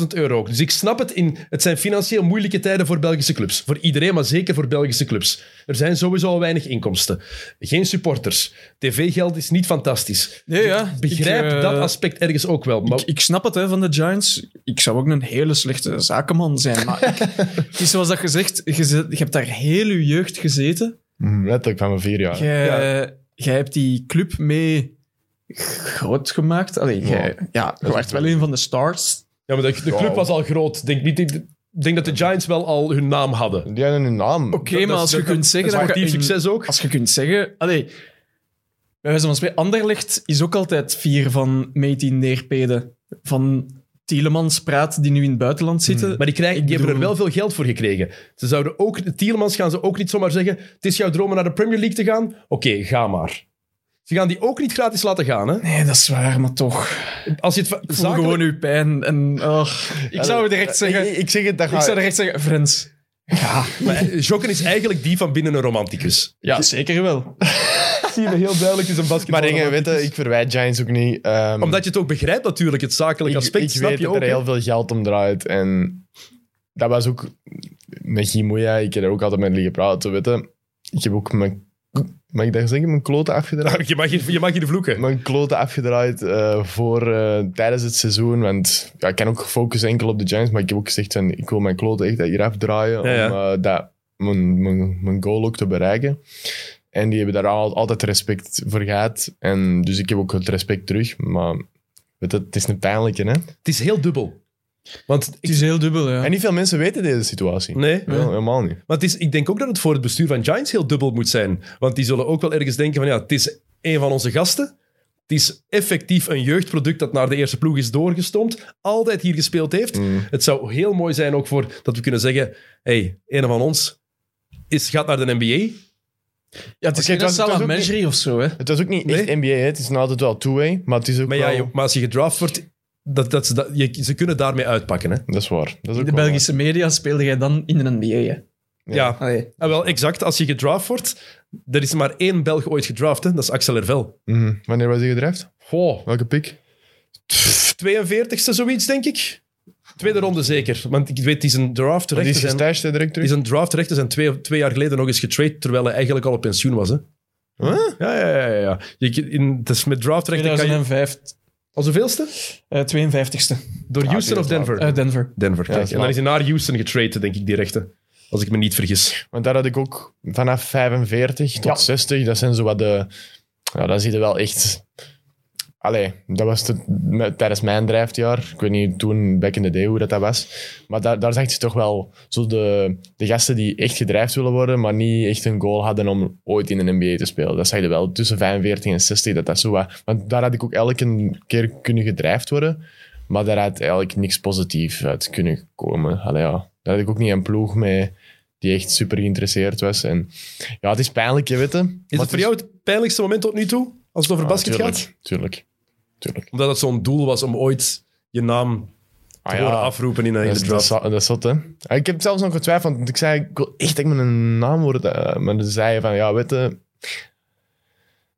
[SPEAKER 1] 750.000 euro ook. Dus ik snap het. In, het zijn financieel moeilijke tijden voor Belgische clubs. Voor iedereen, maar zeker voor Belgische clubs. Er zijn sowieso al weinig inkomsten. Geen supporters. TV-geld is niet fantastisch.
[SPEAKER 3] Nee, ja.
[SPEAKER 1] Begrijp
[SPEAKER 3] Ik, eh,
[SPEAKER 1] dat aspect ergens ook wel. Maar
[SPEAKER 3] Ik, ik snap het hè, van de Giants. Ik zou ook een hele slechte zakenman zijn. Maar ik, het is zoals dat gezegd, je, zit- je hebt daar heel je jeugd gezeten.
[SPEAKER 2] Mm, Letterlijk van mijn vier jaar.
[SPEAKER 3] Jij, eh, jij hebt die club mee groot gemaakt. Allee, jij, ja, je werd wel een van de stars.
[SPEAKER 1] Ja, maar de, de club
[SPEAKER 2] Ja.
[SPEAKER 1] was al groot. Ik denk, niet, ik denk dat de Giants wel al hun naam hadden.
[SPEAKER 2] Die hadden hun naam.
[SPEAKER 3] Oké,
[SPEAKER 1] Dat-
[SPEAKER 3] maar
[SPEAKER 1] dat-
[SPEAKER 3] als je
[SPEAKER 1] dat-
[SPEAKER 3] kunt zeggen... dat je
[SPEAKER 1] Sportief
[SPEAKER 3] in-
[SPEAKER 1] succes ook.
[SPEAKER 3] Als je kunt zeggen... Allee, bij wijze van spreken, Anderlecht is ook altijd vier van Metin Neerpede. Van Tielemans praat, die nu in het buitenland zitten.
[SPEAKER 1] Maar die, krijgen,
[SPEAKER 3] Ik
[SPEAKER 1] die hebben er wel
[SPEAKER 3] bedoel-
[SPEAKER 1] veel geld voor gekregen. Ze zouden ook, de Tielemans gaan ze ook niet zomaar zeggen: Het is jouw droom om naar de Premier League te gaan. Oké, ga maar. Ze gaan die ook niet gratis laten gaan. Hè?
[SPEAKER 3] Nee, dat is waar, maar toch.
[SPEAKER 1] Als je het va-
[SPEAKER 3] Ik voel
[SPEAKER 1] zakelijk-
[SPEAKER 3] gewoon uw pijn. En, oh, ik zou het direct zeggen.
[SPEAKER 2] eh, Ik, ik zeg het, dat ga
[SPEAKER 3] Ik zou direct zeggen, Friends.
[SPEAKER 1] Maar, eh, Jokken is eigenlijk die van binnen een romanticus.
[SPEAKER 3] Ja, zeker wel.
[SPEAKER 1] Ik zie heel duidelijk is een
[SPEAKER 2] Maar dingen, weet je, ik verwijt Giants ook niet. ehm,
[SPEAKER 1] Omdat je het ook begrijpt, natuurlijk, het zakelijk
[SPEAKER 2] ik,
[SPEAKER 1] aspect.
[SPEAKER 2] ik
[SPEAKER 1] snap
[SPEAKER 2] weet
[SPEAKER 1] je
[SPEAKER 2] dat
[SPEAKER 1] ook.
[SPEAKER 2] er
[SPEAKER 1] hè?
[SPEAKER 2] heel veel geld om draait. En dat was ook met Gimoeja. Ik heb er ook altijd met liggen praten. Weet je. Ik heb ook mijn, mag ik dat zeggen, mijn kloten afgedraaid.
[SPEAKER 1] Je mag hier, je mag hier vloeken.
[SPEAKER 2] Mijn kloten afgedraaid eh, voor, eh, tijdens het seizoen. Want ja, ik kan ook focussen enkel op de Giants. Maar ik heb ook gezegd: van, ik wil mijn kloten echt hier afdraaien.
[SPEAKER 1] Ja, ja.
[SPEAKER 2] Om eh, dat, mijn, mijn, mijn goal ook te bereiken. En die hebben daar al, altijd respect voor gehad. En dus ik heb ook het respect terug. Maar weet je, het is een pijnlijke, hè?
[SPEAKER 1] Het is heel dubbel. Want
[SPEAKER 3] Het is heel dubbel, ja.
[SPEAKER 2] En niet veel mensen weten deze situatie.
[SPEAKER 1] Nee.
[SPEAKER 2] Heel- helemaal niet.
[SPEAKER 1] Want het is, ik denk ook dat het voor het bestuur van Giants heel dubbel moet zijn. Want die zullen ook wel ergens denken van ja, het is een van onze gasten. Het is effectief een jeugdproduct dat naar de eerste ploeg is doorgestompt. Altijd hier gespeeld heeft.
[SPEAKER 2] Mm.
[SPEAKER 1] Het zou heel mooi zijn ook voor dat we kunnen zeggen... hey, een van ons is, gaat naar de NBA.
[SPEAKER 3] Ja, het
[SPEAKER 2] Oké,
[SPEAKER 3] is
[SPEAKER 2] het was-
[SPEAKER 3] geen
[SPEAKER 2] het was ook
[SPEAKER 3] Salamagerie of zo, hè.
[SPEAKER 2] Het was ook niet echt
[SPEAKER 1] Nee.
[SPEAKER 2] NBA, hè. het is nou altijd wel two-way, maar het is ook
[SPEAKER 1] Maar, ja,
[SPEAKER 2] wel-
[SPEAKER 1] je- maar als je gedraft wordt, dat, dat, ze dat, je, ze kunnen daarmee uitpakken. Hè?
[SPEAKER 2] Dat is waar. Dat is
[SPEAKER 3] In
[SPEAKER 2] ook
[SPEAKER 3] de
[SPEAKER 2] wel
[SPEAKER 3] Belgische media speelde jij dan in de NBA, hè.
[SPEAKER 2] Ja.
[SPEAKER 1] Ja,
[SPEAKER 3] Allee.
[SPEAKER 1] Ah, wel exact. Als je gedraft wordt, er is maar één Belg ooit gedraft. Hè? Dat is Axel Hervel.
[SPEAKER 2] waar. Mhm. Wanneer was hij gedraft?
[SPEAKER 1] Goh,
[SPEAKER 2] Welke pick?
[SPEAKER 1] 42e zoiets, denk ik. Tweede ronde zeker. Want ik weet, die zijn draft
[SPEAKER 2] Die
[SPEAKER 1] rechten
[SPEAKER 2] is
[SPEAKER 1] zijn,
[SPEAKER 2] gestashed hè, direct
[SPEAKER 1] die
[SPEAKER 2] terug.
[SPEAKER 1] zijn, draft rechten zijn twee, twee jaar geleden nog eens getraind, terwijl hij eigenlijk al op pensioen was. Hè?
[SPEAKER 2] Huh?
[SPEAKER 1] Ja, ja, ja. ja, ja. Je, in, het is met draftrechten kan je...
[SPEAKER 3] 2005,
[SPEAKER 1] Als hoeveelste?
[SPEAKER 3] eh, 52ste,
[SPEAKER 1] Door Houston
[SPEAKER 2] Ah, die
[SPEAKER 1] of
[SPEAKER 2] is laat.
[SPEAKER 1] Denver?
[SPEAKER 3] uit Denver.
[SPEAKER 1] Denver,
[SPEAKER 2] dat
[SPEAKER 1] kijk.
[SPEAKER 2] is
[SPEAKER 1] en dan
[SPEAKER 2] laat.
[SPEAKER 1] is hij naar Houston getraind, denk ik, die rechten. Als ik me niet vergis.
[SPEAKER 2] Want daar had ik ook vanaf 45 tot
[SPEAKER 3] Ja.
[SPEAKER 2] 60, dat zijn zo wat de... Ja, dat zie je wel echt... Allee, dat was de, me- tijdens mijn drijfjaar. Ik weet niet toen, back in the day, hoe dat, dat was. Maar daar, daar zag je toch wel zo de, de gasten die echt gedrijfd willen worden, maar niet echt een goal hadden om ooit in de NBA te spelen. Dat zag je wel tussen 45 en 60, dat dat zo was. Want daar had ik ook elke keer kunnen gedrijfd worden, maar daar had eigenlijk niks positiefs uit kunnen komen. Allee, ja. Daar had ik ook niet een ploeg mee die echt super geïnteresseerd was. En ja, het is pijnlijk, je weet het.
[SPEAKER 1] Is het voor jou het pijnlijkste moment tot nu toe? Als het over basket gaat?
[SPEAKER 2] Tuurlijk, tuurlijk. tuurlijk.
[SPEAKER 1] Omdat het zo'n doel was om ooit je naam te
[SPEAKER 2] Ah,
[SPEAKER 1] horen
[SPEAKER 2] ja.
[SPEAKER 1] afroepen in een
[SPEAKER 2] Dat
[SPEAKER 1] hele
[SPEAKER 2] is, dat, is,
[SPEAKER 1] draft.
[SPEAKER 2] dat is zot, hè. Ah, Ik heb zelfs nog getwijfeld, want ik zei, ik wil echt dat ik mijn naam word. eh, Maar ze zei van, ja, weet je...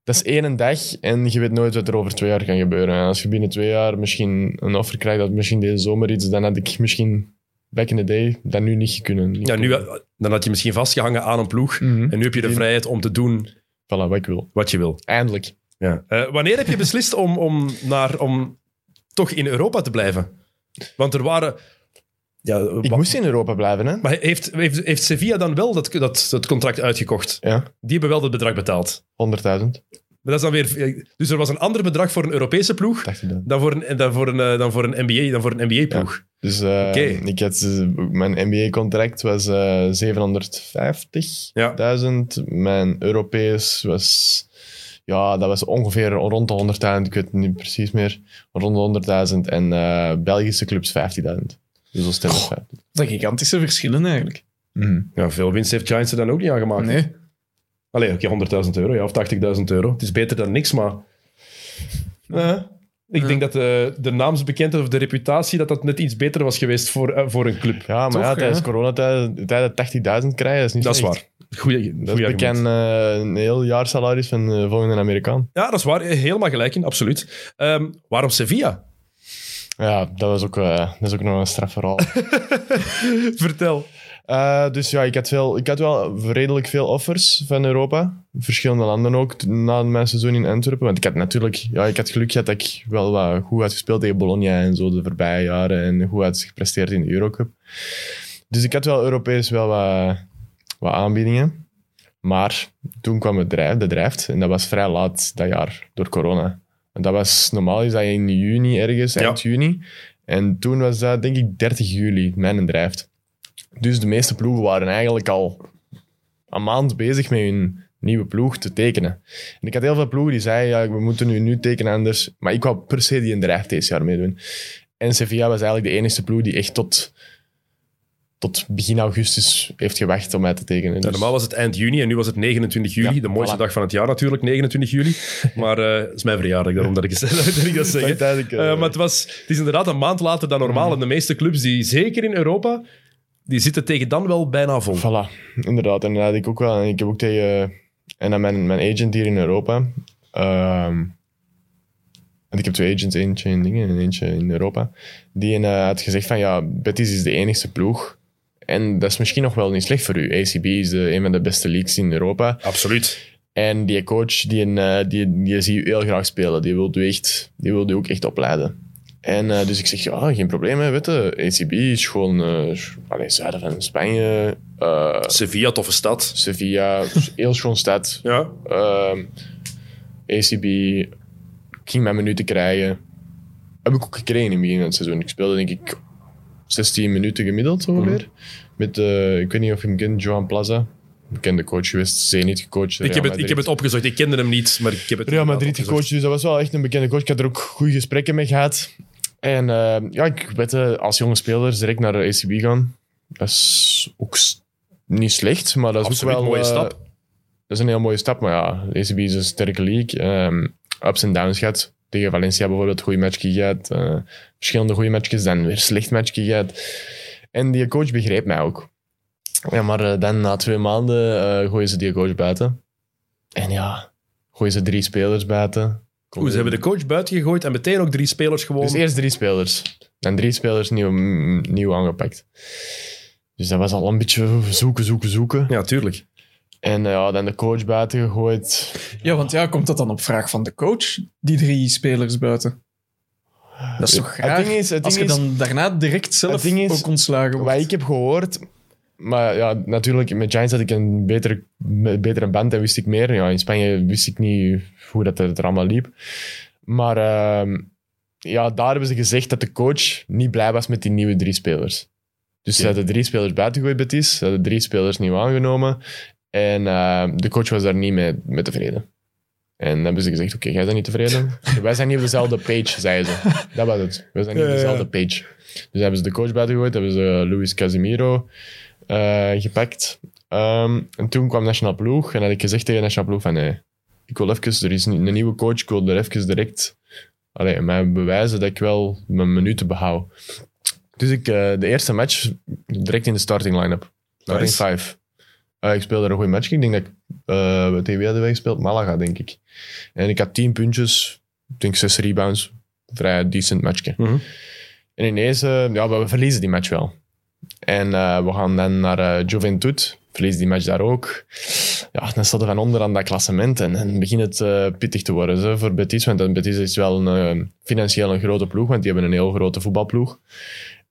[SPEAKER 2] Dat is één dag en je weet nooit wat er over twee jaar kan gebeuren. En als je binnen twee jaar misschien een offer krijgt dat misschien deze zomer iets, dan had ik misschien back in the day dat nu niet kunnen. Niet
[SPEAKER 1] Ja, nu, eh,
[SPEAKER 2] kunnen.
[SPEAKER 1] dan had je misschien vastgehangen aan een ploeg.
[SPEAKER 2] Mhm.
[SPEAKER 1] En nu heb je de
[SPEAKER 2] Die-
[SPEAKER 1] vrijheid om te doen
[SPEAKER 2] Voilà, wat ik wil.
[SPEAKER 1] wat je wil.
[SPEAKER 2] Eindelijk.
[SPEAKER 1] Ja. Eh, wanneer heb je beslist om, om, naar, om toch in Europa te blijven? Want er waren... Ja,
[SPEAKER 2] Ik
[SPEAKER 1] wa-
[SPEAKER 2] moest in Europa blijven, hè?
[SPEAKER 1] Maar heeft, heeft, heeft Sevilla dan wel dat, dat, dat contract uitgekocht?
[SPEAKER 2] Ja,
[SPEAKER 1] Die hebben wel dat bedrag betaald.
[SPEAKER 2] 100.000.
[SPEAKER 1] Maar dat is dan weer, dus er was een ander bedrag voor een Europese ploeg
[SPEAKER 2] Dacht ik dan.
[SPEAKER 1] dan voor een, dan voor een, eh, dan voor een NBA, dan voor een NBA ploeg.
[SPEAKER 2] Dus eh,
[SPEAKER 1] Oké.
[SPEAKER 2] ik had, eh, mijn NBA-contract was eh 750.000.
[SPEAKER 1] Ja.
[SPEAKER 2] Mijn Europees was... Ja, dat was ongeveer rond de 100.000. Ik weet het niet precies meer. Rond de 100.000. En eh, Belgische clubs 15.000. Dus dat stemmen 50.
[SPEAKER 3] Dat zijn gigantische verschillen eigenlijk.
[SPEAKER 1] Ja, veel winst heeft Giants er dan ook niet aan gemaakt.
[SPEAKER 3] Nee.
[SPEAKER 1] Allee, oké, 100.000 euro ja, of 80.000 euro. Het is beter dan niks, maar ik
[SPEAKER 3] Ja.
[SPEAKER 1] denk dat eh, de, de naamsbekendheid of de reputatie dat dat net iets beter was geweest voor, eh, voor een club.
[SPEAKER 2] Ja, maar
[SPEAKER 3] Toch,
[SPEAKER 2] ja,
[SPEAKER 3] hè?
[SPEAKER 2] tijdens coronatijd dat 80.000 krijgen, dat is niet
[SPEAKER 1] Dat is
[SPEAKER 2] slecht.
[SPEAKER 1] waar. Goeie,
[SPEAKER 2] Dat
[SPEAKER 1] goeie
[SPEAKER 2] is bekend
[SPEAKER 1] argument.
[SPEAKER 2] eh, een heel jaar salaris van eh, volgende Amerikaan.
[SPEAKER 1] Ja, dat is waar. Helemaal gelijk in, absoluut. Ehm, waarom Sevilla?
[SPEAKER 2] Dus- Ja, dat, was ook, eh, dat is ook nog een strafverhaal.
[SPEAKER 1] Vertel.
[SPEAKER 2] Eh, dus ja, ik had, veel, ik had wel redelijk veel offers van Europa. Verschillende landen ook, t- na mijn seizoen in Antwerpen. Want ik had natuurlijk... Ja, ik had geluk gehad dat ik wel wat goed had gespeeld tegen Bologna en zo de voorbije jaren. En goed had gepresteerd in de Eurocup. Dus ik had wel Europees wel wat, wat aanbiedingen. Maar toen kwam het drijf, de drijft. En dat was vrij laat dat jaar, door corona. En dat was, normaal is dat in juni ergens, eind juni. En toen was dat, denk ik, 30 juli, mijn drijft. Dus de meeste ploegen waren eigenlijk al een maand bezig met hun nieuwe ploeg te tekenen. En ik had heel veel ploegen die zeiden, ja, we moeten nu, nu tekenen anders. Maar ik wou per se die een drijf deze jaar meedoen. En Sevilla was eigenlijk de enige ploeg die echt tot, tot begin augustus heeft gewacht om mij te tekenen.
[SPEAKER 1] Ja,
[SPEAKER 2] Dus-
[SPEAKER 1] normaal was het eind juni en nu was het 29 juli.
[SPEAKER 2] Ja,
[SPEAKER 1] de mooiste
[SPEAKER 2] voilà.
[SPEAKER 1] dag van het jaar natuurlijk, 29 juli. Maar eh, het is mijn verjaardag, daarom dat ik, dat, ik dat zeg. hè.
[SPEAKER 2] Tijdelijk, eh,
[SPEAKER 1] Eh, maar het, was, het is inderdaad een maand later dan normaal. En de meeste clubs, die, zeker in Europa, die zitten tegen dan wel bijna vol.
[SPEAKER 2] Voilà, inderdaad. En dat had ik ook wel. En ik heb ook tegen. En aan mijn, mijn agent hier in Europa. ehm want ik heb twee agents, eentje in dingen en eentje in Europa. Die een, eh, had gezegd van ja, Betis is de enigste ploeg. En dat is misschien nog wel niet slecht voor u. ACB is de, een van de beste leagues in Europa.
[SPEAKER 1] Absoluut.
[SPEAKER 2] En die coach, die, een, eh, die, die zie je heel graag spelen. Die wil je echt, die wil je ook echt opleiden. En eh, dus ik zeg, ja, geen probleem, hè, weet je. ACB is gewoon, eh allee, zuiden van Spanje. eh,
[SPEAKER 1] Sevilla, toffe stad.
[SPEAKER 2] Sevilla, dus heel schoon stad.
[SPEAKER 1] Ja,
[SPEAKER 2] Ehm, ACB, ik ging mijn minuten krijgen. Heb ik ook gekregen in het begin van het seizoen. Ik speelde denk ik 16 minuten gemiddeld ongeveer.
[SPEAKER 1] Mhm.
[SPEAKER 2] Met, eh, ik weet niet of je hem kent, Johan Plaza. Bekende coach geweest, Zenit gecoacht.
[SPEAKER 1] ik
[SPEAKER 2] Real
[SPEAKER 1] heb, het, ik
[SPEAKER 2] Madrid.
[SPEAKER 1] heb het opgezocht. Ik kende hem niet, maar ik heb het
[SPEAKER 2] Real Madrid
[SPEAKER 1] opgezocht.
[SPEAKER 2] gecoacht, dus dat was wel echt een bekende coach. Ik had er ook goede gesprekken mee gehad. En eh, ja, ik wette als jonge speler direct naar de ACB gaan. Dat is ook s- niet slecht, maar dat is
[SPEAKER 1] Absoluut
[SPEAKER 2] ook wel...
[SPEAKER 1] mooie
[SPEAKER 2] eh,
[SPEAKER 1] stap.
[SPEAKER 2] Dat is een heel mooie stap, maar ja, de ACB is een sterke league. Ehm, ups en downs gehad. Tegen Valencia bijvoorbeeld goede matchje gehad. eh, verschillende goede matchjes, dan weer slecht matchje gehad. En die coach begreep mij ook. Ja, maar eh, dan na twee maanden eh, gooien ze die coach buiten. En ja, gooien ze drie spelers buiten.
[SPEAKER 1] Oeh, ze hebben de coach buiten gegooid en meteen ook drie spelers gewoon.
[SPEAKER 2] Dus eerst drie spelers. Dan drie spelers nieuw, mm, nieuw aangepakt. Dus dat was al een beetje zoeken, zoeken, zoeken.
[SPEAKER 1] Ja, tuurlijk.
[SPEAKER 2] En eh, ja, dan de coach buiten gegooid.
[SPEAKER 3] Ja, want ja, komt dat dan op vraag van de coach? Die drie spelers buiten. Dat is toch
[SPEAKER 2] Het
[SPEAKER 3] raar?
[SPEAKER 2] ding is, het
[SPEAKER 3] Als je
[SPEAKER 2] ding is,
[SPEAKER 3] dan daarna direct zelf
[SPEAKER 2] Het ding is,
[SPEAKER 3] ook ontslagen wordt.
[SPEAKER 2] wat ik heb gehoord. Maar ja, natuurlijk, met Giants had ik een betere, een betere band en wist ik meer. Ja, in Spanje wist ik niet hoe dat er, er allemaal liep. Maar ehm, ja, daar hebben ze gezegd dat de coach niet blij was met die nieuwe drie spelers. Dus ze
[SPEAKER 1] Oké.
[SPEAKER 2] hadden drie spelers buitengegooid, Betis. Ze hadden drie spelers nieuw aangenomen. En ehm, de coach was daar niet mee, mee tevreden. En dan hebben ze gezegd, oké, jij bent niet tevreden. Wij zijn niet op dezelfde page, zeiden ze. Dat was het. We zijn niet op
[SPEAKER 1] Ja, ja, ja.
[SPEAKER 2] dezelfde page. Dus hebben ze de coach buiten gegooid, hebben ze Luis Casimiro eh, gepakt. Ehm, en toen kwam National Ploeg en had ik gezegd tegen National Ploeg van nee, ik wil even, er is een, een nieuwe coach, ik wil er even direct allee, mij bewijzen dat ik wel mijn minuten behoud. Dus ik, eh, de eerste match direct in de starting line-up. Starting
[SPEAKER 1] Nice.
[SPEAKER 2] five. Eh, ik speelde een goede match. Ik denk dat ik eh tegen wie hadden wij gespeeld? Malaga, denk ik. En ik had 10 puntjes, ik denk 6 rebounds. Vrij decent matchje.
[SPEAKER 1] Mhm.
[SPEAKER 2] En ineens, eh, ja, maar we verliezen die match wel. En eh, we gaan dan naar eh Juventud, verliezen die match daar ook. Ja, dan staat er van onder aan dat klassement en dan begint het eh, pittig te worden zo, voor Betis. Want dan Betis is wel een, eh, financieel een grote ploeg, want die hebben een heel grote voetbalploeg.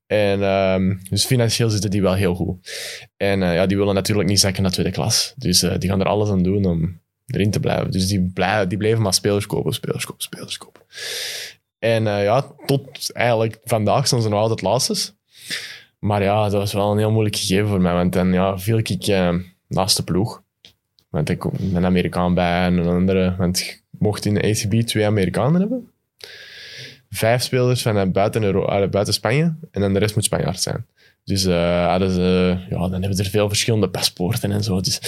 [SPEAKER 2] En, ehm, dus financieel zitten die wel heel goed. En eh, ja, die willen natuurlijk niet zakken naar tweede klas. Dus eh, die gaan er alles aan doen om erin te blijven. Dus die, blij- die blijven maar spelers kopen, spelers kopen, spelers kopen. En eh, ja, tot eigenlijk vandaag zijn ze nog altijd laatste. Maar ja, dat was wel een heel moeilijk gegeven voor mij. Want dan ja, viel ik eh, naast de ploeg. Want ik kom een Amerikaan bij en een andere. Want ik mocht in de ACB twee Amerikanen hebben. Vijf spelers van eh, buiten, Euro- eh, buiten Spanje. En dan de rest moet Spanjaard zijn. Dus eh, hadden ze, ja, dan hebben ze er veel verschillende paspoorten en zo. Dus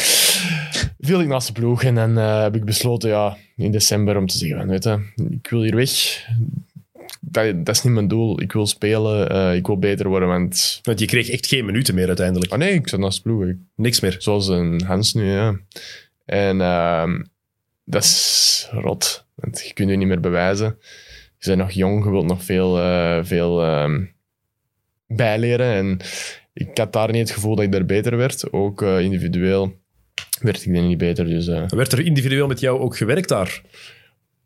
[SPEAKER 2] viel ik naast de ploeg. En dan eh, heb ik besloten ja, in december om te zeggen: van, weet je, ik wil hier weg. Dat, dat is niet mijn doel. Ik wil spelen. eh, ik wil beter worden. Want
[SPEAKER 1] Want je kreeg echt geen minuten meer uiteindelijk.
[SPEAKER 2] Oh nee, ik zat naast de ploeg. Ik-
[SPEAKER 1] Niks meer.
[SPEAKER 2] Zoals een Hans nu, ja. En ehm, dat is rot. Want je kunt je niet meer bewijzen. Je bent nog jong, je wilt nog veel, eh, veel ehm, bijleren. En ik had daar niet het gevoel dat ik daar beter werd. Ook eh, individueel werd ik er niet beter. Dus eh
[SPEAKER 1] Werd er individueel met jou ook gewerkt daar?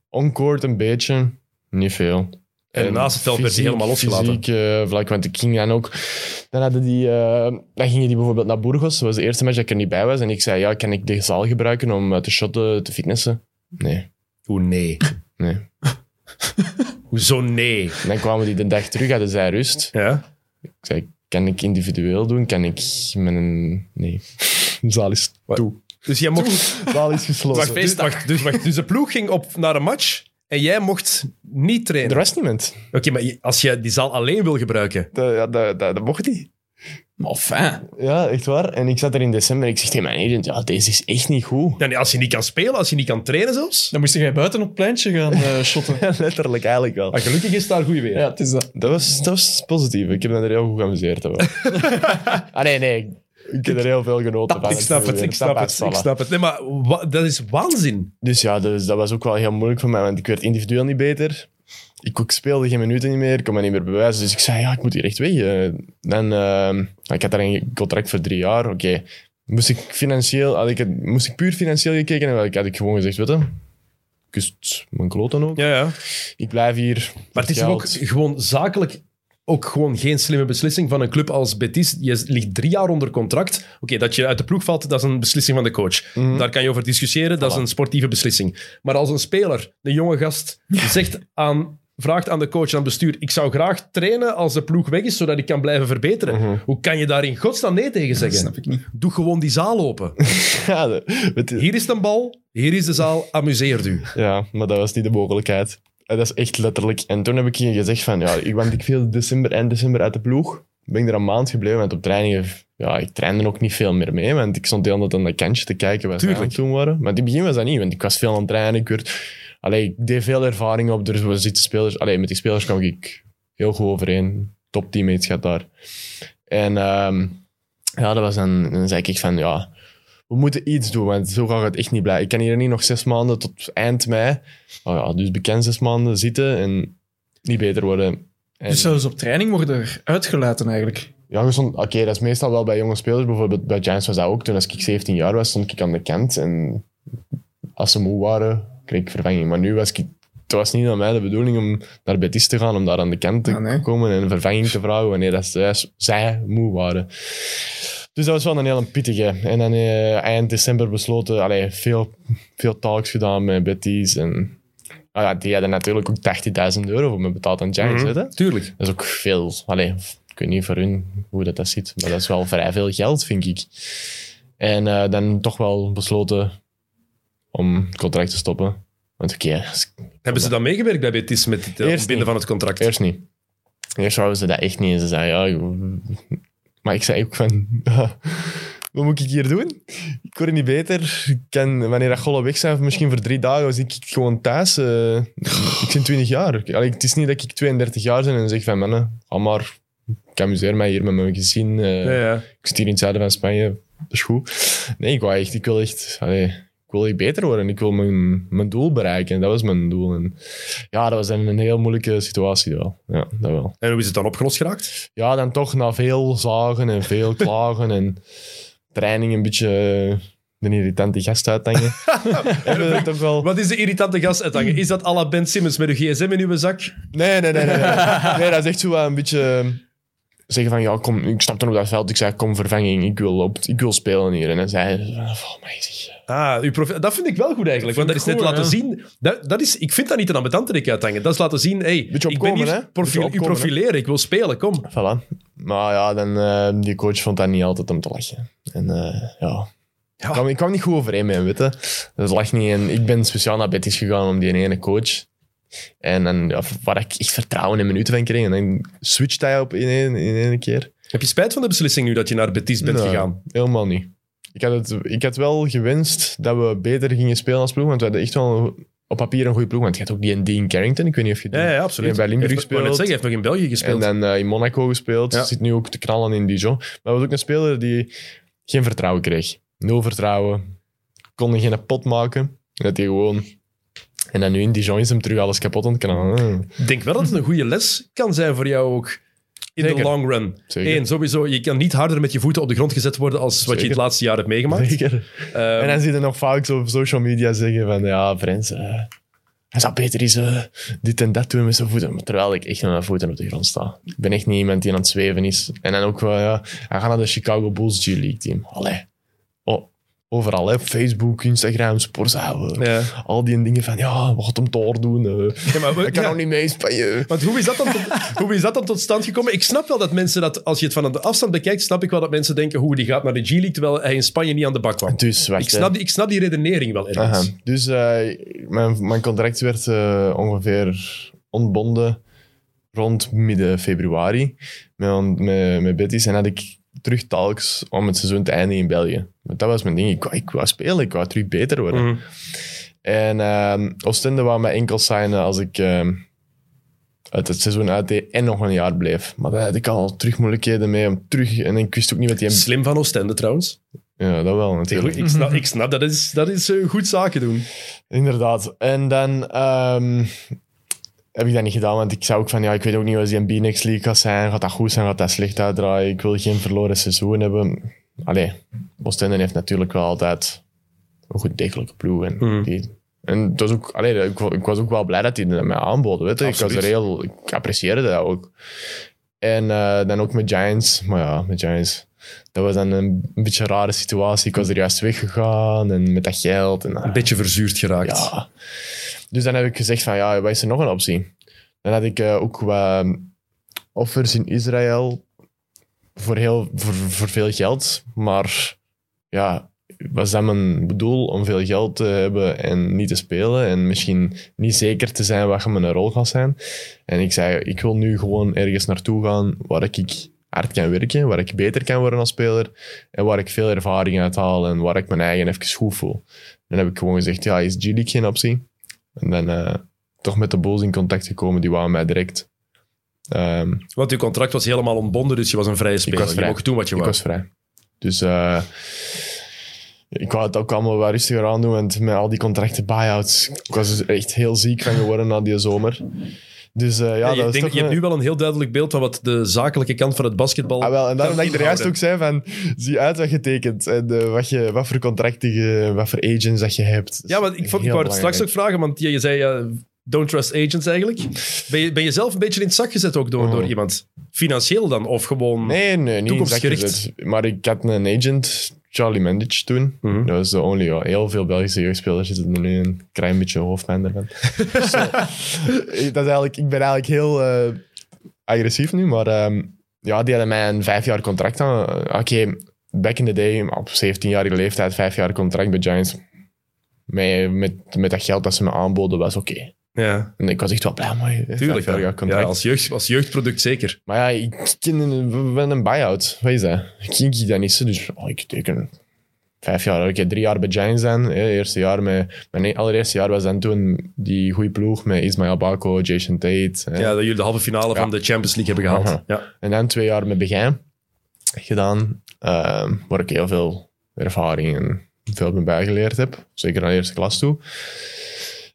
[SPEAKER 2] on-court een beetje, niet veel.
[SPEAKER 1] En naast het veld werd hij
[SPEAKER 2] fysiek-
[SPEAKER 1] helemaal losgelaten.
[SPEAKER 2] Fysiek eh, vlak, want ik ging dan ook... Dan, hadden die, eh, dan gingen die bijvoorbeeld naar Burgos. Dat was de eerste match dat ik er niet bij was. En ik zei, ja, kan ik de zaal gebruiken om eh, te shotten, te fitnessen? Nee,
[SPEAKER 1] Hoe nee?
[SPEAKER 2] nee.
[SPEAKER 1] Hoezo nee?
[SPEAKER 2] En dan kwamen die de dag terug, hadden zij rust.
[SPEAKER 1] Ja?
[SPEAKER 2] Ik zei, kan ik individueel doen? Kan ik met een... Nee. De zaal is toe.
[SPEAKER 1] Dus jij mocht...
[SPEAKER 2] De zaal is gesloten.
[SPEAKER 1] Wacht, dus, wacht, dus, wacht, dus de ploeg ging op naar een match en jij mocht niet
[SPEAKER 2] Er
[SPEAKER 1] trainen.
[SPEAKER 2] was niemand.
[SPEAKER 1] Oké, maar je- als je die zaal alleen wil gebruiken...
[SPEAKER 2] Dat, ja, dat, dat, dat mocht niet.
[SPEAKER 3] Maar fijn.
[SPEAKER 2] Ja, echt waar. En ik zat er in december en ik zeg tegen mijn agent, ja, deze is echt niet goed.
[SPEAKER 1] Ja, nee, als je niet kan spelen, als je niet kan trainen zelfs...
[SPEAKER 3] Dan moest jij buiten op het pleintje gaan eh, shotten.
[SPEAKER 2] Letterlijk, eigenlijk wel.
[SPEAKER 1] Maar gelukkig is daar goed weer.
[SPEAKER 3] ja, het is dat.
[SPEAKER 2] Dat was, dat was positief. Ik heb me er heel goed geamuseerd. hebben. ah nee, nee. Ik heb er heel veel genoten van.
[SPEAKER 1] Ik snap het, ik snap het, ik
[SPEAKER 2] voilà.
[SPEAKER 1] snap het. Nee, maar wa- dat is waanzin.
[SPEAKER 2] Dus ja, dus dat was ook wel heel moeilijk voor mij, want ik werd individueel niet beter. Ik ook speelde geen minuten niet meer, ik kon me niet meer bewijzen. Dus ik zei, ja, ik moet hier echt weg. Eh, Dan, ehm, ik had daar een contract voor drie jaar, oké. Moest ik financieel, had ik het, moest ik puur financieel gekeken, en had ik gewoon gezegd, weet je, kust mijn kloten ook.
[SPEAKER 1] Ja, ja.
[SPEAKER 2] Ik blijf hier.
[SPEAKER 1] Maar het is toch ook
[SPEAKER 2] geld.
[SPEAKER 1] gewoon zakelijk ook gewoon geen slimme beslissing van een club als Betis. Je ligt drie jaar onder contract. Oké, dat je uit de ploeg valt, dat is een beslissing van de coach.
[SPEAKER 2] Mhm.
[SPEAKER 1] Daar kan je over discussiëren, dat is een sportieve beslissing. Maar als een speler, een jonge gast, zegt aan, vraagt aan de coach, aan het bestuur, ik zou graag trainen als de ploeg weg is, zodat ik kan blijven verbeteren.
[SPEAKER 2] Mhm.
[SPEAKER 1] Hoe kan je daar in godsnaam nee tegen zeggen?
[SPEAKER 3] snap ik niet.
[SPEAKER 1] Doe gewoon die zaal open.
[SPEAKER 2] Ja, de- weet je-
[SPEAKER 1] Hier is een bal, hier is de zaal, amuseer u.
[SPEAKER 2] Ja, maar dat was niet de mogelijkheid. En Dat is echt letterlijk. En toen heb ik hier gezegd van, ja, ik, want ik viel december, eind december uit de ploeg. Ben ik er een maand gebleven, want op trainingen, ja, ik trainde ook niet veel meer mee. Want ik stond de hele tijd aan dat kantje te kijken wat ze
[SPEAKER 1] Tuurlijk.
[SPEAKER 2] aan het doen waren. Maar in het begin was dat niet, want ik was veel aan het trainen. Ik, werd, allee, ik deed veel ervaring op, er zitten spelers. Allee, met die spelers kwam ik heel goed overeen. Top teammates gaat daar. En ehm, ja, dat was dan, dan zei ik van, ja, we moeten iets doen, want zo gaat het echt niet blijven. Ik kan hier niet nog zes maanden tot eind mei, oh ja, dus bekend zes maanden zitten en niet beter worden. En,
[SPEAKER 3] Dus zelfs op training worden er uitgelaten eigenlijk.
[SPEAKER 2] ja, je stond- oké, dat is meestal wel bij jonge spelers. Bijvoorbeeld bij Giants was dat ook. Toen als ik 17 jaar was, stond ik aan de kant. En als ze moe waren, kreeg ik vervanging. Maar nu was ik... Het was niet aan mij de bedoeling om naar Betis te gaan, om daar aan de kant te
[SPEAKER 3] Ah, nee.
[SPEAKER 2] komen en een vervanging te vragen wanneer dat zij, zij moe waren. Dus dat was wel een hele pittige. En dan eh, eind december besloten, allee, veel, veel talks gedaan met Betis. En ah ja, die hadden natuurlijk ook 80.000 euro voor me betaald aan
[SPEAKER 3] Mhm.
[SPEAKER 2] Giants. weet je.
[SPEAKER 1] Tuurlijk.
[SPEAKER 2] Dat is ook veel. Allee, ik weet niet voor hun hoe dat, dat zit, maar dat is wel vrij veel geld, vind ik. En eh, dan toch wel besloten om het contract te stoppen. Want oké, s-
[SPEAKER 1] Hebben ze dan meegewerkt bij Betis met het eh,
[SPEAKER 2] Eerst
[SPEAKER 1] ontbinden
[SPEAKER 2] niet.
[SPEAKER 1] van het contract?
[SPEAKER 2] eerst niet. Eerst wouden ze dat echt niet. En ze zeiden, ja... joh. Maar ik zei ook van... "Ah, wat moet ik hier doen? Ik word niet beter. Ik kan, wanneer dat gollen weg zijn, misschien voor drie dagen, was ik gewoon thuis. eh, ik ben 20 jaar. Allee, het is niet dat ik 32 jaar ben en zeg van, mannen, ga maar... Ik amuseer mij hier met mijn gezin. eh,
[SPEAKER 1] Ja, ja.
[SPEAKER 2] Ik zit hier in het zuiden van Spanje. dat is goed. Nee, ik, wou echt, ik wil echt... allee, ik wil echt beter worden. Ik wil mijn, mijn doel bereiken. Dat was mijn doel. En ja, dat was dan een heel moeilijke situatie wel. Ja, dat wel.
[SPEAKER 1] En hoe is het dan opgelost geraakt?
[SPEAKER 2] ja, dan toch na veel zagen en veel klagen en training een beetje eh, de irritante gast uithangen. eh, hebben we dat toch wel...
[SPEAKER 1] Wat is de irritante gast uithangen? Is dat à la Ben Simmons met uw gsm in uw zak?
[SPEAKER 2] Nee, nee, nee. Nee, nee. nee dat is echt zo wel een beetje... eh, Zeggen van, ja, kom, ik snapte op dat veld. Ik zei, kom vervanging, ik wil, op, ik wil spelen hier. En dan zei hij, oh, maar zeg,
[SPEAKER 1] Ah, uw profi- dat vind ik wel goed eigenlijk. Want dat is
[SPEAKER 3] ik
[SPEAKER 1] net
[SPEAKER 3] goed,
[SPEAKER 1] laten
[SPEAKER 3] ja.
[SPEAKER 1] zien... Dat, dat is, ik vind dat niet een ambetante uithangen. Dat is laten zien, hey,
[SPEAKER 2] Beetje
[SPEAKER 1] ik ben
[SPEAKER 2] opkomen,
[SPEAKER 1] hier
[SPEAKER 2] hè?
[SPEAKER 1] profiel-
[SPEAKER 2] Beetje
[SPEAKER 1] u
[SPEAKER 2] opkomen, hè?
[SPEAKER 1] profileren, ik wil spelen, kom.
[SPEAKER 2] Voilà. Maar ja, dan, eh, die coach vond dat niet altijd om te lachen. En eh, ja...
[SPEAKER 1] Ja.
[SPEAKER 2] Ik, kwam, ik kwam niet goed overeen met hem, weet je. Dat lag niet. En ik ben speciaal naar Betis gegaan om die ene coach. En dan, ja, waar ik echt vertrouwen in minuten van kreeg. En dan switcht hij op in één, in één keer.
[SPEAKER 1] Heb je spijt van de beslissing nu dat je naar Betis bent
[SPEAKER 2] Nee,
[SPEAKER 1] gegaan?
[SPEAKER 2] Helemaal niet. Ik had, het, ik had wel gewenst dat we beter gingen spelen als ploeg. Want we hadden echt wel op papier een goede ploeg. Want je had ook die en Dean Carrington. Ik weet niet of je die...
[SPEAKER 1] Ja, ja absoluut.
[SPEAKER 2] bij Limburg
[SPEAKER 1] Heeft- ik wou net
[SPEAKER 2] gespeeld.
[SPEAKER 1] zeggen, hij heeft nog in België
[SPEAKER 2] En
[SPEAKER 1] gespeeld.
[SPEAKER 2] dan eh, in Monaco gespeeld.
[SPEAKER 1] Ja.
[SPEAKER 2] Zit nu ook te knallen in Dijon. Maar was ook een speler die geen vertrouwen kreeg. Nul vertrouwen. Kon geen pot maken. Dat hij gewoon... En dan nu in Dijon is hem terug alles kapot aan het knallen. Eh,
[SPEAKER 1] Ik denk wel dat het een goede les kan zijn voor jou ook. In de
[SPEAKER 2] Zeker.
[SPEAKER 1] long run.
[SPEAKER 2] Zeker.
[SPEAKER 1] Eén, sowieso, je kan niet harder met je voeten op de grond gezet worden als wat je
[SPEAKER 2] Zeker.
[SPEAKER 1] het laatste jaar hebt meegemaakt. Ehm,
[SPEAKER 2] En dan zie je nog vaak zo op social media zeggen van... Ja, Frans... eh, hij zou beter eens eh, dit en dat doen met zijn voeten. Maar Terwijl ik echt met mijn voeten op de grond sta. Ik ben echt niet iemand die aan het zweven is. En dan ook wel, ja... Hij gaat naar de Chicago Bulls G-League team. Allee. Oh, overal, hè. Facebook, Instagram, sportzaal. eh.
[SPEAKER 1] ja.
[SPEAKER 2] Al die dingen van, ja, wat hem daar doen. eh.
[SPEAKER 1] Ja, maar we-
[SPEAKER 2] ik kan
[SPEAKER 1] ja.
[SPEAKER 2] nog niet mee in Spanje.
[SPEAKER 1] Want hoe is, dat dan tot, hoe is dat dan tot stand gekomen? Ik snap wel dat mensen dat, als je het van de afstand bekijkt, snap ik wel dat mensen denken hoe die gaat naar de G-League, terwijl hij in Spanje niet aan de bak kwam.
[SPEAKER 2] Dus, wacht,
[SPEAKER 1] Ik
[SPEAKER 2] hè.
[SPEAKER 1] snap, die, ik snap die redenering wel ergens.
[SPEAKER 2] Aha. Dus eh, mijn, mijn contract werd eh, ongeveer ontbonden rond midden februari met, met, met Betis. En had ik terug talks om het seizoen te eindigen in België. Want dat was mijn ding. Ik wou, ik wou spelen, ik wou terug beter worden.
[SPEAKER 1] Mhm.
[SPEAKER 2] En ehm Oostende wou mij enkel signen als ik ehm, uit het seizoen uitdeed en nog een jaar bleef. Maar daar had ik al terug moeilijkheden mee om terug... En ik wist ook niet wat die...
[SPEAKER 1] Slim van Oostende trouwens.
[SPEAKER 2] Ja, dat wel natuurlijk.
[SPEAKER 1] Ik snap, ik snap dat is, dat is eh, goed zaken doen.
[SPEAKER 2] Inderdaad. En dan ehm, heb ik dat niet gedaan, want ik zou ook van, ja, ik weet ook niet wat die MB Next League gaat zijn. Gaat dat goed zijn, gaat dat slecht uitdraaien? Ik wil geen verloren seizoen hebben. Allee, Oostende heeft natuurlijk wel altijd een goed degelijke ploeg. En,
[SPEAKER 1] Mhm.
[SPEAKER 2] die, en het was ook, allee, ik, wa- ik was ook wel blij dat die dat mij aanboden. Weet je. Ik, was er
[SPEAKER 1] Absoluut.
[SPEAKER 2] heel, ik apprecieerde dat ook. En eh, dan ook met Giants. Maar ja, met Giants. Dat was dan een beetje een rare situatie. Ik was er juist weggegaan en met dat geld. En, eh,
[SPEAKER 1] Een beetje verzuurd geraakt.
[SPEAKER 2] ja. Dus dan heb ik gezegd van, ja, wat is er nog een optie? Dan had ik eh, ook wat offers in Israël voor, heel, voor, voor veel geld. Maar ja, was dat mijn doel om veel geld te hebben en niet te spelen? En misschien niet zeker te zijn wat mijn rol gaat zijn? En ik zei, ik wil nu gewoon ergens naartoe gaan waar ik hard kan werken, waar ik beter kan worden als speler en waar ik veel ervaring uit haal en waar ik mijn eigen even goed voel. Dan heb ik gewoon gezegd, ja, is G-League geen optie? En dan eh, toch met de Bulls in contact gekomen, die waren mij direct. Ehm,
[SPEAKER 1] Want uw contract was helemaal ontbonden, dus je was een vrije speler.
[SPEAKER 2] was vrij.
[SPEAKER 1] Je mocht doen wat je
[SPEAKER 2] ik
[SPEAKER 1] wou.
[SPEAKER 2] was vrij. Dus eh, ik wou het ook allemaal wel rustiger aan doen, want met al die contracten, buyouts, ik was er echt heel ziek van geworden na die zomer. Dus eh, ja,
[SPEAKER 1] Ja,
[SPEAKER 2] dat
[SPEAKER 1] je,
[SPEAKER 2] was
[SPEAKER 1] denk,
[SPEAKER 2] toch
[SPEAKER 1] je hebt
[SPEAKER 2] een-
[SPEAKER 1] nu wel een heel duidelijk beeld van wat de zakelijke kant van het basketbal...
[SPEAKER 2] Ah, wel, en daarom
[SPEAKER 1] kan
[SPEAKER 2] dat ik er juist ook
[SPEAKER 1] inhouden.
[SPEAKER 2] zei van, zie uit wat je tekent en eh, wat, je, wat voor contracten, je, wat voor agents dat je hebt.
[SPEAKER 1] Ja, want ik, vond, ik wou het straks ook vragen, want je, je zei... ja, don't trust agents eigenlijk. Ben je, ben je zelf een beetje in het zak gezet ook door,
[SPEAKER 2] Oh.
[SPEAKER 1] door iemand? Financieel dan? Of gewoon...
[SPEAKER 2] Nee, nee, niet
[SPEAKER 1] Hm. Toekomstgericht.
[SPEAKER 2] exact. Maar ik had een agent, Charlie Mendic, toen.
[SPEAKER 1] Mhm.
[SPEAKER 2] Dat was de only. ja. Heel veel Belgische jeugdspelers zitten er nu in een klein beetje hoofdpijn daarvan. Dus, eh, dat is eigenlijk, ik ben eigenlijk heel eh, agressief nu, maar ehm, ja, die hadden mij een vijf jaar contract aan. eh, Oké, back in the day, op 17-jarige leeftijd, vijf jaar contract bij Giants. Met, met, met dat geld dat ze me aanboden, was oké.
[SPEAKER 1] Ja,
[SPEAKER 2] En ik was echt wel blij, maar
[SPEAKER 1] tuurlijk.
[SPEAKER 2] vijf
[SPEAKER 1] Ja,
[SPEAKER 2] jaar contract.
[SPEAKER 1] Ja, als, jeugd, als jeugdproduct zeker.
[SPEAKER 2] Maar ja, ik ken een, wel een buy-out. Wat is dat? Ik ken die dat niet zo, dus oh, ik teken vijf jaar. Ik heb drie jaar bij Giants dan. Hè, eerste jaar met, mijn e- allereerste jaar was dan toen die goede ploeg met Ismael Bako, Jason Tate. hè.
[SPEAKER 1] Ja, dat jullie de halve finale van de Champions League hebben gehaald.
[SPEAKER 2] Aha.
[SPEAKER 1] Ja.
[SPEAKER 2] En dan twee jaar met Begijn gedaan, ehm, waar ik heel veel ervaring en veel me bijgeleerd heb. Zeker aan de eerste klas toe.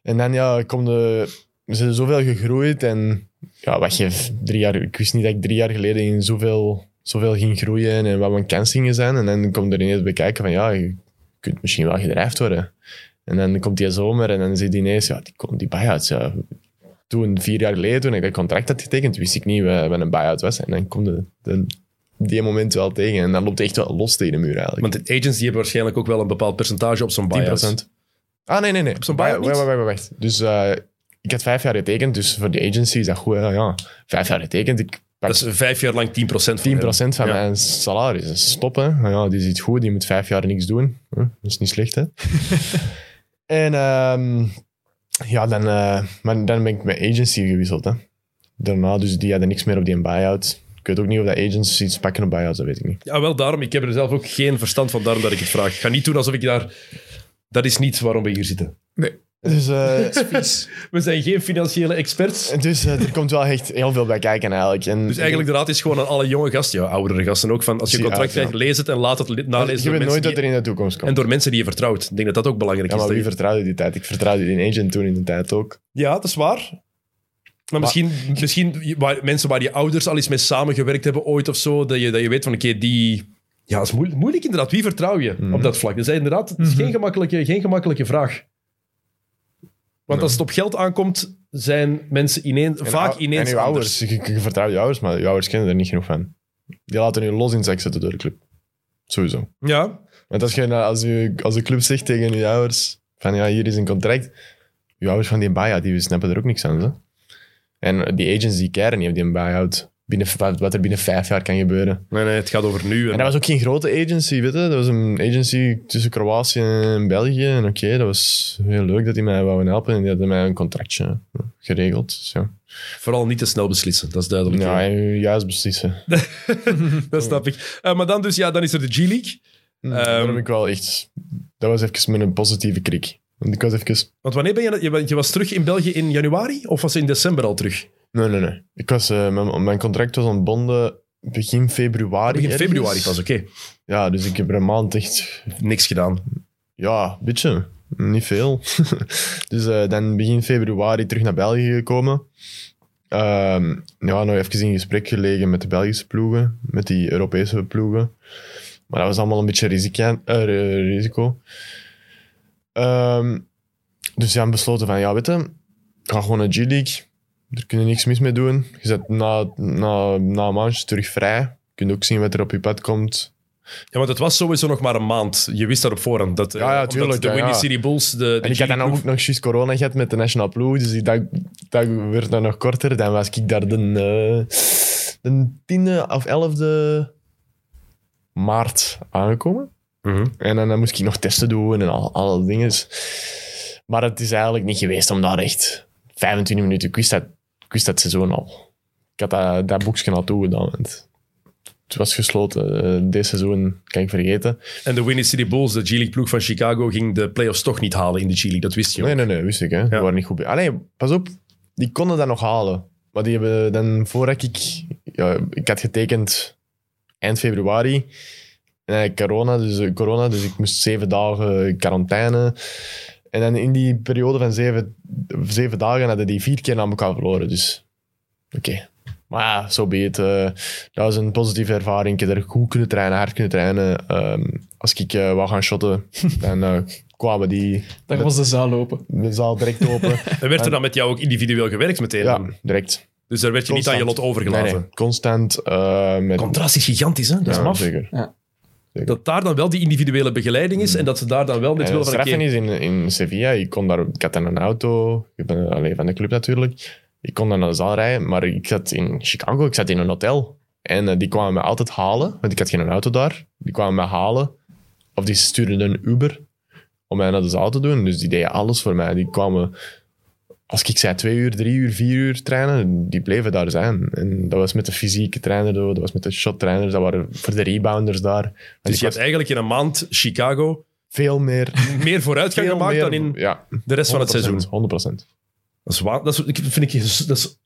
[SPEAKER 2] En dan ja, kom de, we zijn zoveel gegroeid en ja, wat je drie jaar, ik wist niet dat ik drie jaar geleden in zoveel, zoveel ging groeien en wat mijn kansen zijn. En dan komt er ineens bekijken van ja, je kunt misschien wel gedreigd worden. En dan komt die zomer en dan zit die ineens, ja, die, die buyouts. Ja. Toen, vier jaar geleden, toen ik dat contract had getekend, wist ik niet wat wat een buyout was. En dan komt de, de, die moment wel tegen en dan loopt het echt wel los tegen de muur eigenlijk.
[SPEAKER 1] Want de agents die hebben waarschijnlijk ook wel een bepaald percentage op zo'n buyout.
[SPEAKER 2] 10%. Ah, nee, nee, nee. Op
[SPEAKER 1] zo'n buyout
[SPEAKER 2] Wacht,
[SPEAKER 1] niet?
[SPEAKER 2] wacht, wacht, wacht. Dus eh, ik had vijf jaar getekend, dus voor de agency is dat goed. hè. Ja, vijf jaar getekend. Ik pak
[SPEAKER 1] Dat is vijf jaar lang 10% van
[SPEAKER 2] 10%
[SPEAKER 1] hen.
[SPEAKER 2] van
[SPEAKER 1] Ja.
[SPEAKER 2] mijn salaris. Dat is top, hè. Maar Ja, die zit goed, die moet vijf jaar niks doen. Hm, Dat is niet slecht, hè. en ehm, ja, dan, eh, maar dan ben ik mijn agency gewisseld, hè. Daarna, dus die hadden niks meer op die buyout. Ik weet ook niet of dat agents iets pakken op buyouts, dat weet ik niet.
[SPEAKER 1] Ja, wel daarom. Ik heb er zelf ook geen verstand van, daarom dat ik het vraag. Ik ga niet doen alsof ik daar... Dat is niet waarom we hier zitten.
[SPEAKER 2] Dus eh,
[SPEAKER 1] We zijn geen financiële experts.
[SPEAKER 2] Dus eh, er komt wel echt heel veel bij kijken eigenlijk. En
[SPEAKER 1] Dus eigenlijk de raad is gewoon aan alle jonge gasten, ja, oudere gasten ook, van als je een
[SPEAKER 2] Zie
[SPEAKER 1] contract
[SPEAKER 2] uit, ja.
[SPEAKER 1] krijgt, lees het en laat het li-
[SPEAKER 2] je
[SPEAKER 1] nalezen
[SPEAKER 2] Ah, weet
[SPEAKER 1] door
[SPEAKER 2] nooit
[SPEAKER 1] mensen
[SPEAKER 2] dat
[SPEAKER 1] die-
[SPEAKER 2] er in de toekomst
[SPEAKER 1] en
[SPEAKER 2] komt.
[SPEAKER 1] door mensen die je vertrouwt. Ik denk dat dat ook belangrijk
[SPEAKER 2] Ja,
[SPEAKER 1] is.
[SPEAKER 2] maar
[SPEAKER 1] dat
[SPEAKER 2] wie
[SPEAKER 1] je-
[SPEAKER 2] vertrouwde die tijd? Ik vertrouwde die agent toen in de tijd ook.
[SPEAKER 1] Ja, dat is waar. Maar misschien, misschien je- waar, mensen waar je ouders al eens mee samengewerkt hebben ooit of zo, dat je, dat je weet van, oké, die... Ja, dat is moeilijk, moeilijk inderdaad. Wie vertrouw je
[SPEAKER 2] Mhm.
[SPEAKER 1] op dat vlak? Dus Dat is inderdaad het is geen, gemakkelijke, geen gemakkelijke vraag. Want als het op geld aankomt, zijn mensen ineen,
[SPEAKER 2] En
[SPEAKER 1] vaak
[SPEAKER 2] ou-
[SPEAKER 1] ineens
[SPEAKER 2] En uw
[SPEAKER 1] anders.
[SPEAKER 2] ouders. Je, je vertrouwt je ouders, maar je ouders kennen er niet genoeg van. Die laten je los in het zak zetten door de club. Sowieso.
[SPEAKER 1] Ja,
[SPEAKER 2] Want als, je, nou, als, je, als de club zegt tegen je ouders van ja, hier is een contract. Je ouders van die buyout, die snappen er ook niks aan. Zo. En die agents die keren niet op die buyout. Binnen, wat- wat er binnen vijf jaar kan gebeuren.
[SPEAKER 1] nee, nee, het gaat over nu.
[SPEAKER 2] En dat was ook geen grote agency, weet je. Dat was een agency tussen Kroatië en België. En oké, dat was heel leuk dat die mij wouden helpen. En die hadden mij een contractje geregeld. Dus ja.
[SPEAKER 1] Vooral niet te snel beslissen, dat is duidelijk.
[SPEAKER 2] Ja, en juist beslissen.
[SPEAKER 1] Dat snap ik. Eh, maar dan dus, ja, dan is er de G-League.
[SPEAKER 2] Hm,
[SPEAKER 1] Ehm,
[SPEAKER 2] Daar heb ik wel echt... Dat was even met een positieve krik. Want ik was even...
[SPEAKER 1] Want wanneer ben je... Je, bent- je was terug in België in januari? Of was je in december al terug?
[SPEAKER 2] Nee, nee, nee. Ik was, eh, mijn, mijn contract was ontbonden begin februari.
[SPEAKER 1] Begin
[SPEAKER 2] ergens.
[SPEAKER 1] februari pas, oké.
[SPEAKER 2] Ja, dus ik heb er een maand echt
[SPEAKER 1] Niks gedaan.
[SPEAKER 2] Ja, een beetje. Niet veel. dus eh, dan begin februari terug naar België gekomen. Ehm ja, nog even in gesprek gelegen met de Belgische ploegen, met die Europese ploegen. Maar dat was allemaal een beetje risica- eh, eh, risico. Ehm, dus ja, besloten van, ja, weet je, ik ga gewoon naar G-League. Daar kun je niks mis mee doen. Je zet na, na, na een maandje terug vrij. Je kunt ook zien wat er op je pad komt.
[SPEAKER 1] Ja, want het was sowieso nog maar een maand. Je wist dat op voorhand. Dat, eh,
[SPEAKER 2] Ja, ja,
[SPEAKER 1] omdat
[SPEAKER 2] tuurlijk,
[SPEAKER 1] De
[SPEAKER 2] ja,
[SPEAKER 1] Windy
[SPEAKER 2] ja.
[SPEAKER 1] City Bulls, de, de
[SPEAKER 2] En ik had dan
[SPEAKER 1] G-League
[SPEAKER 2] ook
[SPEAKER 1] ploeg-
[SPEAKER 2] nog juist corona gehad met de National Ploeg, dus ik- dat, dat werd dan nog korter. Dan was ik daar de, eh, de 10e of 11e maart aangekomen.
[SPEAKER 1] Mhm.
[SPEAKER 2] En dan, dan moest ik nog testen doen en al, alle dingen. Maar het is eigenlijk niet geweest om daar echt 25 minuten... Ik wist dat, ik wist dat seizoen al. Ik had dat, dat boekje al toegedaan. want Het was gesloten. Eh, Dit seizoen kan ik vergeten.
[SPEAKER 1] En de Windy City Bulls, de G-League ploeg van Chicago, ging de playoffs toch niet halen in de G-League. Dat wist je ook.
[SPEAKER 2] Nee, nee, nee, wist ik. Hè. Die waren niet goed bij. Allee, pas op, die konden dat nog halen. Maar die hebben dan, voordat ik... Ja, ik had getekend eind februari. En dan corona, dus, eh, corona, dus ik moest zeven dagen quarantaine. En dan in die periode van zeven, zeven dagen hadden die vier keer aan elkaar verloren. Dus, oké. Maar ja, zo be het. eh, dat was een positieve ervaring. Ik heb er goed kunnen trainen, hard kunnen trainen. Ehm, als ik eh wou gaan shotten, dan eh, kwamen die
[SPEAKER 3] Daar was de zaal open.
[SPEAKER 2] de zaal direct open.
[SPEAKER 1] En werd er dan met jou ook individueel gewerkt meteen?
[SPEAKER 2] ja, direct.
[SPEAKER 1] Dus daar werd je niet aan je lot overgelaten.
[SPEAKER 2] Nee, nee, constant. eh, met,
[SPEAKER 1] Contrast is gigantisch, hè? Dat is
[SPEAKER 2] Ja,
[SPEAKER 1] maf.
[SPEAKER 2] Zeker.
[SPEAKER 1] Dat daar dan wel die individuele begeleiding is en dat ze daar dan wel met
[SPEAKER 2] En
[SPEAKER 1] wil
[SPEAKER 2] het
[SPEAKER 1] van... oké,
[SPEAKER 2] straffen Mm. is in, in Sevilla, ik, kon daar, ik had dan een auto, ik ben alleen van de club natuurlijk. Ik kon dan naar de zaal rijden, maar ik zat in Chicago, ik zat in een hotel. En eh, die kwamen me altijd halen, want ik had geen auto daar. Die kwamen me halen, of die stuurden een Uber om mij naar de zaal te doen. Dus die deden alles voor mij. Die kwamen, als ik zei twee uur, drie uur, vier uur trainen, die bleven daar zijn. En dat was met de fysieke trainer, dat was met de shot trainers, dat waren voor de rebounders daar.
[SPEAKER 1] Dus
[SPEAKER 2] ik
[SPEAKER 1] je hebt
[SPEAKER 2] was
[SPEAKER 1] eigenlijk in een maand Chicago
[SPEAKER 2] veel meer...
[SPEAKER 1] meer vooruitgang
[SPEAKER 2] veel
[SPEAKER 1] gemaakt
[SPEAKER 2] meer-
[SPEAKER 1] dan in
[SPEAKER 2] ja,
[SPEAKER 1] de rest van het
[SPEAKER 2] 100%,
[SPEAKER 1] seizoen.
[SPEAKER 2] 100%.
[SPEAKER 1] Dat, is wa- dat, is, ik- vind ik, dat is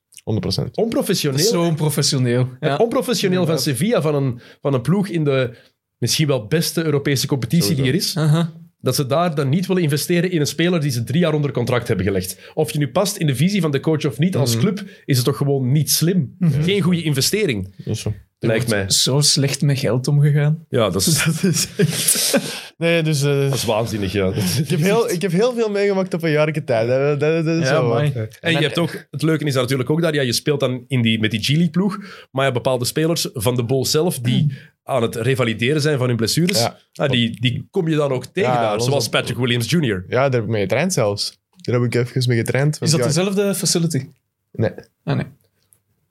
[SPEAKER 2] 100%.
[SPEAKER 1] onprofessioneel.
[SPEAKER 3] Zo professioneel. Ja.
[SPEAKER 1] Onprofessioneel van Sevilla, van een, van een ploeg in de misschien wel beste Europese competitie die er is,
[SPEAKER 3] Aha.
[SPEAKER 1] dat ze daar dan niet willen investeren in een speler die ze drie jaar onder contract hebben gelegd. Of je nu past in de visie van de coach of niet, als club is het toch gewoon niet slim. Geen goede investering,
[SPEAKER 2] Is zo.
[SPEAKER 1] lijkt mij.
[SPEAKER 3] Zo slecht met geld omgegaan.
[SPEAKER 1] Ja, dat is,
[SPEAKER 3] Dat is echt...
[SPEAKER 2] Nee, dus... eh,
[SPEAKER 1] dat is waanzinnig. Ja.
[SPEAKER 2] ik, heb heel, ik heb heel veel meegemaakt op een jarige tijd. Dat, dat, dat is
[SPEAKER 3] Ja,
[SPEAKER 2] wel wat.
[SPEAKER 3] amai.
[SPEAKER 1] En je hebt ook, het leuke is daar natuurlijk ook dat ja, je speelt dan in die, met die G-League ploeg, maar je hebt bepaalde spelers van de bol zelf die aan het revalideren zijn van hun blessures,
[SPEAKER 2] Ja.
[SPEAKER 1] ah, die, die kom je dan ook tegen
[SPEAKER 2] Ja,
[SPEAKER 1] daar,
[SPEAKER 2] los
[SPEAKER 1] zoals
[SPEAKER 2] op-
[SPEAKER 1] Patrick Williams Jr.
[SPEAKER 2] Ja, daar heb ik mee getraind zelfs. Daar heb ik even mee getraind.
[SPEAKER 3] Is
[SPEAKER 2] want
[SPEAKER 3] dat
[SPEAKER 2] ja,
[SPEAKER 3] dezelfde facility?
[SPEAKER 2] Nee.
[SPEAKER 3] Ah, nee.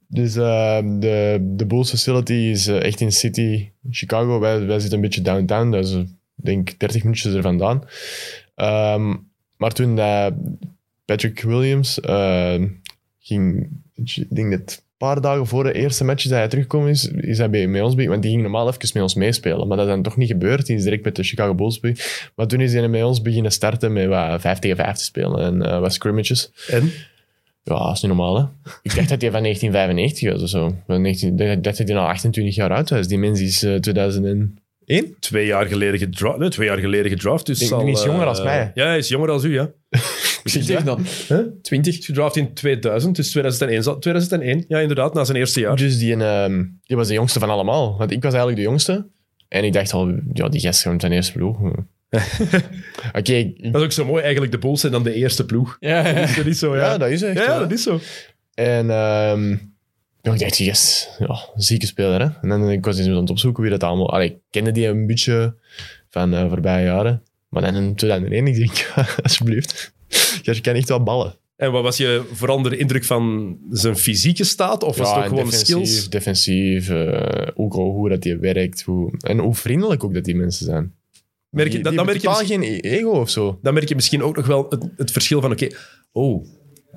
[SPEAKER 2] Dus eh, de, de Bulls facility is eh, echt in City, Chicago. Wij, wij zitten een beetje downtown, dat is eh, denk ik 30 minuutjes er vandaan. Ehm, maar toen dat Patrick Williams eh, ging, ik denk dat een paar dagen voor de eerste match dat hij teruggekomen is, is hij bij, met ons bij, want die ging normaal even met ons meespelen. Maar dat is dan toch niet gebeurd, die is direct met de Chicago Bulls bij. Maar toen is hij met ons beginnen starten met wat 5 tegen 5 te spelen en eh, wat scrimmages.
[SPEAKER 1] En?
[SPEAKER 2] Ja, dat is niet normaal, hè. Ik dacht dat hij van 1995 was of zo. Van 19, ik dacht dat hij al 28 jaar oud was. Die mens is eh, 2000 en...
[SPEAKER 1] Twee jaar geleden gedraft. Nee, twee jaar geleden gedraft. Dus
[SPEAKER 2] Ik-
[SPEAKER 1] zal,
[SPEAKER 2] die is
[SPEAKER 1] eh,
[SPEAKER 2] jonger als mij.
[SPEAKER 1] Ja, hij is jonger als u, ja.
[SPEAKER 3] Ik zeg dan.
[SPEAKER 1] Twintig. Gedraft in 2000, dus 2001. zal- 2001, ja inderdaad, na zijn eerste jaar.
[SPEAKER 2] Dus die, ehm, die was de jongste van allemaal. Want ik was eigenlijk de jongste. En ik dacht al, ja, die gast komt zijn eerste ploeg. Oké, ik-
[SPEAKER 1] Dat is ook zo mooi, eigenlijk de Bulls zijn dan de eerste ploeg.
[SPEAKER 3] Ja, ja.
[SPEAKER 1] Is dat niet zo, ja?
[SPEAKER 2] ja, dat is echt
[SPEAKER 1] Ja,
[SPEAKER 2] wel.
[SPEAKER 1] dat is zo.
[SPEAKER 2] En ehm, ja, ik dacht, yes, ja, zieke speler. Hè? En dan, ik was eens aan het opzoeken wie dat allemaal... Allee, ik kende die een beetje van de voorbije jaren. Maar dan in 2001, ik denk, alsjeblieft. Je kan echt wel ballen.
[SPEAKER 1] En wat was je vooral onder de indruk van zijn fysieke staat? Of was het ook
[SPEAKER 2] en
[SPEAKER 1] gewoon
[SPEAKER 2] defensief,
[SPEAKER 1] skills?
[SPEAKER 2] Defensief, eh, ook al hoe dat die werkt. Hoe, en hoe vriendelijk ook dat die mensen zijn.
[SPEAKER 1] Merk je,
[SPEAKER 2] Die-
[SPEAKER 1] dat,
[SPEAKER 2] die
[SPEAKER 1] dan, merk je,
[SPEAKER 2] hebben
[SPEAKER 1] misschien-
[SPEAKER 2] totaal geen e-, ego of zo.
[SPEAKER 1] dan merk je misschien ook nog wel het, het verschil van, oké, oh,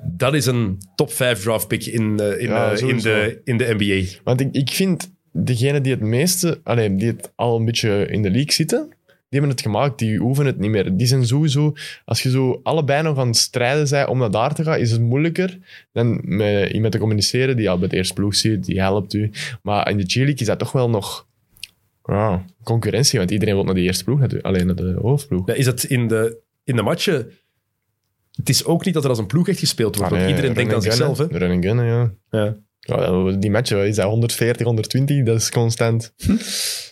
[SPEAKER 1] dat is een top 5 draft pick in, eh, in,
[SPEAKER 2] Ja,
[SPEAKER 1] eh, in,
[SPEAKER 2] sowieso.
[SPEAKER 1] de, in de NBA.
[SPEAKER 2] Want ik, ik vind, degene die het meeste, allee, die het al een beetje in de league zitten, die hebben het gemaakt, die hoeven het niet meer. Die zijn sowieso, als je zo allebei nog aan het strijden bent om naar daar te gaan, is het moeilijker dan met iemand te communiceren die al bij het eerste ploeg zit, die helpt u. Maar in de G-League is dat toch wel nog ja, concurrentie, want iedereen wil naar die eerste ploeg, natuurlijk, alleen naar de hoofdploeg.
[SPEAKER 1] Ja, is het in de, in de matchen... Het is ook niet dat er als een ploeg echt gespeeld wordt.
[SPEAKER 2] Ah,
[SPEAKER 1] want
[SPEAKER 2] nee,
[SPEAKER 1] iedereen
[SPEAKER 2] run
[SPEAKER 1] denkt aan
[SPEAKER 2] and gunnen.
[SPEAKER 1] zichzelf. Hè?
[SPEAKER 2] Run and gunnen, ja.
[SPEAKER 1] Ja.
[SPEAKER 2] Ja, Die matchen, is dat 140, 120? Dat is constant.
[SPEAKER 1] Hm?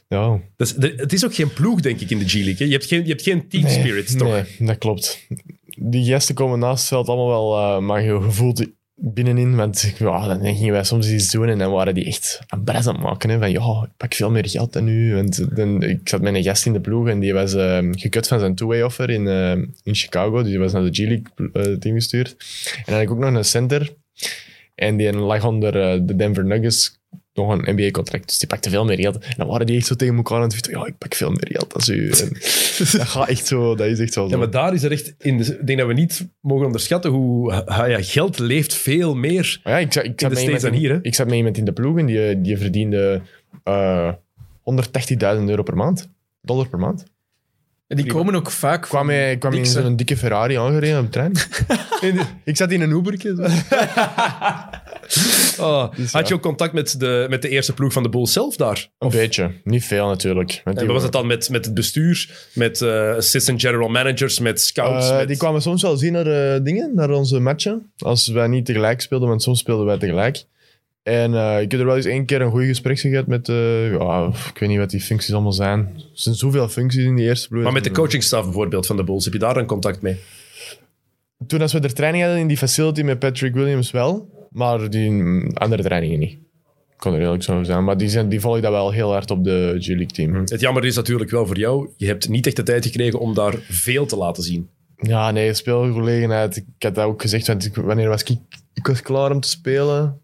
[SPEAKER 2] Ja.
[SPEAKER 1] Dus er- het is ook geen ploeg, denk ik, in de G-League. hè. Je hebt geen, je hebt geen team spirit, toch?
[SPEAKER 2] Nee, dat klopt. Die gasten komen naast het veld allemaal wel, eh, maar je gevoelt binnenin, want ja, dan gingen wij soms iets doen en dan waren die echt een bres aan het maken. Hè, van ja, ik pak veel meer geld dan nu. Want dan, ik zat met een gast in de ploeg en die was eh, gekut van zijn two-way offer in, eh, in Chicago. Dus die was naar de G-League eh, team gestuurd. En dan had ik ook nog een center. En die lag onder eh, de Denver Nuggets nog een NBA-contract. Dus die pakte veel meer geld. En dan waren die echt zo tegen elkaar aan het vechten. Ja, ik pak veel meer geld als u. En dat gaat echt zo, dat is echt wel zo.
[SPEAKER 1] Ja, maar daar is er echt... In de, ik denk dat we niet mogen onderschatten hoe... ha- ja, geld leeft veel meer.
[SPEAKER 2] Maar ja, ik, zat- ik, zat
[SPEAKER 1] de
[SPEAKER 2] met
[SPEAKER 1] States
[SPEAKER 2] iemand in,
[SPEAKER 1] dan hier, hè?
[SPEAKER 2] ik zat met iemand in de ploeg en die, die verdiende eh 180.000 euro per maand. Dollar per maand.
[SPEAKER 3] Die komen ook vaak.
[SPEAKER 2] Kwam hij, kwam hij in
[SPEAKER 3] Niks, hè?
[SPEAKER 2] zo'n dikke Ferrari aangereden op de trein. In de- ik zat in een Uberke. zo.
[SPEAKER 1] Ah,
[SPEAKER 2] Dus ja.
[SPEAKER 1] Had je ook contact met de, met de eerste ploeg van de Bulls zelf daar?
[SPEAKER 2] Een beetje. Niet veel natuurlijk. Want
[SPEAKER 1] En wat was het dan met, met het bestuur, met eh, assistant general managers, met scouts?
[SPEAKER 2] Eh,
[SPEAKER 1] met-
[SPEAKER 2] Die kwamen soms wel zien naar eh, dingen, naar onze matchen. Als wij niet tegelijk speelden, want soms speelden wij tegelijk. En eh, ik heb er wel eens één keer een goed gesprek gehad met... eh, ja, ik weet niet wat die functies allemaal zijn. Er zijn zoveel functies in die eerste ploeg.
[SPEAKER 1] Maar met de coachingstaf bijvoorbeeld van de Bulls, heb je daar dan contact mee?
[SPEAKER 2] Toen als we er training hadden in die facility met Patrick Williams wel, maar die mm, andere trainingen niet. Ik kon er eerlijk zo over zijn, maar die, zijn, die volg ik dat wel heel hard op de G-League team.
[SPEAKER 1] Het jammer is natuurlijk wel voor jou, je hebt niet echt de tijd gekregen om daar veel te laten zien.
[SPEAKER 2] Ja, nee, speelgelegenheid. Ik had dat ook gezegd, want ik- wanneer was ik... Ik was klaar om te spelen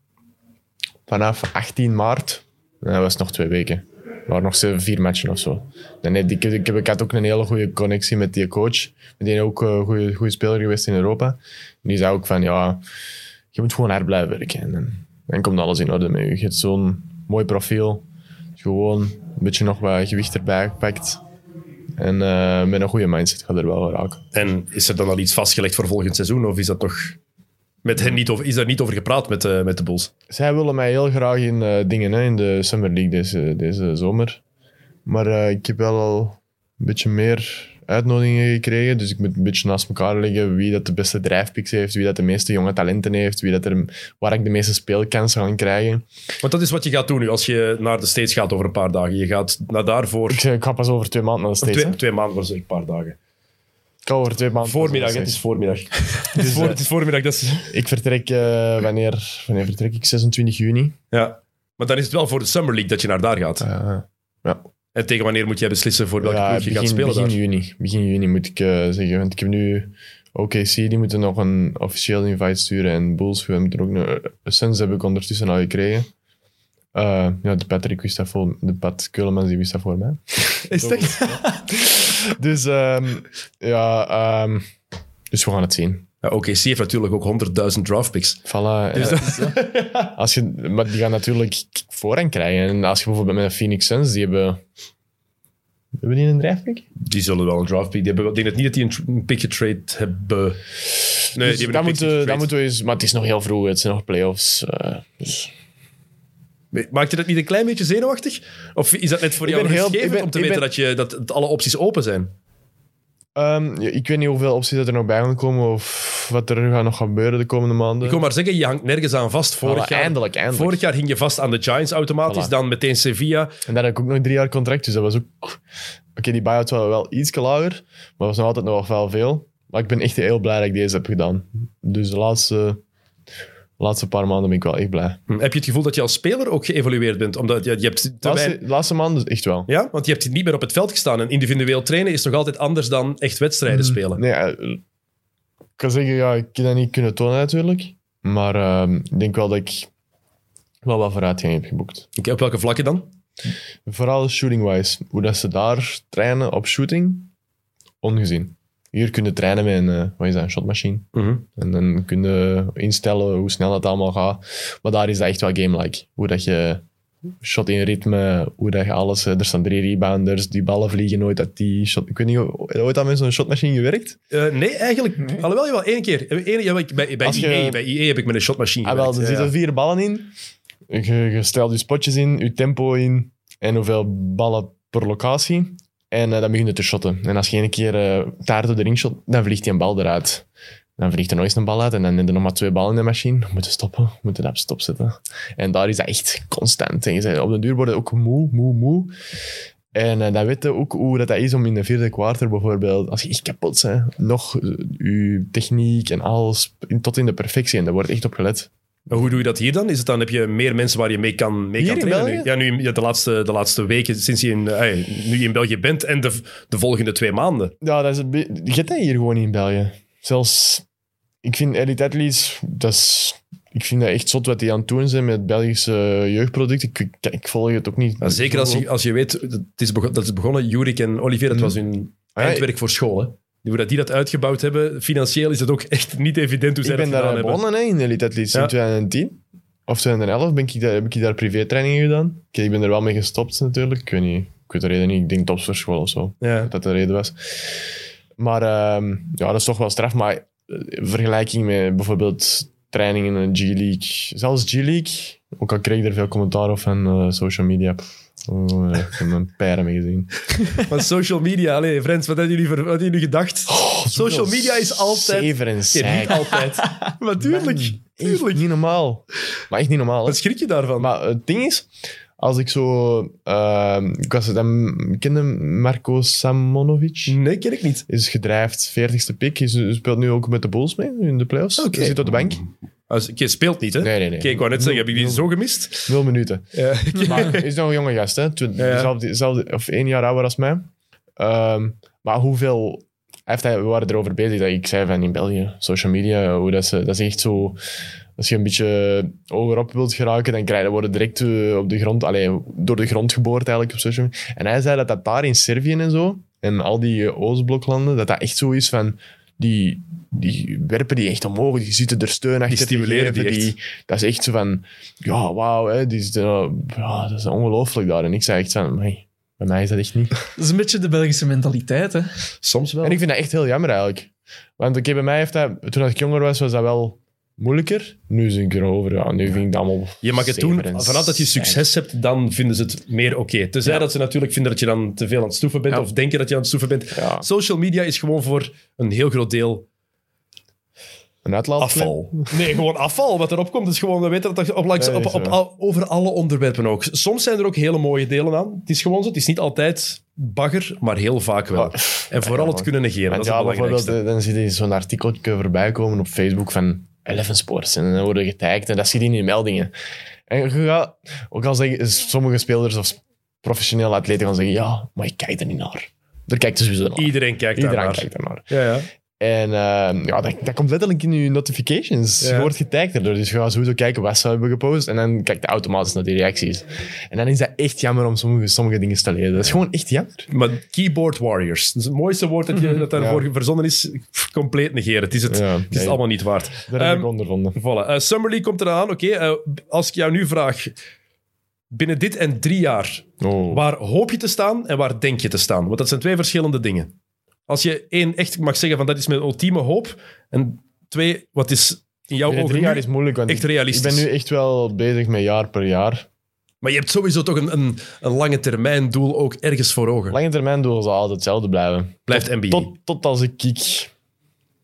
[SPEAKER 2] vanaf 18 maart. En dat was nog twee weken. Maar nog zeven, vier matchen of zo. Dan heb ik, ik, heb, ik had ook een hele goede connectie met die coach. Met die ook een goede, goede speler geweest in Europa. En die zei ook van, ja, je moet gewoon hard blijven werken. En dan, dan komt alles in orde met je. Je hebt zo'n mooi profiel. Gewoon een beetje nog wat gewicht erbij gepakt. En eh, met een goede mindset gaat er wel raken.
[SPEAKER 1] En is er dan al iets vastgelegd voor volgend seizoen, of is dat nog... Met hen niet over, is daar niet over gepraat met, eh, met de Bulls?
[SPEAKER 2] Zij willen mij heel graag in eh, dingen, hè, in de Summer League deze, deze zomer. Maar eh, ik heb wel al een beetje meer uitnodigingen gekregen. Dus ik moet een beetje naast elkaar leggen wie dat de beste drijfpicks heeft, wie dat de meeste jonge talenten heeft, wie dat er, waar ik de meeste speelkansen ga krijgen.
[SPEAKER 1] Want dat is wat je gaat doen nu als je naar de States gaat over een paar dagen. Je gaat naar daarvoor.
[SPEAKER 2] Ik, eh, ik ga pas over twee maanden naar de States. hè.
[SPEAKER 1] Twee, twee maanden, was een paar dagen.
[SPEAKER 2] Ik ga over twee maanden.
[SPEAKER 1] Voormiddag,
[SPEAKER 2] pas
[SPEAKER 1] hè,
[SPEAKER 2] naar
[SPEAKER 1] het
[SPEAKER 2] de
[SPEAKER 1] is voormiddag. het,
[SPEAKER 2] Dus,
[SPEAKER 1] is voor,
[SPEAKER 2] eh,
[SPEAKER 1] het is voormiddag, dat is...
[SPEAKER 2] States. Ik vertrek, eh, wanneer, wanneer vertrek ik? 26 juni.
[SPEAKER 1] Ja. Maar dan is het wel voor de Summer League dat je naar daar gaat.
[SPEAKER 2] Eh,
[SPEAKER 1] En tegen wanneer moet jij beslissen voor welke
[SPEAKER 2] ja,
[SPEAKER 1] ploeg je
[SPEAKER 2] begin,
[SPEAKER 1] gaat spelen
[SPEAKER 2] begin
[SPEAKER 1] daar?
[SPEAKER 2] juni. Begin juni moet ik eh, zeggen. Want ik heb nu OKC, die moeten nog een officieel invite sturen. En Bulls, we hebben er ook een Suns heb ik ondertussen al gekregen. Eh, ja, de Patrick wist dat voor De Pat Keulemans, die wist dat voor mij.
[SPEAKER 3] Is het echt?
[SPEAKER 2] Dus ehm, ja, ehm, dus we gaan het zien.
[SPEAKER 1] Ja, OKC heeft natuurlijk ook 100.000 draftpicks.
[SPEAKER 2] Voilà. eh, als je, maar die gaan natuurlijk voorrang krijgen. En als je bijvoorbeeld met de Phoenix Suns, die hebben... Hebben die een drijfpick?
[SPEAKER 1] Die zullen wel een draftpick... Die hebben wel- ik denk het niet dat die een tr- een pick getrade hebben... Nee,
[SPEAKER 2] Dus
[SPEAKER 1] die hebben
[SPEAKER 2] dat
[SPEAKER 1] een pick
[SPEAKER 2] moeten, dat
[SPEAKER 1] getrade.
[SPEAKER 2] moeten we eens... Maar het is nog heel vroeg, het zijn nog playoffs. eh, dus.
[SPEAKER 1] Maakt je dat niet een klein beetje zenuwachtig? Of is dat net voor
[SPEAKER 2] Ik
[SPEAKER 1] jou
[SPEAKER 2] ben heel-
[SPEAKER 1] rustgevend
[SPEAKER 2] ik ben-
[SPEAKER 1] om te
[SPEAKER 2] ik
[SPEAKER 1] weten
[SPEAKER 2] ben-
[SPEAKER 1] dat, je, dat het alle opties open zijn?
[SPEAKER 2] Ehm, ja, ik weet niet hoeveel opties dat er nog bij gaan komen of wat er gaat nog gebeuren de komende maanden.
[SPEAKER 1] Ik wil maar zeggen, je hangt nergens aan vast.
[SPEAKER 2] Voilà,
[SPEAKER 1] Vorig, jaar,
[SPEAKER 2] Oh, eindelijk, eindelijk.
[SPEAKER 1] vorig jaar hing je vast aan de Giants automatisch,
[SPEAKER 2] Voilà.
[SPEAKER 1] dan meteen Sevilla.
[SPEAKER 2] En daar heb ik ook nog drie jaar contract, dus dat was ook... Oké, die buyout was wel iets lager, maar was nog altijd nog wel veel. Maar ik ben echt heel blij dat ik deze heb gedaan. Dus de laatste, laatste paar maanden ben ik wel echt blij.
[SPEAKER 1] Hm, Heb je het gevoel dat je als speler ook geëvolueerd bent? Omdat je, je hebt te
[SPEAKER 2] De laatste,
[SPEAKER 1] weinig-
[SPEAKER 2] de laatste maanden echt wel.
[SPEAKER 1] Ja, want je hebt niet meer op het veld gestaan. En individueel trainen is nog altijd anders dan echt wedstrijden spelen.
[SPEAKER 2] Nee, eh, ik kan zeggen, ja, ik heb dat niet kunnen tonen natuurlijk. Maar ehm, ik denk wel dat ik wel wat vooruitgang heb geboekt.
[SPEAKER 1] Oké, op welke vlakken dan?
[SPEAKER 2] Vooral shooting-wise. Hoe dat ze daar trainen op shooting, ongezien. Hier kunnen trainen met een, eh, wat is dat, een shotmachine.
[SPEAKER 1] Mhm.
[SPEAKER 2] En dan kunnen instellen hoe snel dat allemaal gaat. Maar daar is dat echt wel game-like. Hoe dat je shot in ritme, hoe dat je alles... eh, Er staan drie rebounders, die ballen vliegen nooit uit die shot... Ik weet niet, heb je ooit aan met zo'n shotmachine gewerkt?
[SPEAKER 1] Eh, nee, eigenlijk. Alhoewel, jawel, één keer. Eén, jawel, ik- bij, bij,
[SPEAKER 2] Als je-
[SPEAKER 1] IE, bij IE heb ik met een shotmachine
[SPEAKER 2] ah, wel, er
[SPEAKER 1] gewerkt. Ja,
[SPEAKER 2] zitten
[SPEAKER 1] ja.
[SPEAKER 2] vier ballen in. Je, je stelt je spotjes in, je tempo in en hoeveel ballen per locatie. En eh, dan begin je te shotten. En als je één keer eh, taart op de ring shot, dan vliegt die een bal eruit. Dan vliegt er nog eens een bal uit en dan heb je nog maar twee ballen in de machine. We moeten stoppen, we moeten dat stopzetten. En daar is dat echt constant. En je bent- op de duur worden ook moe, moe, moe. En eh, dan weet je ook hoe dat, dat is om in de vierde kwartier bijvoorbeeld, als je echt kapot bent, nog eh, je techniek en alles in- tot in de perfectie. En daar wordt echt op gelet.
[SPEAKER 1] Maar Hoe doe je dat hier dan? Is het dan? Heb je meer mensen waar je mee kan, mee
[SPEAKER 2] Hier
[SPEAKER 1] kan
[SPEAKER 2] in
[SPEAKER 1] trainen?
[SPEAKER 2] België?
[SPEAKER 1] nu? Ja, nu ja, de, laatste, de laatste weken, sinds je in, eh, ey, nu je in België bent en de, de volgende twee maanden.
[SPEAKER 2] Ja, dat is een be- je hebt dat hier gewoon niet in België. Zelfs, ik vind Elite Athletes, dat is, ik vind dat echt zot wat die aan het doen zijn met Belgische jeugdproducten. Ik, ik, ik volg het ook niet.
[SPEAKER 1] Maar zeker als je, als je weet, dat is, begon- dat is begonnen, Jurik en Olivier, dat was hun
[SPEAKER 2] Ah, ja,
[SPEAKER 1] eindwerk voor school. Hè? Hoe dat die dat uitgebouwd hebben, financieel is dat ook echt niet evident hoe zij
[SPEAKER 2] Ik ben
[SPEAKER 1] dat gedaan
[SPEAKER 2] daar
[SPEAKER 1] hebben.
[SPEAKER 2] begonnen hè, in Elite Athletes
[SPEAKER 1] Ja.
[SPEAKER 2] in 2010. Of 2011 ben ik daar, heb ik daar privétrainingen gedaan. Oké, ik ben er wel mee gestopt natuurlijk. Ik weet niet. Ik weet de reden niet. Ik denk topsportschool of zo.
[SPEAKER 1] Ja.
[SPEAKER 2] dat dat de reden was. Maar ehm, ja, dat is toch wel straf. Maar eh, in vergelijking met bijvoorbeeld trainingen in een G-League, zelfs G-League, ook al kreeg ik er veel commentaar op van eh, social media. Pff, oh, eh, ik heb mijn pijren mee gezien.
[SPEAKER 1] Maar social media, allee, friends, wat hebben jullie, ver- wat hebben jullie gedacht? Oh, social
[SPEAKER 2] Zoveel
[SPEAKER 1] media is altijd...
[SPEAKER 2] Zever en
[SPEAKER 1] Nee,
[SPEAKER 2] zeik.
[SPEAKER 1] niet altijd. maar tuurlijk,
[SPEAKER 2] Echt
[SPEAKER 1] tuurlijk.
[SPEAKER 2] Niet normaal. Maar echt niet normaal. hè.
[SPEAKER 1] Wat schrik je daarvan?
[SPEAKER 2] Maar het ding is, als ik zo... ehm, ik was dan... Ken je Marco Samonovic?
[SPEAKER 1] nee, ken ik niet.
[SPEAKER 2] Is gedrijfd, 40ste pick. Hij speelt nu ook met de Bulls mee in de playoffs.
[SPEAKER 1] Oké.
[SPEAKER 2] Hij zit op de bank.
[SPEAKER 1] Als, je Ah, speelt niet, hè?
[SPEAKER 2] Nee, nee, nee.
[SPEAKER 1] Oké, ik wou net zeggen, heb ik die zo gemist?
[SPEAKER 2] Nul minuten.
[SPEAKER 1] Ja.
[SPEAKER 2] Maar hij is nog een jonge gast, hè? Twi-
[SPEAKER 1] Ja, ja.
[SPEAKER 2] Zelfde, zelfde- of één jaar ouder als mij. Ehm, maar hoeveel. hij Heeft hij, we waren erover bezig dat ik zei van in België, social media, hoe dat, ze, dat is echt zo. Als je een beetje hoger op wilt geraken, dan krijg je, worden direct eh, op de grond, allee, door de grond geboord eigenlijk op social media. En hij zei dat dat daar in Servië en zo, en al die eh, Oostbloklanden, dat dat echt zo is van. Die, die werpen die echt omhoog, die zitten er steun achter.
[SPEAKER 1] stimuleren die
[SPEAKER 2] geven
[SPEAKER 1] echt.
[SPEAKER 2] dat is echt zo van, ja, wauw, hè, die is, eh, ja, dat is ongelooflijk daar. En ik zei echt van, nee, bij mij is dat echt niet.
[SPEAKER 3] Dat is een beetje de Belgische mentaliteit, hè.
[SPEAKER 1] Soms wel.
[SPEAKER 2] En ik vind dat echt heel jammer eigenlijk. Want oké, bij mij heeft dat, toen ik jonger was, was dat wel moeilijker. Nu is ik erover. Ja, nu vind ik dat allemaal...
[SPEAKER 1] Je mag het
[SPEAKER 2] zeven
[SPEAKER 1] doen.
[SPEAKER 2] en
[SPEAKER 1] Vanaf dat je
[SPEAKER 2] zes.
[SPEAKER 1] succes hebt, dan vinden ze het meer oké. Tenzij dat ze natuurlijk vinden dat je dan te veel aan het stoeven bent
[SPEAKER 3] Ja.
[SPEAKER 1] of denken dat je aan het stoeven bent.
[SPEAKER 2] Ja,
[SPEAKER 1] Social media is gewoon voor een heel groot deel
[SPEAKER 2] een uitlaatklep.
[SPEAKER 1] afval. Nee, gewoon afval. Wat erop komt is gewoon, we weten dat dat op, langs,
[SPEAKER 2] Nee,
[SPEAKER 1] op,
[SPEAKER 2] is
[SPEAKER 1] op
[SPEAKER 2] waar.
[SPEAKER 1] al- over alle onderwerpen ook. Soms zijn er ook hele mooie delen aan. Het is gewoon zo. Het is niet altijd bagger, maar heel vaak wel.
[SPEAKER 2] Ah.
[SPEAKER 1] En vooral
[SPEAKER 2] Ja,
[SPEAKER 1] het
[SPEAKER 2] man.
[SPEAKER 1] kunnen negeren.
[SPEAKER 2] Want
[SPEAKER 1] Dat is het
[SPEAKER 2] ja, bijvoorbeeld,
[SPEAKER 1] belangrijkste.
[SPEAKER 2] eh, dan zie je zo'n artikeltje voorbij komen op Facebook van 11 Sports. En dan worden getagd en dat zie je in die meldingen. En je gaat, ook al zeggen sommige spelers of professionele atleten gaan zeggen, ja, maar ik kijk er niet naar. Daar kijkt dus sowieso naar.
[SPEAKER 1] Iedereen kijkt
[SPEAKER 2] Iedereen
[SPEAKER 1] daarnaar.
[SPEAKER 2] kijkt er naar.
[SPEAKER 1] Ja, ja.
[SPEAKER 2] En eh, ja, dat, dat komt letterlijk in je notifications.
[SPEAKER 1] Ja.
[SPEAKER 2] Je wordt getagd erdoor. Dus je gaat sowieso kijken wat ze hebben gepost. En dan kijk je automatisch naar die reacties. En dan is dat echt jammer om sommige, sommige dingen te lezen. Dat is gewoon echt jammer.
[SPEAKER 1] Maar keyboard warriors. Dat is het mooiste woord dat, je, dat daarvoor verzonnen is. Pff, Compleet negeren. Het is het,
[SPEAKER 2] Mhm. Ja,
[SPEAKER 1] het, is het
[SPEAKER 2] nee.
[SPEAKER 1] allemaal niet waard.
[SPEAKER 2] Daar heb
[SPEAKER 1] Ehm,
[SPEAKER 2] ik ondervonden.
[SPEAKER 1] Voilà. Eh, Summer League komt eraan. Oké, eh, als ik jou nu vraag... Binnen dit en drie jaar,
[SPEAKER 2] Oh.
[SPEAKER 1] waar hoop je te staan en waar denk je te staan? Want dat zijn twee verschillende dingen. Als je één echt mag zeggen van dat is mijn ultieme hoop. En twee, wat is in jouw
[SPEAKER 2] Binnen
[SPEAKER 1] ogen
[SPEAKER 2] drie jaar
[SPEAKER 1] Oh, nu-
[SPEAKER 2] is moeilijk, want
[SPEAKER 1] echt
[SPEAKER 2] ik-
[SPEAKER 1] realistisch.
[SPEAKER 2] Ik ben nu echt wel bezig met jaar per jaar.
[SPEAKER 1] Maar je hebt sowieso toch een, een, een lange termijn doel ook ergens voor ogen.
[SPEAKER 2] Lange termijn doel zal altijd hetzelfde blijven.
[SPEAKER 1] Blijft NBA.
[SPEAKER 2] Tot, tot als ik, ik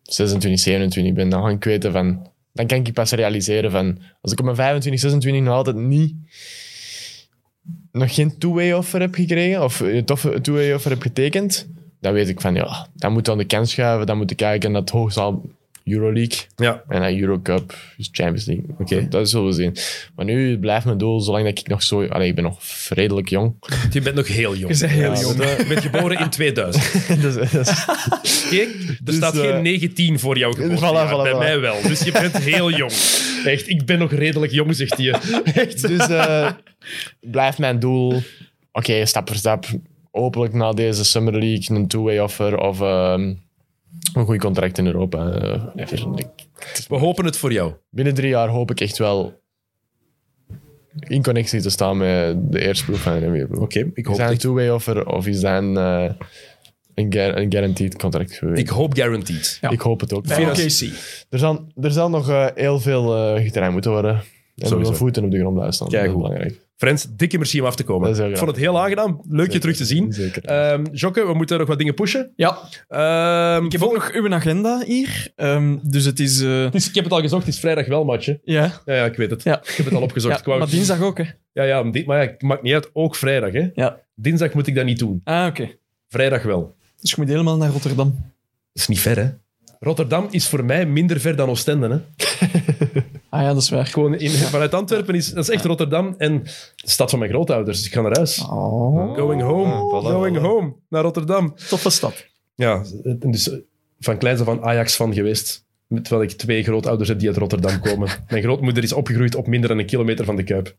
[SPEAKER 2] 26, 27 ben, dan ga ik weten van... Dan kan ik je pas realiseren van... Als ik op mijn 25, 26 nog altijd niet... Nog geen two-way offer heb gekregen, of een toffe two-way offer heb getekend, dan weet ik van, ja, dan moet ik aan de kant schuiven, dan moet ik kijken naar het hoogzaal Euroleague.
[SPEAKER 1] Ja,
[SPEAKER 2] En dan Eurocup, dus Champions League.
[SPEAKER 1] Oké.
[SPEAKER 2] Dat zullen we zien. Maar nu blijft mijn doel, zolang dat ik nog zo... Allee, ik ben nog redelijk jong.
[SPEAKER 1] je bent nog heel jong.
[SPEAKER 3] Je bent heel
[SPEAKER 1] Ja,
[SPEAKER 3] jong.
[SPEAKER 1] want, eh, Je bent geboren in 2000.
[SPEAKER 2] dus, dat is-
[SPEAKER 1] Kijk, er staat
[SPEAKER 2] eh,
[SPEAKER 1] geen 19 voor jou geboortejaar.
[SPEAKER 2] Voilà, voilà,
[SPEAKER 1] bij
[SPEAKER 2] voilà.
[SPEAKER 1] mij wel. Dus je bent heel jong. Echt, ik ben nog redelijk jong, zegt hij. Echt.
[SPEAKER 2] dus eh, blijft mijn doel... Oké, stap voor stap. Hopelijk na deze Summer League een two-way offer of ehm, een goed contract in Europa. Eh, whatever. Ik-
[SPEAKER 1] We hopen het voor jou.
[SPEAKER 2] binnen drie jaar hoop ik echt wel in connectie te staan met de eerste ploeg van de NBA-ploeg.
[SPEAKER 1] Oké, ik
[SPEAKER 2] Is
[SPEAKER 1] hoop
[SPEAKER 2] dat een
[SPEAKER 1] het.
[SPEAKER 2] two-way offer of is dat een, eh, een, guar- een guaranteed contract geweest?
[SPEAKER 1] Ik hoop guaranteed.
[SPEAKER 3] Ja.
[SPEAKER 2] Ik hoop het ook.
[SPEAKER 3] Bij
[SPEAKER 2] Maar
[SPEAKER 3] OKC.
[SPEAKER 2] Er, zal, er zal nog eh, heel veel eh getraind moeten worden. En er
[SPEAKER 1] Sowieso.
[SPEAKER 2] wel voeten op de grond blijven staan.
[SPEAKER 1] Kijk,
[SPEAKER 2] dat is
[SPEAKER 1] goed.
[SPEAKER 2] belangrijk.
[SPEAKER 1] Friends, dikke merci om af te komen.
[SPEAKER 2] Dat is heel
[SPEAKER 1] ik
[SPEAKER 2] graag.
[SPEAKER 1] vond het heel aangenaam. Leuk je terug te zien.
[SPEAKER 2] Zeker.
[SPEAKER 1] Ehm Jokke, we moeten nog wat dingen pushen.
[SPEAKER 3] Ja,
[SPEAKER 1] Ehm,
[SPEAKER 3] ik heb ook nog uw agenda hier. Ehm, dus het is... eh,
[SPEAKER 1] het is- ik heb het al gezocht, het is vrijdag wel, matje.
[SPEAKER 3] ja,
[SPEAKER 1] Ja, ja, ik weet het.
[SPEAKER 3] Ja.
[SPEAKER 1] Ik heb het al opgezocht.
[SPEAKER 3] ja
[SPEAKER 1] Ik wou-
[SPEAKER 3] maar dinsdag ook, hè.
[SPEAKER 1] Ja, ja, di- maar ja, het maakt niet uit. Ook vrijdag, hè.
[SPEAKER 3] Ja.
[SPEAKER 1] Dinsdag moet ik dat niet doen.
[SPEAKER 3] Ah, oké.
[SPEAKER 1] Vrijdag wel.
[SPEAKER 3] Dus je moet helemaal naar Rotterdam.
[SPEAKER 1] Dat is niet ver, hè? Rotterdam is voor mij minder ver dan Oostende. Hè?
[SPEAKER 3] Ah ja, dat is waar.
[SPEAKER 1] Gewoon in, vanuit Antwerpen is dat is echt Rotterdam en de stad van mijn grootouders. Dus ik ga naar huis.
[SPEAKER 3] Oh,
[SPEAKER 1] Going home,
[SPEAKER 2] Ah, voilà,
[SPEAKER 1] going
[SPEAKER 2] voilà.
[SPEAKER 1] home naar Rotterdam.
[SPEAKER 3] toffe stad.
[SPEAKER 1] Ja, en dus eh, van kleins af aan Ajax van geweest. Met terwijl ik twee grootouders heb die uit Rotterdam komen. Mijn grootmoeder is opgegroeid op minder dan een kilometer van de Kuip.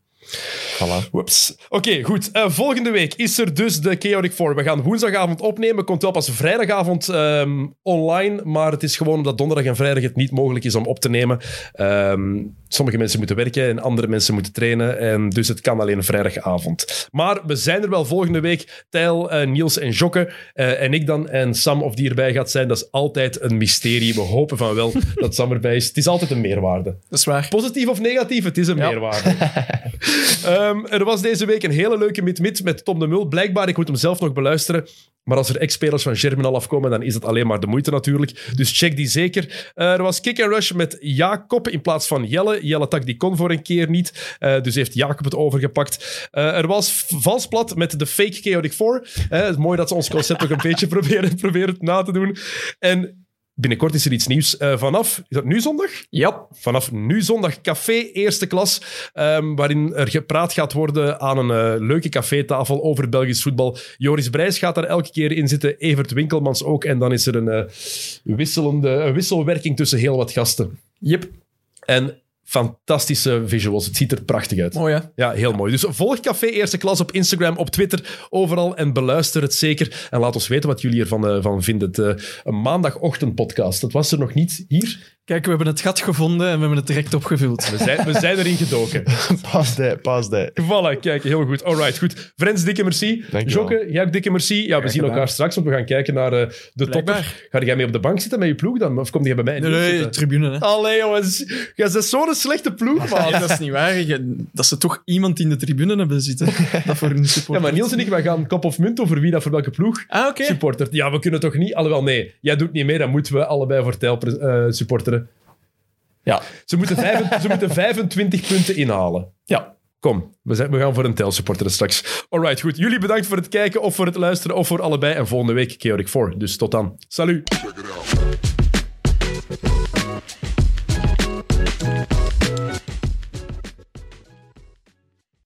[SPEAKER 2] Voilà.
[SPEAKER 1] Whoops. Oké, goed. Eh, volgende week is er dus de Chaotic 4. We gaan woensdagavond opnemen. Komt wel pas vrijdagavond ehm, online. Maar het is gewoon omdat donderdag en vrijdag het niet mogelijk is om op te nemen. Ehm, sommige mensen moeten werken en andere mensen moeten trainen. En dus het kan alleen vrijdagavond. Maar we zijn er wel volgende week. Tijl, eh, Niels en Jokke eh, en ik dan. En Sam, of die erbij gaat zijn, dat is altijd een mysterie. We hopen van wel dat Sam erbij is. Het is altijd een meerwaarde.
[SPEAKER 3] Dat is waar.
[SPEAKER 1] Positief of negatief, het is een
[SPEAKER 3] Ja.
[SPEAKER 1] meerwaarde. Ehm, er was deze week een hele leuke mid-mid met Tom de Mul. Blijkbaar, ik moet hem zelf nog beluisteren. Maar als er ex-spelers van Germinal afkomen, dan is het alleen maar de moeite natuurlijk. Dus check die zeker. Eh, er was Kick and Rush met Jacob in plaats van Jelle. Jelle tak die kon voor een keer niet. Eh, dus heeft Jacob het overgepakt. Eh, er was v- Valsplat met de fake Chaotic 4. Eh, het is mooi dat ze ons concept ook een beetje proberen, proberen na te doen. En binnenkort is er iets nieuws. Eh, vanaf, is dat nu zondag?
[SPEAKER 3] Ja.
[SPEAKER 1] Vanaf nu zondag café eerste klas, ehm, waarin er gepraat gaat worden aan een eh, leuke cafétafel over Belgisch voetbal. Joris Brijs gaat daar elke keer in zitten, Evert Winkelmans ook. En dan is er een, eh, wisselende, een wisselwerking tussen heel wat gasten.
[SPEAKER 3] Yep.
[SPEAKER 1] En fantastische visuals, het ziet er prachtig uit.
[SPEAKER 3] Mooi, hè.
[SPEAKER 1] Ja, heel mooi. Dus volg Café Eerste Klas op Instagram, op Twitter, overal. En beluister het zeker. En laat ons weten wat jullie ervan eh, van vinden. Het, eh, een maandagochtendpodcast. Dat was er nog niet hier.
[SPEAKER 3] Kijk, we hebben het gat gevonden en we hebben het direct opgevuld.
[SPEAKER 1] We zijn, we zijn erin gedoken.
[SPEAKER 2] Pas dat, pas dat.
[SPEAKER 1] Voilà, kijk, heel goed. All right, goed. Friends, dikke merci.
[SPEAKER 2] Dankjewel.
[SPEAKER 1] Jokke, jij ook dikke merci. Ja, we zien
[SPEAKER 3] gedaan.
[SPEAKER 1] elkaar straks, want we gaan kijken naar eh, de topper.
[SPEAKER 3] Blijkbaar.
[SPEAKER 1] Ga jij mee op de bank zitten met je ploeg dan? Of kom jij bij mij?
[SPEAKER 3] Nee,
[SPEAKER 1] niet
[SPEAKER 3] nee,
[SPEAKER 1] zitten?
[SPEAKER 3] tribune, hè.
[SPEAKER 1] Allee, jongens. Jij bent zo'n slechte ploeg, man.
[SPEAKER 3] Ja, Ah, dat is niet waar. Je- dat ze toch iemand in de tribune hebben zitten. Dat voor een
[SPEAKER 1] Ja,
[SPEAKER 3] support.
[SPEAKER 1] maar Niels en ik, wij gaan kop of munt over wie dat voor welke ploeg
[SPEAKER 3] Ah, oké.
[SPEAKER 1] supportert. Ja, we kunnen toch niet... Alhoewel, nee. Jij doet niet mee, dan moeten we allebei voor Tijl pre- eh, supporteren.
[SPEAKER 3] Ja.
[SPEAKER 1] Ze moeten, vijf- ze moeten 25 punten inhalen.
[SPEAKER 3] Ja.
[SPEAKER 1] Kom, we, zijn, we gaan voor een tel supporteren straks. Alright, goed. Jullie bedankt voor het kijken of voor het luisteren of voor allebei. En volgende week Keorik 4. Dus tot dan. Salut.
[SPEAKER 5] Check it out.